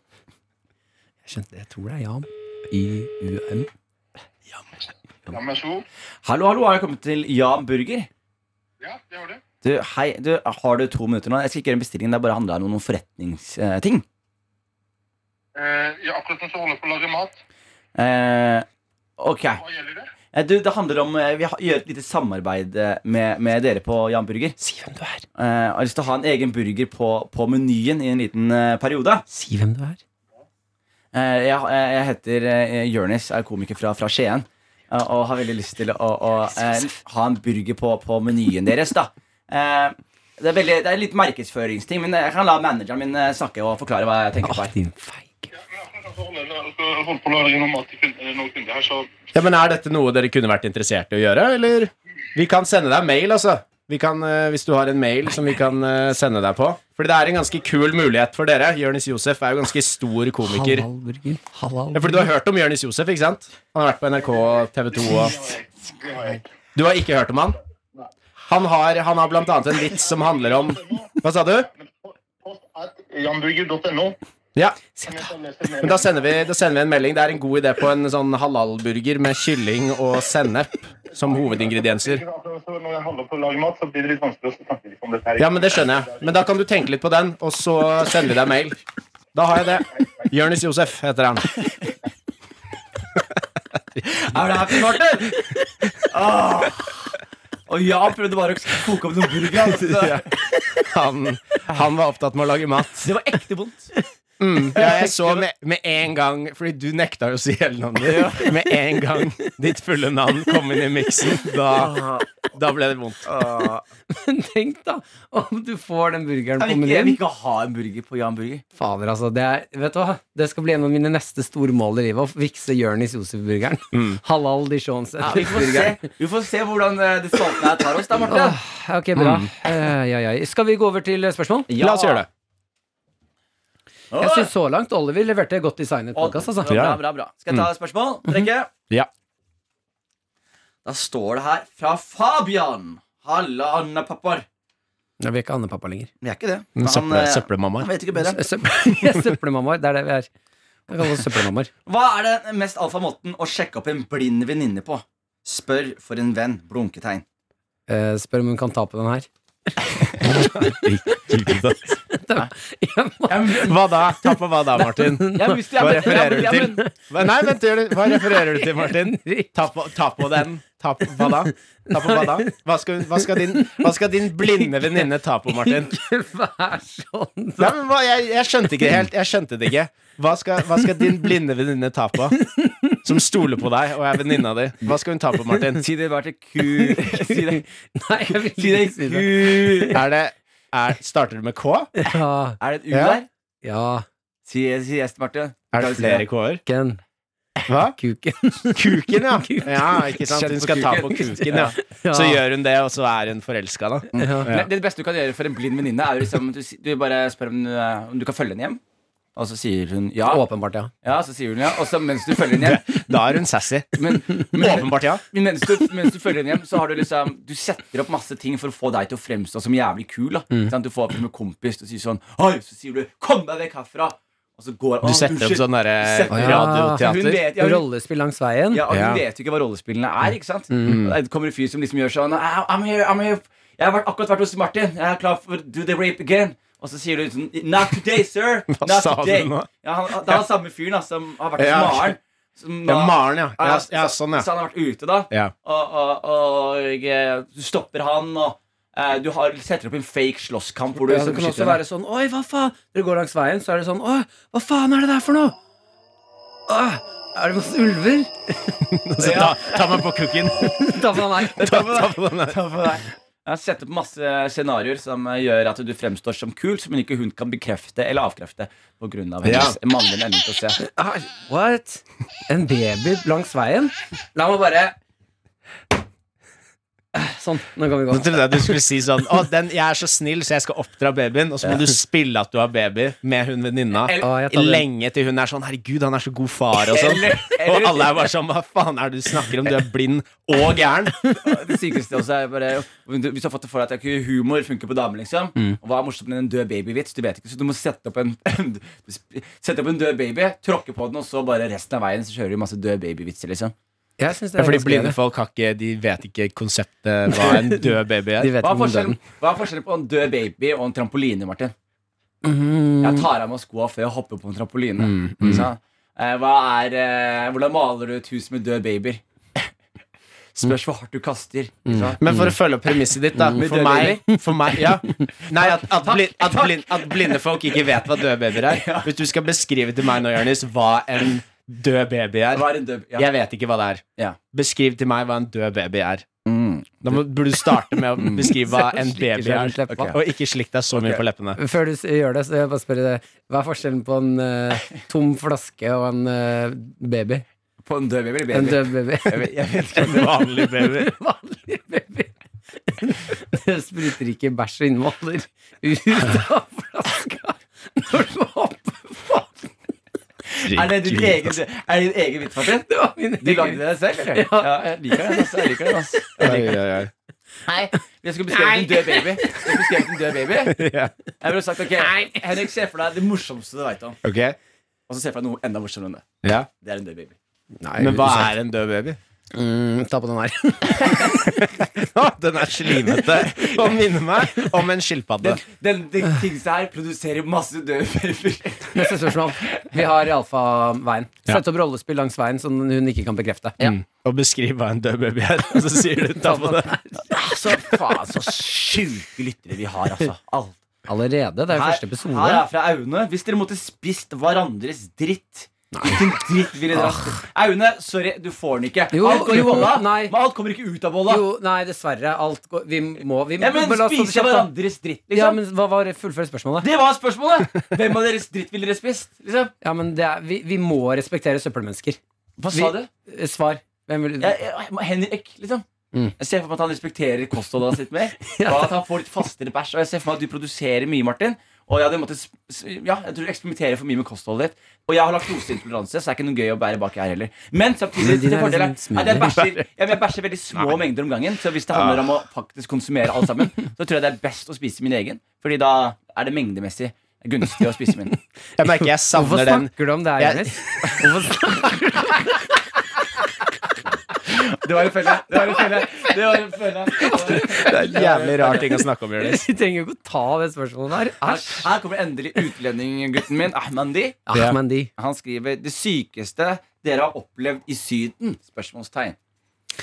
[SPEAKER 4] Jeg skjønte Jeg tror det er Jan. I-U-M.
[SPEAKER 5] Ja, men vær så god.
[SPEAKER 2] Hallo, hallo, har jeg kommet til Jan Burger?
[SPEAKER 5] Ja, det har du.
[SPEAKER 2] Du, hei, du, har du to minutter nå? Jeg skal ikke gjøre en bestilling. Det bare handler om noen forretningsting.
[SPEAKER 5] Eh, ja, akkurat nå så holder jeg på å lage mat.
[SPEAKER 2] Eh, ok.
[SPEAKER 5] Hva gjelder det?
[SPEAKER 2] Eh, Du, det handler om eh, Vi har- gjør et lite samarbeid eh, med, med dere på Jan Burger.
[SPEAKER 4] Si hvem du er.
[SPEAKER 2] Eh, jeg har lyst til å ha en egen burger på, på menyen i en liten eh, periode.
[SPEAKER 4] Si hvem du er.
[SPEAKER 2] Eh, jeg, eh, jeg heter uh, Jørnis, er komiker fra, fra Skien. eh, og har veldig lyst til å, å eh, ha en burger på, på menyen deres, da. Eh, det, er veldig, det er litt markedsføringsting, men jeg kan la manageren min eh, snakke og forklare hva jeg tenker på. her
[SPEAKER 4] din feige.
[SPEAKER 5] Ja, men akkurat nå så holder jeg altså, jeg skal holde på å lage noe mat til kun- eh, noen kunder her, så
[SPEAKER 3] Ja, men Er dette noe dere kunne vært interessert i å gjøre, eller? Vi kan sende deg mail, altså. Vi kan, eh, hvis du har en mail som vi kan eh, sende deg på. Fordi det er en ganske kul mulighet for dere. Jonis Josef er jo ganske stor komiker.
[SPEAKER 4] Halalburger. Halal.
[SPEAKER 3] Ja, fordi du har hørt om Jonis Josef, ikke sant? Han har vært på NRK og TV 2 og
[SPEAKER 5] det har jeg ikke.
[SPEAKER 3] Du har ikke hørt om han? Han har, han har blant annet en vits som handler om Hva sa du?
[SPEAKER 5] Post at jamburger.no.
[SPEAKER 3] Ja,
[SPEAKER 5] Kan jeg ta og lese mer?
[SPEAKER 3] men da sender, vi, da sender vi en melding. Det er en god idé på en sånn halalburger med kylling og sennep som hovedingredienser.
[SPEAKER 5] Akkurat så Når jeg holder på å lage mat, så blir det litt vanskelig å snakke litt om dette her.
[SPEAKER 3] Ja, men det skjønner jeg. Men da kan du tenke litt på den, og så sender vi deg mail. Da har jeg det. Jonis Josef heter han.
[SPEAKER 2] Er du happy, Martin? Åh. Og Jan prøvde bare å koke opp noen burger. altså.
[SPEAKER 3] Han, han var opptatt med å lage mat.
[SPEAKER 2] Det var ekte vondt.
[SPEAKER 3] Ja, jeg så med, med en gang Fordi du nekta jo å si hele navnet ditt. Med en gang ditt fulle navn kom inn i miksen, da, da ble det vondt.
[SPEAKER 4] Men tenk, da, om du får den
[SPEAKER 2] Jeg
[SPEAKER 4] burgeren på
[SPEAKER 2] vil ikke, jeg vil
[SPEAKER 4] menyen.
[SPEAKER 2] ikke ha en burger på Jan Burger.
[SPEAKER 4] Fader, altså. Det, er, vet du hva? det skal bli en av mine neste store mål i livet. Å fikse Jonis Josef-burgeren. Halal dijon
[SPEAKER 2] Ja, vi, får
[SPEAKER 4] burgeren.
[SPEAKER 2] se, vi får se hvordan eh, det spalten her tar oss, da, Marte.
[SPEAKER 4] Åh, ok, bra. Eh, ja, ja. Skal vi gå over til eh, spørsmål?
[SPEAKER 3] La oss gjøre det.
[SPEAKER 4] Jeg syns så langt Oliver leverte godt designet
[SPEAKER 2] Å,
[SPEAKER 4] podkast, altså.
[SPEAKER 2] Bra,
[SPEAKER 3] Ja.
[SPEAKER 2] bra, bra. Skal jeg ta et spørsmål? Rekke?
[SPEAKER 3] Ja.
[SPEAKER 2] Da står det her fra Fabian. Halla, Anna-pappaer.
[SPEAKER 4] Ja, Vi er ikke andepappa lenger.
[SPEAKER 2] Vi er ikke det. Men han,
[SPEAKER 3] Søpple,
[SPEAKER 2] eh,
[SPEAKER 3] søppelmammaer.
[SPEAKER 2] han vet ikke bedre.
[SPEAKER 4] Sø- sø- Søppelmammaer. Det er det vi er. Vi kaller oss søppelmammaer.
[SPEAKER 2] Hva er den mest alfa måten å sjekke opp en blind venninne på? Spør for en venn. Blunketegn.
[SPEAKER 4] Eh, spør om hun kan ta på den her. Ja, men-
[SPEAKER 3] Hva da? Ta på hva da, Martin?
[SPEAKER 2] Jeg visste
[SPEAKER 3] Hva refererer du til? Hva- Nei, vent, gjør du- hva refererer du til, Martin?
[SPEAKER 4] Henrik.
[SPEAKER 3] Ta på, ta på den. Ta på hva da? Ta på hva da? Hva skal, hun- hva skal, din, hva skal din blinde venninne ta på, Martin?
[SPEAKER 4] Ikke vær sånn.
[SPEAKER 3] Nei, men hva, jeg, jeg skjønte ikke det helt. Jeg skjønte det ikke. Hva skal, hva skal din blinde venninne ta på? Som stoler på deg og er venninna di. Hva skal hun ta på, Martin?
[SPEAKER 2] Si det bare til ku... Si det,
[SPEAKER 4] Nei, jeg vil
[SPEAKER 2] si det
[SPEAKER 4] ikke si det.
[SPEAKER 2] ku...
[SPEAKER 3] Er det er, Starter du med K?
[SPEAKER 4] Ja,
[SPEAKER 2] Er det et u
[SPEAKER 3] Ja.
[SPEAKER 2] der?
[SPEAKER 4] ja.
[SPEAKER 2] Si, si yes, Marte.
[SPEAKER 3] Er det flere K-er?
[SPEAKER 4] Ken.
[SPEAKER 3] Hva?
[SPEAKER 4] Kuken.
[SPEAKER 3] Kuken, ja.
[SPEAKER 4] Kuken.
[SPEAKER 3] ja ikke sant? Hun skal ta på kuken, ja.
[SPEAKER 4] Ja.
[SPEAKER 3] Så gjør hun det, og så er hun forelska, da. Mm.
[SPEAKER 4] Ja.
[SPEAKER 2] Nei, Det beste du kan gjøre for en blind venninne, er jo liksom du, si- du bare spør om, du, eh, om du kan følge henne hjem. Og så sier hun ja.
[SPEAKER 4] Åpenbart, ja.
[SPEAKER 2] ja så sier hun ja. Og så mens du følger henne hjem,
[SPEAKER 3] Da er hun sassy.
[SPEAKER 2] men, men,
[SPEAKER 3] Åpenbart, ja.
[SPEAKER 2] men mens, du, mens du følger henne hjem, så har du liksom Du setter opp masse ting for å få deg til å fremstå som jævlig kul. Da.
[SPEAKER 3] Mm.
[SPEAKER 2] Sant? Du får opp med kompis og sier sånn Oi! Så sier du 'Kom deg vekk herfra!' Og så går
[SPEAKER 3] Du setter opp sånn derre
[SPEAKER 2] Setter- Hun
[SPEAKER 3] radioteater.
[SPEAKER 2] vet, ja, hun
[SPEAKER 4] Rollespill langs veien.
[SPEAKER 2] Ja, og
[SPEAKER 3] Ja. Mm.
[SPEAKER 2] Hun vet jo ikke hva rollespillene er. ikke sant? Og Det kommer en fyr som liksom gjør sånn «Ah, I'm here, I'm here. Jeg har vært, akkurat vært hos Martin. Jeg er klar for do the rape again. Og så sier du sånn Not today, sir.
[SPEAKER 3] Hva
[SPEAKER 2] Not
[SPEAKER 3] sa du
[SPEAKER 2] today.
[SPEAKER 3] nå?
[SPEAKER 2] Ja, han, det er han samme fyren da, som har vært hos
[SPEAKER 3] Ja.
[SPEAKER 2] Maren. som
[SPEAKER 3] Ja,
[SPEAKER 2] da-
[SPEAKER 3] Maren, ja. ja. Ja, sånn,
[SPEAKER 2] Så
[SPEAKER 3] ja.
[SPEAKER 2] han har vært ute, da.
[SPEAKER 3] ja.
[SPEAKER 2] Og, og, og eh, du stopper han, og eh, du har, setter opp en fake slåsskamp hvor du
[SPEAKER 4] Ja, det
[SPEAKER 2] liksom
[SPEAKER 4] kan også
[SPEAKER 2] skyter henne.
[SPEAKER 4] være sånn Oi, hva faen? Dere går langs veien, så er det sånn Oi, hva faen er det der for noe? Åh, er det masse ulver?
[SPEAKER 3] Så ta, ta meg på kuken.
[SPEAKER 4] Ta på meg.
[SPEAKER 3] Ta, ta på den der.
[SPEAKER 2] Jeg setter opp masse scenarioer som eh, gjør at du fremstår som kul, som ikke hun kan bekrefte eller avkrefte pga. Av hennes mannlige evne til å se.
[SPEAKER 4] Ai, Ah, What? En baby langs veien? La meg bare Eh, Sånn, nå kan vi gå.
[SPEAKER 3] Nå trodde jeg du skulle si sånn Å, den, jeg er så snill, så jeg skal oppdra babyen. Og så må du spille at du har baby med hun venninna
[SPEAKER 4] Å, Ah, jeg tar den.
[SPEAKER 3] lenge til hun er sånn Herregud, han er så god far, og sånn.
[SPEAKER 2] Eller- eller-
[SPEAKER 3] Og alle er bare sånn Hva faen er det du snakker om? Du er blind og gæren.
[SPEAKER 2] Det sykeste også er bare Hvis du har fått det for deg at det er ikke humor funker på damer, liksom. Og hva er morsomt med en død babyvits? Du vet ikke, så du må sette opp en Sette opp en død baby, tråkke på den, og så bare resten av veien så kjører du masse død babyvitser, liksom.
[SPEAKER 4] Jeg synes det
[SPEAKER 3] Ja,
[SPEAKER 4] er
[SPEAKER 3] fordi
[SPEAKER 4] ganske
[SPEAKER 3] blinde
[SPEAKER 4] gøy.
[SPEAKER 3] folk har ikke De vet ikke konseptet hva en død baby
[SPEAKER 4] De
[SPEAKER 3] er.
[SPEAKER 4] vet
[SPEAKER 2] Hva er
[SPEAKER 4] om døden.
[SPEAKER 2] forskjellen, hva er forskjellen på en død baby og en trampoline, Martin?
[SPEAKER 4] Mhm.
[SPEAKER 2] Jeg tar av meg skoa før jeg hopper på en trampoline.
[SPEAKER 4] Mm,
[SPEAKER 2] Så, eh, hva er, eh, hvordan maler du et hus med død babyer? Spørs hvor hardt du kaster.
[SPEAKER 4] Mm.
[SPEAKER 2] ikke sant?
[SPEAKER 3] Men for å følge opp premisset ditt, da.
[SPEAKER 2] Med
[SPEAKER 3] For
[SPEAKER 2] død
[SPEAKER 3] meg, for meg ja. Nei, at, at, blind, at, blind, at blinde folk ikke vet hva døde babyer er. Hvis du skal beskrive til meg nå, Jonis, hva en død baby er
[SPEAKER 2] Hva er en død ja.
[SPEAKER 3] Jeg vet ikke hva det er.
[SPEAKER 2] Ja.
[SPEAKER 3] Beskriv til meg hva en død baby er.
[SPEAKER 2] Mm.
[SPEAKER 3] Da må, burde du starte med å beskrive hva en
[SPEAKER 4] Slikker
[SPEAKER 3] baby
[SPEAKER 4] seg
[SPEAKER 3] er.
[SPEAKER 4] rundt leppa.
[SPEAKER 3] Ok. Og ikke slikk deg så mye på leppene.
[SPEAKER 4] Før du s- gjør det, så jeg bare spør deg Hva er forskjellen på en eh, tom flaske og en eh, baby?
[SPEAKER 2] På en død baby eller baby?
[SPEAKER 4] En død baby.
[SPEAKER 2] Jeg vet- jeg vet ikke.
[SPEAKER 3] En vanlig baby.
[SPEAKER 4] Vanlig baby. Det spruter ikke bæsj og innvoller ut av flaska når du hopper på. altså.
[SPEAKER 2] Er det din egen, er det din egen vits, Martin?
[SPEAKER 4] Det var min
[SPEAKER 2] Du lagde det selv, eller? Ja, jeg liker den. Altså, jeg liker den altså.
[SPEAKER 3] Oi, oi, oi.
[SPEAKER 2] Jeg skulle beskrevet en død baby. Jeg skulle beskrevet en død baby
[SPEAKER 3] Ja.
[SPEAKER 2] Jeg ville sagt ok, Henrik, se for deg det morsomste du veit om.
[SPEAKER 3] Ok.
[SPEAKER 2] Og så se for deg noe enda morsommere enn det.
[SPEAKER 3] Ja.
[SPEAKER 2] Det er en død baby.
[SPEAKER 3] Men hva er en død baby?
[SPEAKER 4] mm, Ta på den her.
[SPEAKER 3] Å, den er slimete og minner meg om en skilpadde.
[SPEAKER 2] Den, den, den tingsa her produserer masse døde babyer.
[SPEAKER 4] Neste spørsmål. Vi har alfaveien. Sett opp rollespill langs veien som hun ikke kan bekrefte.
[SPEAKER 3] Mm. Og beskriv hva en død baby er, og så sier du ta på det.
[SPEAKER 2] Så Altså, faen, så sjuke lyttere vi har, altså. Alt.
[SPEAKER 4] Allerede? Det er jo første
[SPEAKER 2] Her, her
[SPEAKER 4] episode.
[SPEAKER 2] er fra Aune. Hvis dere måtte spist hverandres dritt Hvilken dritt ville dere hatt? Aune, sorry, du får den ikke.
[SPEAKER 4] Jo,
[SPEAKER 2] alt går i
[SPEAKER 4] jo,
[SPEAKER 2] bolla,
[SPEAKER 4] nei.
[SPEAKER 2] men alt kommer ikke ut av bolla.
[SPEAKER 4] Jo, nei, dessverre. Alt går Vi må vi,
[SPEAKER 2] Ja, men
[SPEAKER 4] la oss holde
[SPEAKER 2] Spise
[SPEAKER 4] kjeft, da.
[SPEAKER 2] hverandres dritt, liksom.
[SPEAKER 4] Ja, men hva var fullføre spørsmålet?
[SPEAKER 2] Det var spørsmålet! Hvem av deres dritt ville dere spist? Liksom?
[SPEAKER 4] Ja, men det er, vi, vi må respektere søppelmennesker.
[SPEAKER 2] Hva
[SPEAKER 4] Vi-
[SPEAKER 2] sa du?
[SPEAKER 4] Eh, Svar. Hvem vil
[SPEAKER 2] Jeg, jeg, Henrik, liksom.
[SPEAKER 4] Mm.
[SPEAKER 2] Jeg ser for meg at han respekterer kostholdet sitt mer. Og
[SPEAKER 4] Ja.
[SPEAKER 2] at han får litt fastere bæsj. Og jeg ser for meg at du produserer mye, Martin. Og jeg hadde måttet sp- s- ja, jeg tror eksperimentere for mye med kostholdet ditt. Og jeg har laktoseintoleranse, så det er ikke noe gøy å bære bak her heller. Men samtidig
[SPEAKER 4] Men din
[SPEAKER 2] til
[SPEAKER 4] er
[SPEAKER 2] fordel er
[SPEAKER 4] liksom
[SPEAKER 2] at jeg bæsjer, ja, men jeg bæsjer veldig små mengder om gangen. Så hvis det handler om å faktisk konsumere alt sammen, så tror jeg det er best å spise min egen. Fordi da er det mengdemessig gunstig å spise min.
[SPEAKER 3] Jeg merker jeg savner
[SPEAKER 4] Hvorfor
[SPEAKER 3] den.
[SPEAKER 4] snakker du om det her,
[SPEAKER 3] Jeg-
[SPEAKER 4] Jonis? Hvorfor snakker-
[SPEAKER 2] Det var en felle. Det var en felle. Det var en felle.
[SPEAKER 3] Det er en jævlig rar ting å snakke om, Jonis.
[SPEAKER 4] Vi trenger jo ikke å ta det spørsmålet her.
[SPEAKER 2] Her,
[SPEAKER 4] Æsj.
[SPEAKER 2] her kommer endelig utlendinggutten min, Ahmandi.
[SPEAKER 4] Ah, men de.
[SPEAKER 2] Han skriver 'Det sykeste dere har opplevd i Syden?' Spørsmålstegn.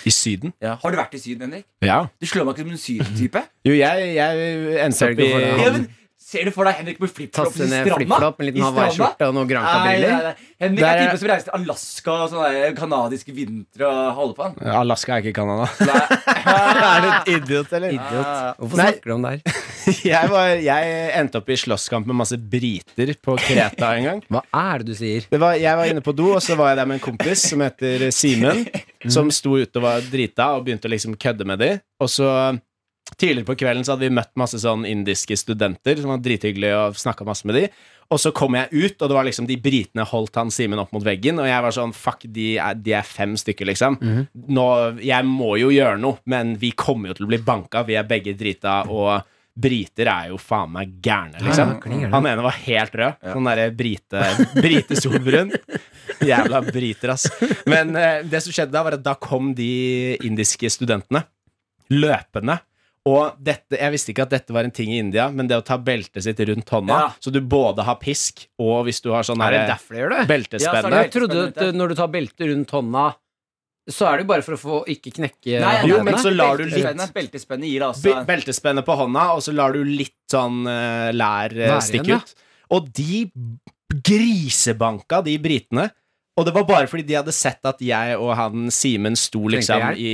[SPEAKER 3] I Syden?
[SPEAKER 2] Har du vært i Syden, Henrik?
[SPEAKER 3] Ja.
[SPEAKER 2] Du slår meg ikke som en sydentype.
[SPEAKER 3] Jo, jeg, jeg endte
[SPEAKER 4] Ser
[SPEAKER 3] opp
[SPEAKER 4] du
[SPEAKER 3] i
[SPEAKER 4] ikke for deg
[SPEAKER 2] Ja,
[SPEAKER 4] han-
[SPEAKER 2] men Ser du for deg Henrik med flipflops i
[SPEAKER 4] Tasse
[SPEAKER 3] eh,
[SPEAKER 4] ned
[SPEAKER 2] stranda?
[SPEAKER 4] flipflop, en
[SPEAKER 2] I
[SPEAKER 4] liten
[SPEAKER 2] stranda?
[SPEAKER 4] hawaiiskjorte og noen
[SPEAKER 2] Nei,
[SPEAKER 4] granka-briller.
[SPEAKER 2] nei, nei. Henrik
[SPEAKER 3] Der
[SPEAKER 2] er
[SPEAKER 3] er-
[SPEAKER 2] typen som reiser til Alaska og sånne kanadiske vintre og holder på. han.
[SPEAKER 3] Alaska er ikke Canada.
[SPEAKER 2] Nei.
[SPEAKER 3] er du en idiot, eller?
[SPEAKER 4] Idiot. Hvorfor
[SPEAKER 3] Nei.
[SPEAKER 4] snakker du om det her?
[SPEAKER 3] Jeg, var, jeg endte opp i slåsskamp med masse briter på Kreta en gang.
[SPEAKER 4] Hva er det du sier?
[SPEAKER 3] Det var, jeg var inne på do, og så var jeg der med en kompis som heter Simen. Som sto ute og var drita og begynte å liksom kødde med de. Og så Tidligere på kvelden så hadde vi møtt masse sånn indiske studenter som var drithyggelige og snakka masse med de. Og så kom jeg ut, og det var liksom de britene holdt han Simen opp mot veggen. Og jeg var sånn Fuck, de er, de er fem stykker, liksom. Nå, jeg må jo gjøre noe, men vi kommer jo til å bli banka. Vi er begge drita, og briter er jo faen meg gærne, liksom.
[SPEAKER 4] Mm.
[SPEAKER 3] Han ene var helt rød. Sånn derre brite, brite solbrun. Jævla briter, ass. Men eh, det som skjedde da, var at da kom de indiske studentene løpende. Og dette, jeg visste ikke at dette var en ting i India, men det å ta beltet sitt rundt hånda,
[SPEAKER 2] Ja.
[SPEAKER 3] så du både har pisk, og hvis du har sånn
[SPEAKER 4] Er det
[SPEAKER 3] her
[SPEAKER 4] derfor du gjør det?
[SPEAKER 2] Ja, så er
[SPEAKER 3] beltespenne
[SPEAKER 2] det-
[SPEAKER 4] Jeg trodde at uh, når du tar beltet rundt hånda, så er det jo bare for å få ikke
[SPEAKER 2] Nei,
[SPEAKER 4] knekke
[SPEAKER 2] nei,
[SPEAKER 3] Jo,
[SPEAKER 2] nei,
[SPEAKER 3] men
[SPEAKER 2] nei.
[SPEAKER 3] så lar du
[SPEAKER 2] Beltespennet-
[SPEAKER 3] litt-
[SPEAKER 2] Beltespennet gir deg altså
[SPEAKER 3] Be- Beltespenne på hånda, og så lar du litt sånn eh, lær eh,
[SPEAKER 4] Være igjen,
[SPEAKER 3] stikke
[SPEAKER 4] ja.
[SPEAKER 3] ut. Og de b- grisebanka de britene. Og det var bare fordi de hadde sett at jeg og han Simen sto liksom
[SPEAKER 4] hjelp.
[SPEAKER 3] i,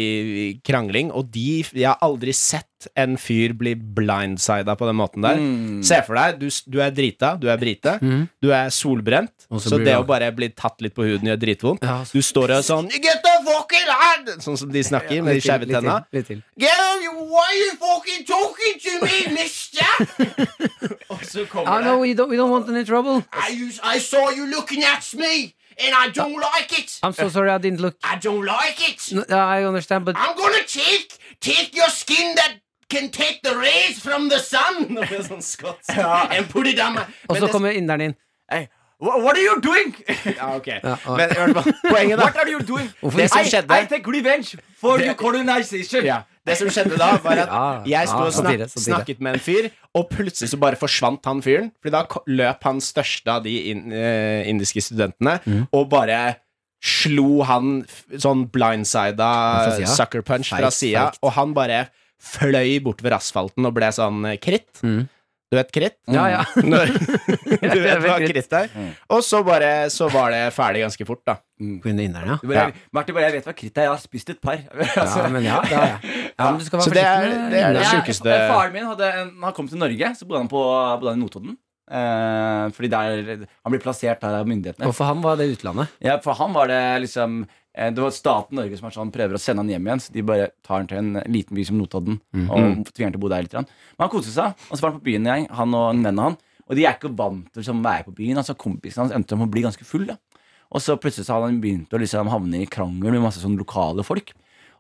[SPEAKER 3] i krangling, og de Jeg har aldri sett en fyr bli blindsida på den måten der.
[SPEAKER 2] Mm.
[SPEAKER 3] Se for deg, du, s- du er drita, du er brite, du er solbrent,
[SPEAKER 4] Mm. Og så
[SPEAKER 3] så,
[SPEAKER 4] blir
[SPEAKER 3] det
[SPEAKER 4] du-
[SPEAKER 3] å bare bli tatt litt på huden gjør dritvondt.
[SPEAKER 4] Ja, så-
[SPEAKER 3] Du står og er sånn "You Get the fucking hand!" Sånn som de snakker med de skeive tenna.
[SPEAKER 4] Litt til.
[SPEAKER 3] Get on you, why you fucking talking to me, mister?
[SPEAKER 2] Og så kommer
[SPEAKER 4] Ah,
[SPEAKER 2] det-
[SPEAKER 4] no, we don't, we don't want any trouble.
[SPEAKER 3] I, used, I saw you looking at me, and I don't like it.
[SPEAKER 4] I'm so sorry I didn't look.
[SPEAKER 3] I don't like it.
[SPEAKER 4] No, I understand, but
[SPEAKER 3] I'm gonna take, take your skin that can take the rays from the sun. Nå blir jeg sånn skotsk. And put it on my...
[SPEAKER 4] Og
[SPEAKER 3] Men
[SPEAKER 4] så
[SPEAKER 3] det-
[SPEAKER 4] kommer inderen inn.
[SPEAKER 2] Hey, wha- What are you doing?
[SPEAKER 3] Ja, ok.
[SPEAKER 4] og-
[SPEAKER 3] Men i hvert fall, poenget da...
[SPEAKER 2] What are you doing?
[SPEAKER 4] Hvorfor
[SPEAKER 3] Det som
[SPEAKER 2] I,
[SPEAKER 3] skjedde...
[SPEAKER 2] I take revenge for your colonization.
[SPEAKER 3] Ja. Det som skjedde da, var at
[SPEAKER 4] Ja,
[SPEAKER 3] jeg sto
[SPEAKER 4] ja,
[SPEAKER 3] og
[SPEAKER 4] satire,
[SPEAKER 3] snak
[SPEAKER 4] satire.
[SPEAKER 3] snakket med en fyr, og plutselig så bare forsvant han fyren. Fordi da ko- løp han største av de in eh, indiske studentene,
[SPEAKER 4] Mhm.
[SPEAKER 3] og bare slo han f- sånn blindsida
[SPEAKER 4] Fra sida?
[SPEAKER 3] sucker punch fra
[SPEAKER 4] Feigt,
[SPEAKER 3] sida,
[SPEAKER 4] feigt.
[SPEAKER 3] og han bare fløy bortover asfalten og ble sånn eh, kritt.
[SPEAKER 4] Mm.
[SPEAKER 3] Du vet kritt?
[SPEAKER 4] Ja, ja.
[SPEAKER 3] Når, du vet hva
[SPEAKER 4] kritt.
[SPEAKER 3] kritt er? Og så bare Så var det ferdig ganske fort, da.
[SPEAKER 4] Kunne inderen, ja.
[SPEAKER 2] Du bare, Martin bare, jeg vet hva kritt er, jeg har spist et par. altså,
[SPEAKER 4] Ja, men ja, det har jeg. Ja, men du skal
[SPEAKER 3] Så
[SPEAKER 4] være
[SPEAKER 3] det er-
[SPEAKER 4] forsiktig med
[SPEAKER 3] det er det
[SPEAKER 4] inderen.
[SPEAKER 3] sjuke.
[SPEAKER 2] jeg,
[SPEAKER 3] sjukeste-
[SPEAKER 2] Faren min hadde en, han kom til Norge, så bodde han på, bodde han i Notodden. Eh, fordi der, han ble plassert der av myndighetene.
[SPEAKER 4] Og for ham var det utlandet.
[SPEAKER 2] Ja, for han var det liksom eh, Det var staten Norge som var sånn, prøver å sende han hjem igjen. Så de bare tar han til en liten by som Notodden
[SPEAKER 4] Mhm.
[SPEAKER 2] og tvinger han til å bo der litt. grann. Men han koste seg, og så var han på byen, jeg, han og en venn av han. Og de er ikke vant til liksom, å være på byen. Altså Kompisen hans endte opp med å bli ganske full. da Og så plutselig så hadde han begynt å liksom, havne i krangel med masse sånn lokale folk.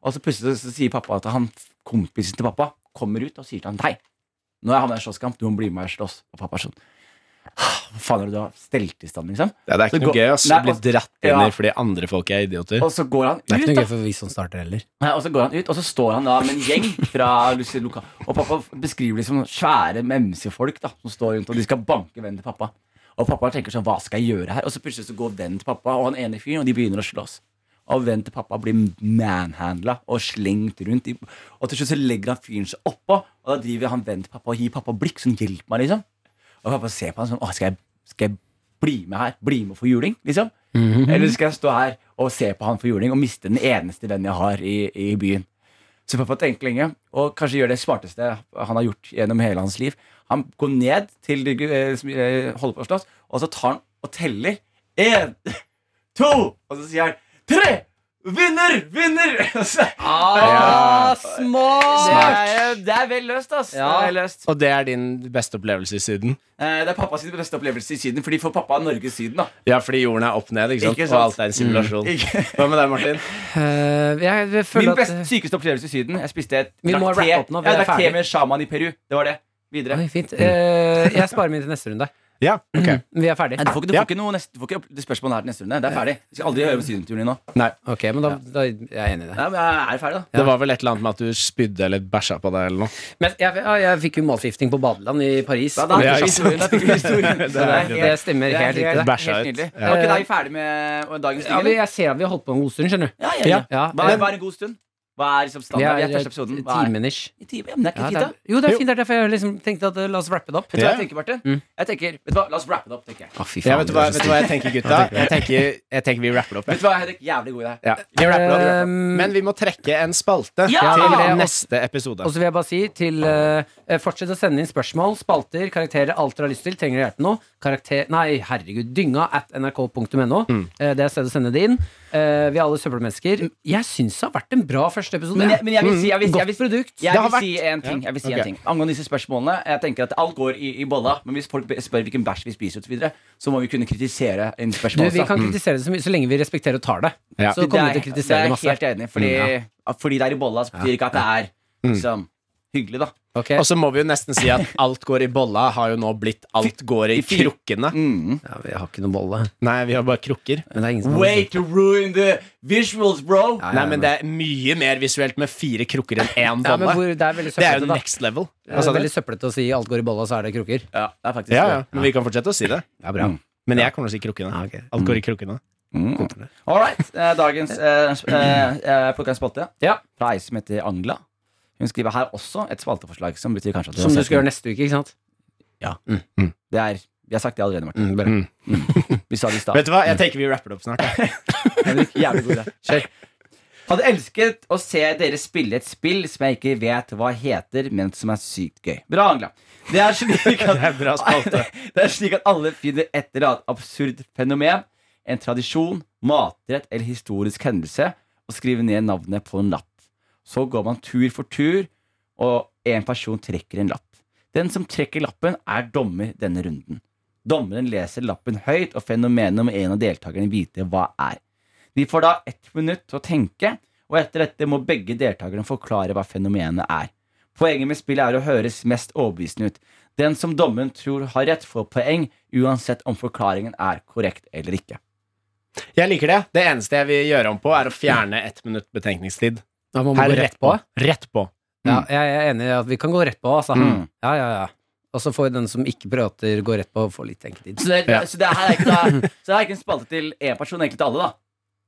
[SPEAKER 2] Og så plutselig så sier pappa at han, kompisen til pappa kommer ut og sier til han Hei, nå har jeg havnet i en slåsskamp, du må bli med meg og slåss. Og pappa er sånn «Ah, Hva faen er det du har stelt i stand, liksom?
[SPEAKER 3] Ja, det er
[SPEAKER 2] Så
[SPEAKER 3] ikke noe
[SPEAKER 2] gå-
[SPEAKER 3] gøy, ass.
[SPEAKER 2] Nei,
[SPEAKER 3] Du blir
[SPEAKER 2] og-
[SPEAKER 3] dratt inn
[SPEAKER 2] ja.
[SPEAKER 3] i fordi andre folk er idioter.
[SPEAKER 2] Og så går han ut.
[SPEAKER 4] Det er ikke
[SPEAKER 2] da.
[SPEAKER 4] noe gøy for vi som starter heller.
[SPEAKER 2] Nei, og så går han ut, og så står han da med en gjeng fra Lucy Luca. Og pappa beskriver de som svære MC-folk da, som står rundt, og de skal banke vennen til pappa. Og pappa tenker sånn, hva skal jeg gjøre her? Og så plutselig så går vennen til pappa og han ene fyren, og de begynner å slåss. Og vennen til pappa blir manhandla og slengt rundt. i- Og til slutt så legger han fyren seg oppå, og da driver han vennen til pappa og gir pappa blikk. Sånn, hjelp meg, liksom. Og pappa ser på han sånn, Åh, skal, jeg, skal jeg bli med her? Bli med og få juling? Liksom?
[SPEAKER 4] Mhm.
[SPEAKER 2] Eller skal jeg stå her og se på han få juling og miste den eneste vennen jeg har i, i byen? Så pappa tenker lenge, og kanskje gjør det smarteste han har gjort gjennom hele hans liv. Han går ned til de eh, som eh, holder på å slåss, og så tar han og teller. Én, to, og så sier han tre, Vinner! Vinner! Så-
[SPEAKER 4] Ah, smart!
[SPEAKER 2] Det er, det er vel løst, ass.
[SPEAKER 4] Ja.
[SPEAKER 2] Det, er løst.
[SPEAKER 3] Og det er din beste opplevelse i Syden?
[SPEAKER 2] Eh, det er pappa sin beste opplevelse i Syden, fordi for pappa er Norge Syden, da.
[SPEAKER 3] Ja, fordi jorden er opp ned, ikke sant?
[SPEAKER 2] Ikke sant?
[SPEAKER 3] Og
[SPEAKER 2] Mm.
[SPEAKER 3] alt er en simulasjon.
[SPEAKER 2] Ikke-
[SPEAKER 3] Hva med deg, Martin?
[SPEAKER 4] Eh, jeg, jeg føler
[SPEAKER 2] Min
[SPEAKER 4] at eh,
[SPEAKER 2] best, sykeste opplevelse i Syden. Jeg spiste et
[SPEAKER 4] Vi må
[SPEAKER 2] drakk te.
[SPEAKER 4] wrap opp nå, vi
[SPEAKER 2] Jeg
[SPEAKER 4] er
[SPEAKER 2] drakk te
[SPEAKER 4] ferdig.
[SPEAKER 2] med sjaman i Peru. Det var det. Videre.
[SPEAKER 4] Oi, fint. Eh, jeg sparer min til neste runde.
[SPEAKER 3] Ja, ok.
[SPEAKER 4] Vi er ferdig.
[SPEAKER 2] Nei, du får ikke, du får
[SPEAKER 3] Ja.
[SPEAKER 2] ikke noe neste, du får ikke opp- det spørsmålet her til neste runde. Det er ferdig. Vi skal aldri høre om sydenturen din nå.
[SPEAKER 3] Nei.
[SPEAKER 4] Ok, men da, da jeg er jeg enig i det.
[SPEAKER 2] Nei, men jeg er ferdig, da.
[SPEAKER 3] Det var vel et eller annet med at du spydde eller bæsja på deg eller noe.
[SPEAKER 4] Men jeg, jeg, jeg fikk jo målskifting på badeland i Paris.
[SPEAKER 2] Da, da,
[SPEAKER 3] Ja,
[SPEAKER 2] fikk
[SPEAKER 3] ikke
[SPEAKER 2] vi
[SPEAKER 3] sant.
[SPEAKER 2] historien, da fikk vi historien.
[SPEAKER 3] Det er
[SPEAKER 2] Så det er
[SPEAKER 3] veldig
[SPEAKER 2] helt-
[SPEAKER 4] det stemmer
[SPEAKER 2] det er
[SPEAKER 4] helt riktig. det.
[SPEAKER 3] Bæsja
[SPEAKER 2] helt
[SPEAKER 3] ut.
[SPEAKER 2] nydelig.
[SPEAKER 3] Ja.
[SPEAKER 2] Var ikke da vi ferdig med dagens
[SPEAKER 4] Ja, vi,
[SPEAKER 2] ting?
[SPEAKER 4] jeg ser at vi har holdt på en god stund, skjønner du.
[SPEAKER 2] Ja,
[SPEAKER 3] Ja.
[SPEAKER 4] Ja,
[SPEAKER 2] Hva er,
[SPEAKER 4] eh,
[SPEAKER 2] hva er en god stund? Hva er liksom standard? Vi er i første episoden. Hva er
[SPEAKER 4] Timen ish.
[SPEAKER 2] I time? Ja, men det er
[SPEAKER 4] eh, Ja,
[SPEAKER 2] ikke
[SPEAKER 4] det
[SPEAKER 2] tid, da.
[SPEAKER 4] er, jo, det er
[SPEAKER 3] Jo.
[SPEAKER 4] fint. Det er derfor jeg liksom tenkte at eh, la oss wrappe det opp.
[SPEAKER 2] Vet du hva jeg
[SPEAKER 3] Ja.
[SPEAKER 2] tenker, Martin?
[SPEAKER 4] Mm.
[SPEAKER 2] Jeg tenker, vet du hva, La oss wrappe det opp, tenker jeg.
[SPEAKER 4] Å, fy
[SPEAKER 3] Ja, vet, du hva, vet du hva jeg tenker, gutta? Jeg tenker, jeg tenker vi rapper det opp.
[SPEAKER 2] Vet
[SPEAKER 3] jeg.
[SPEAKER 2] du hva, Henrik? Jævlig god idé.
[SPEAKER 3] Ja. Vi rapper det opp.
[SPEAKER 4] Ehm,
[SPEAKER 3] Men vi må trekke en spalte
[SPEAKER 2] Ja!
[SPEAKER 4] Ja, og-
[SPEAKER 3] til neste episode.
[SPEAKER 4] Og så vil jeg bare si til eh, eh, Fortsett å sende inn spørsmål, spalter, karakterer, alt dere har lyst til. Trenger dere hjelp med noe? Karakter Nei, herregud. Dynga at nrk.no. Eh, det er stedet å sende det inn. Eh, vi er alle søppelmennesker. Jeg syns det har vært en bra første episode.
[SPEAKER 2] Men jeg, men jeg vil si, jeg vil, jeg vil,
[SPEAKER 4] Godt produkt.
[SPEAKER 2] Jeg
[SPEAKER 3] Det har
[SPEAKER 2] vil si en ting, jeg vil si
[SPEAKER 3] Ok.
[SPEAKER 2] en ting Angående disse spørsmålene Jeg tenker at alt går i, i bolla Men hvis folk spør hvilken bæsj vi spiser og så, videre, så må vi kunne kritisere en
[SPEAKER 4] Du,
[SPEAKER 2] spørsmål
[SPEAKER 4] vi kan kritisere det så mye så lenge vi respekterer og tar det.
[SPEAKER 3] Ja.
[SPEAKER 4] Så kommer vi til å kritisere det
[SPEAKER 2] er
[SPEAKER 4] masse. Mm,
[SPEAKER 2] helt enig fordi, fordi det er i bolla så betyr ikke at det er liksom, hyggelig da
[SPEAKER 4] Ok.
[SPEAKER 3] Og så må vi jo nesten si at alt går i bolla har jo nå blitt alt går i krukkene.
[SPEAKER 4] Mm. Ja, jeg har ikke noe bolle.
[SPEAKER 3] Nei, vi har bare krukker.
[SPEAKER 4] Men det er ingen som
[SPEAKER 2] Way to ruin the visuals, bro
[SPEAKER 4] Ja, ja,
[SPEAKER 3] Nei, men det er mye mer visuelt med fire krukker enn én
[SPEAKER 4] ja, men
[SPEAKER 3] bolle.
[SPEAKER 4] hvor, Det er veldig
[SPEAKER 3] Det er jo
[SPEAKER 4] søplete, da.
[SPEAKER 3] next level.
[SPEAKER 4] Det
[SPEAKER 3] Hva
[SPEAKER 4] er
[SPEAKER 3] sa du?
[SPEAKER 4] veldig søplete å si alt går i bolla, så er det krukker.
[SPEAKER 2] Ja, det er faktisk
[SPEAKER 3] Ja,
[SPEAKER 2] det.
[SPEAKER 3] ja, men vi kan fortsette å si det.
[SPEAKER 4] Det er bra.
[SPEAKER 2] Mm.
[SPEAKER 3] Men jeg kommer til å si krukkene. Alt går i krukkene.
[SPEAKER 2] Mm. All right, eh, dagens eh, sp- eh, eh, podcast spalte
[SPEAKER 4] Ja.
[SPEAKER 2] Fra ei som heter Angela Hun skriver her også et spalteforslag Som betyr kanskje at
[SPEAKER 4] Som du skal gjøre neste uke, ikke sant? Mm.
[SPEAKER 2] Det er, vi har sagt det allerede, Martin
[SPEAKER 4] bra.
[SPEAKER 3] Mm.
[SPEAKER 2] Vi sa det i stad
[SPEAKER 3] Vet du hva,
[SPEAKER 4] Mm.
[SPEAKER 3] jeg tenker vi rapper det opp snart. jeg.
[SPEAKER 2] Henrik, jævlig god idé. Kjør. Hadde elsket å se dere spille et spill som jeg ikke vet hva heter, men som er sykt gøy. Bra, Angela. Det er slik at,
[SPEAKER 3] Det er bra spalte.
[SPEAKER 2] Det er slik at alle finner et eller annet absurd fenomen, en tradisjon, matrett eller historisk hendelse, og skriver ned navnet på en lapp. Så går man tur for tur, og en person trekker en lapp. Den som trekker lappen, er dommer denne runden. Dommeren leser lappen høyt, og fenomenet om en av deltakerne vite hva er. De får da ett minutt til å tenke, og etter dette må begge deltakerne forklare hva fenomenet er. Poenget med spillet er å høres mest overbevisende ut. Den som dommeren tror har rett, får poeng, uansett om forklaringen er korrekt eller ikke.
[SPEAKER 3] Jeg liker det. Det eneste jeg vil gjøre om på, er å fjerne ett minutt betenkningstid.
[SPEAKER 4] Da må man
[SPEAKER 3] Her
[SPEAKER 4] gå rett på.
[SPEAKER 3] Rett på.
[SPEAKER 4] Ja,
[SPEAKER 3] Mm.
[SPEAKER 4] jeg er enig i at vi kan gå rett på, altså.
[SPEAKER 2] Mm.
[SPEAKER 4] Ja, ja, ja. Og så får den som ikke prater, gå rett på og få litt tenketid.
[SPEAKER 2] Så det,
[SPEAKER 3] Ja.
[SPEAKER 2] så det her er ikke, da, så det er ikke en spalte til én person, egentlig til alle, da.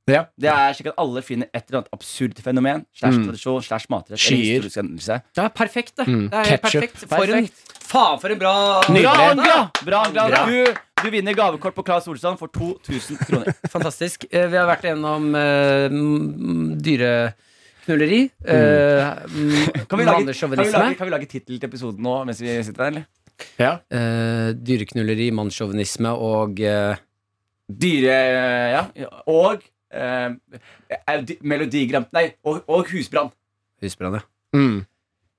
[SPEAKER 3] Ja.
[SPEAKER 2] Det er slik at alle finner et eller annet absurd fenomen, slash
[SPEAKER 3] Mm.
[SPEAKER 2] tradisjon, slash matrett,
[SPEAKER 3] Skyer.
[SPEAKER 2] eller historisk hendelse.
[SPEAKER 4] Det er perfekt, det.
[SPEAKER 3] Mm.
[SPEAKER 4] det er helt
[SPEAKER 3] Ketchup.
[SPEAKER 4] perfekt. For en, faen, for en bra
[SPEAKER 2] Bra,
[SPEAKER 3] Nydelig.
[SPEAKER 2] Angela! Bra, Angela.
[SPEAKER 4] Bra.
[SPEAKER 2] Du, du vinner gavekort på Claes Olsson for 2000 kroner.
[SPEAKER 4] Fantastisk. Eh, Vi har vært gjennom eh, m- dyreknulleri.
[SPEAKER 3] Mm.
[SPEAKER 4] Eh, m-
[SPEAKER 2] Kan vi lage, kan vi
[SPEAKER 4] Mannssjåvinisme.
[SPEAKER 2] lage, kan vi lage tittel til episoden nå mens vi sitter her, eller?
[SPEAKER 3] Ja.
[SPEAKER 4] Eh, dyreknulleri, mannssjåvinisme og eh,
[SPEAKER 2] Dyre Ja. Og eh, eh, di- Melodi Grand Nei, og, og Husbrann.
[SPEAKER 4] husbrann, ja.
[SPEAKER 3] Mm.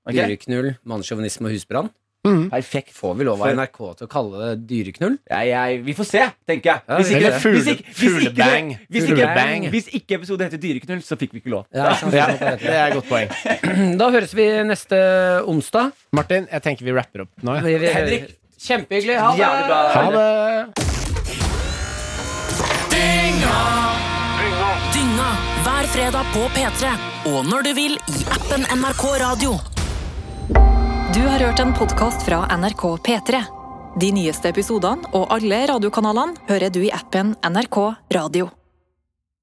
[SPEAKER 2] Ok?
[SPEAKER 4] Dyreknull, mannssjåvinisme og husbrann.
[SPEAKER 3] Mm.
[SPEAKER 2] Perfekt.
[SPEAKER 4] Får vi lov av
[SPEAKER 2] For-
[SPEAKER 4] NRK til å kalle det dyreknull?
[SPEAKER 2] Jeg, jeg, vi får se, tenker jeg.
[SPEAKER 4] Ja,
[SPEAKER 2] Hvis
[SPEAKER 4] vi
[SPEAKER 2] ikke,
[SPEAKER 4] får
[SPEAKER 3] se.
[SPEAKER 2] hvis ikke, hvis ikke,
[SPEAKER 3] Fuglebang.
[SPEAKER 2] det- hvis ikke,
[SPEAKER 4] Fuglebang.
[SPEAKER 2] hvis ikke episoden heter Dyreknull, så fikk vi ikke lov.
[SPEAKER 4] Ja, sånn ikke sant?
[SPEAKER 3] Ja, det er et godt poeng.
[SPEAKER 4] Da høres vi neste onsdag.
[SPEAKER 3] Martin, jeg tenker vi rapper opp nå. Ja.
[SPEAKER 4] Vi- vi-
[SPEAKER 2] Henrik,
[SPEAKER 4] Kjempehyggelig. Ha det!
[SPEAKER 2] Jævlig bra.
[SPEAKER 3] Ha det!
[SPEAKER 6] Dynga hver fredag på P3. Og når du vil i appen NRK Radio.
[SPEAKER 1] Du har hørt en podkast fra NRK P3. De nyeste episodene og alle radiokanalene hører du i appen NRK Radio.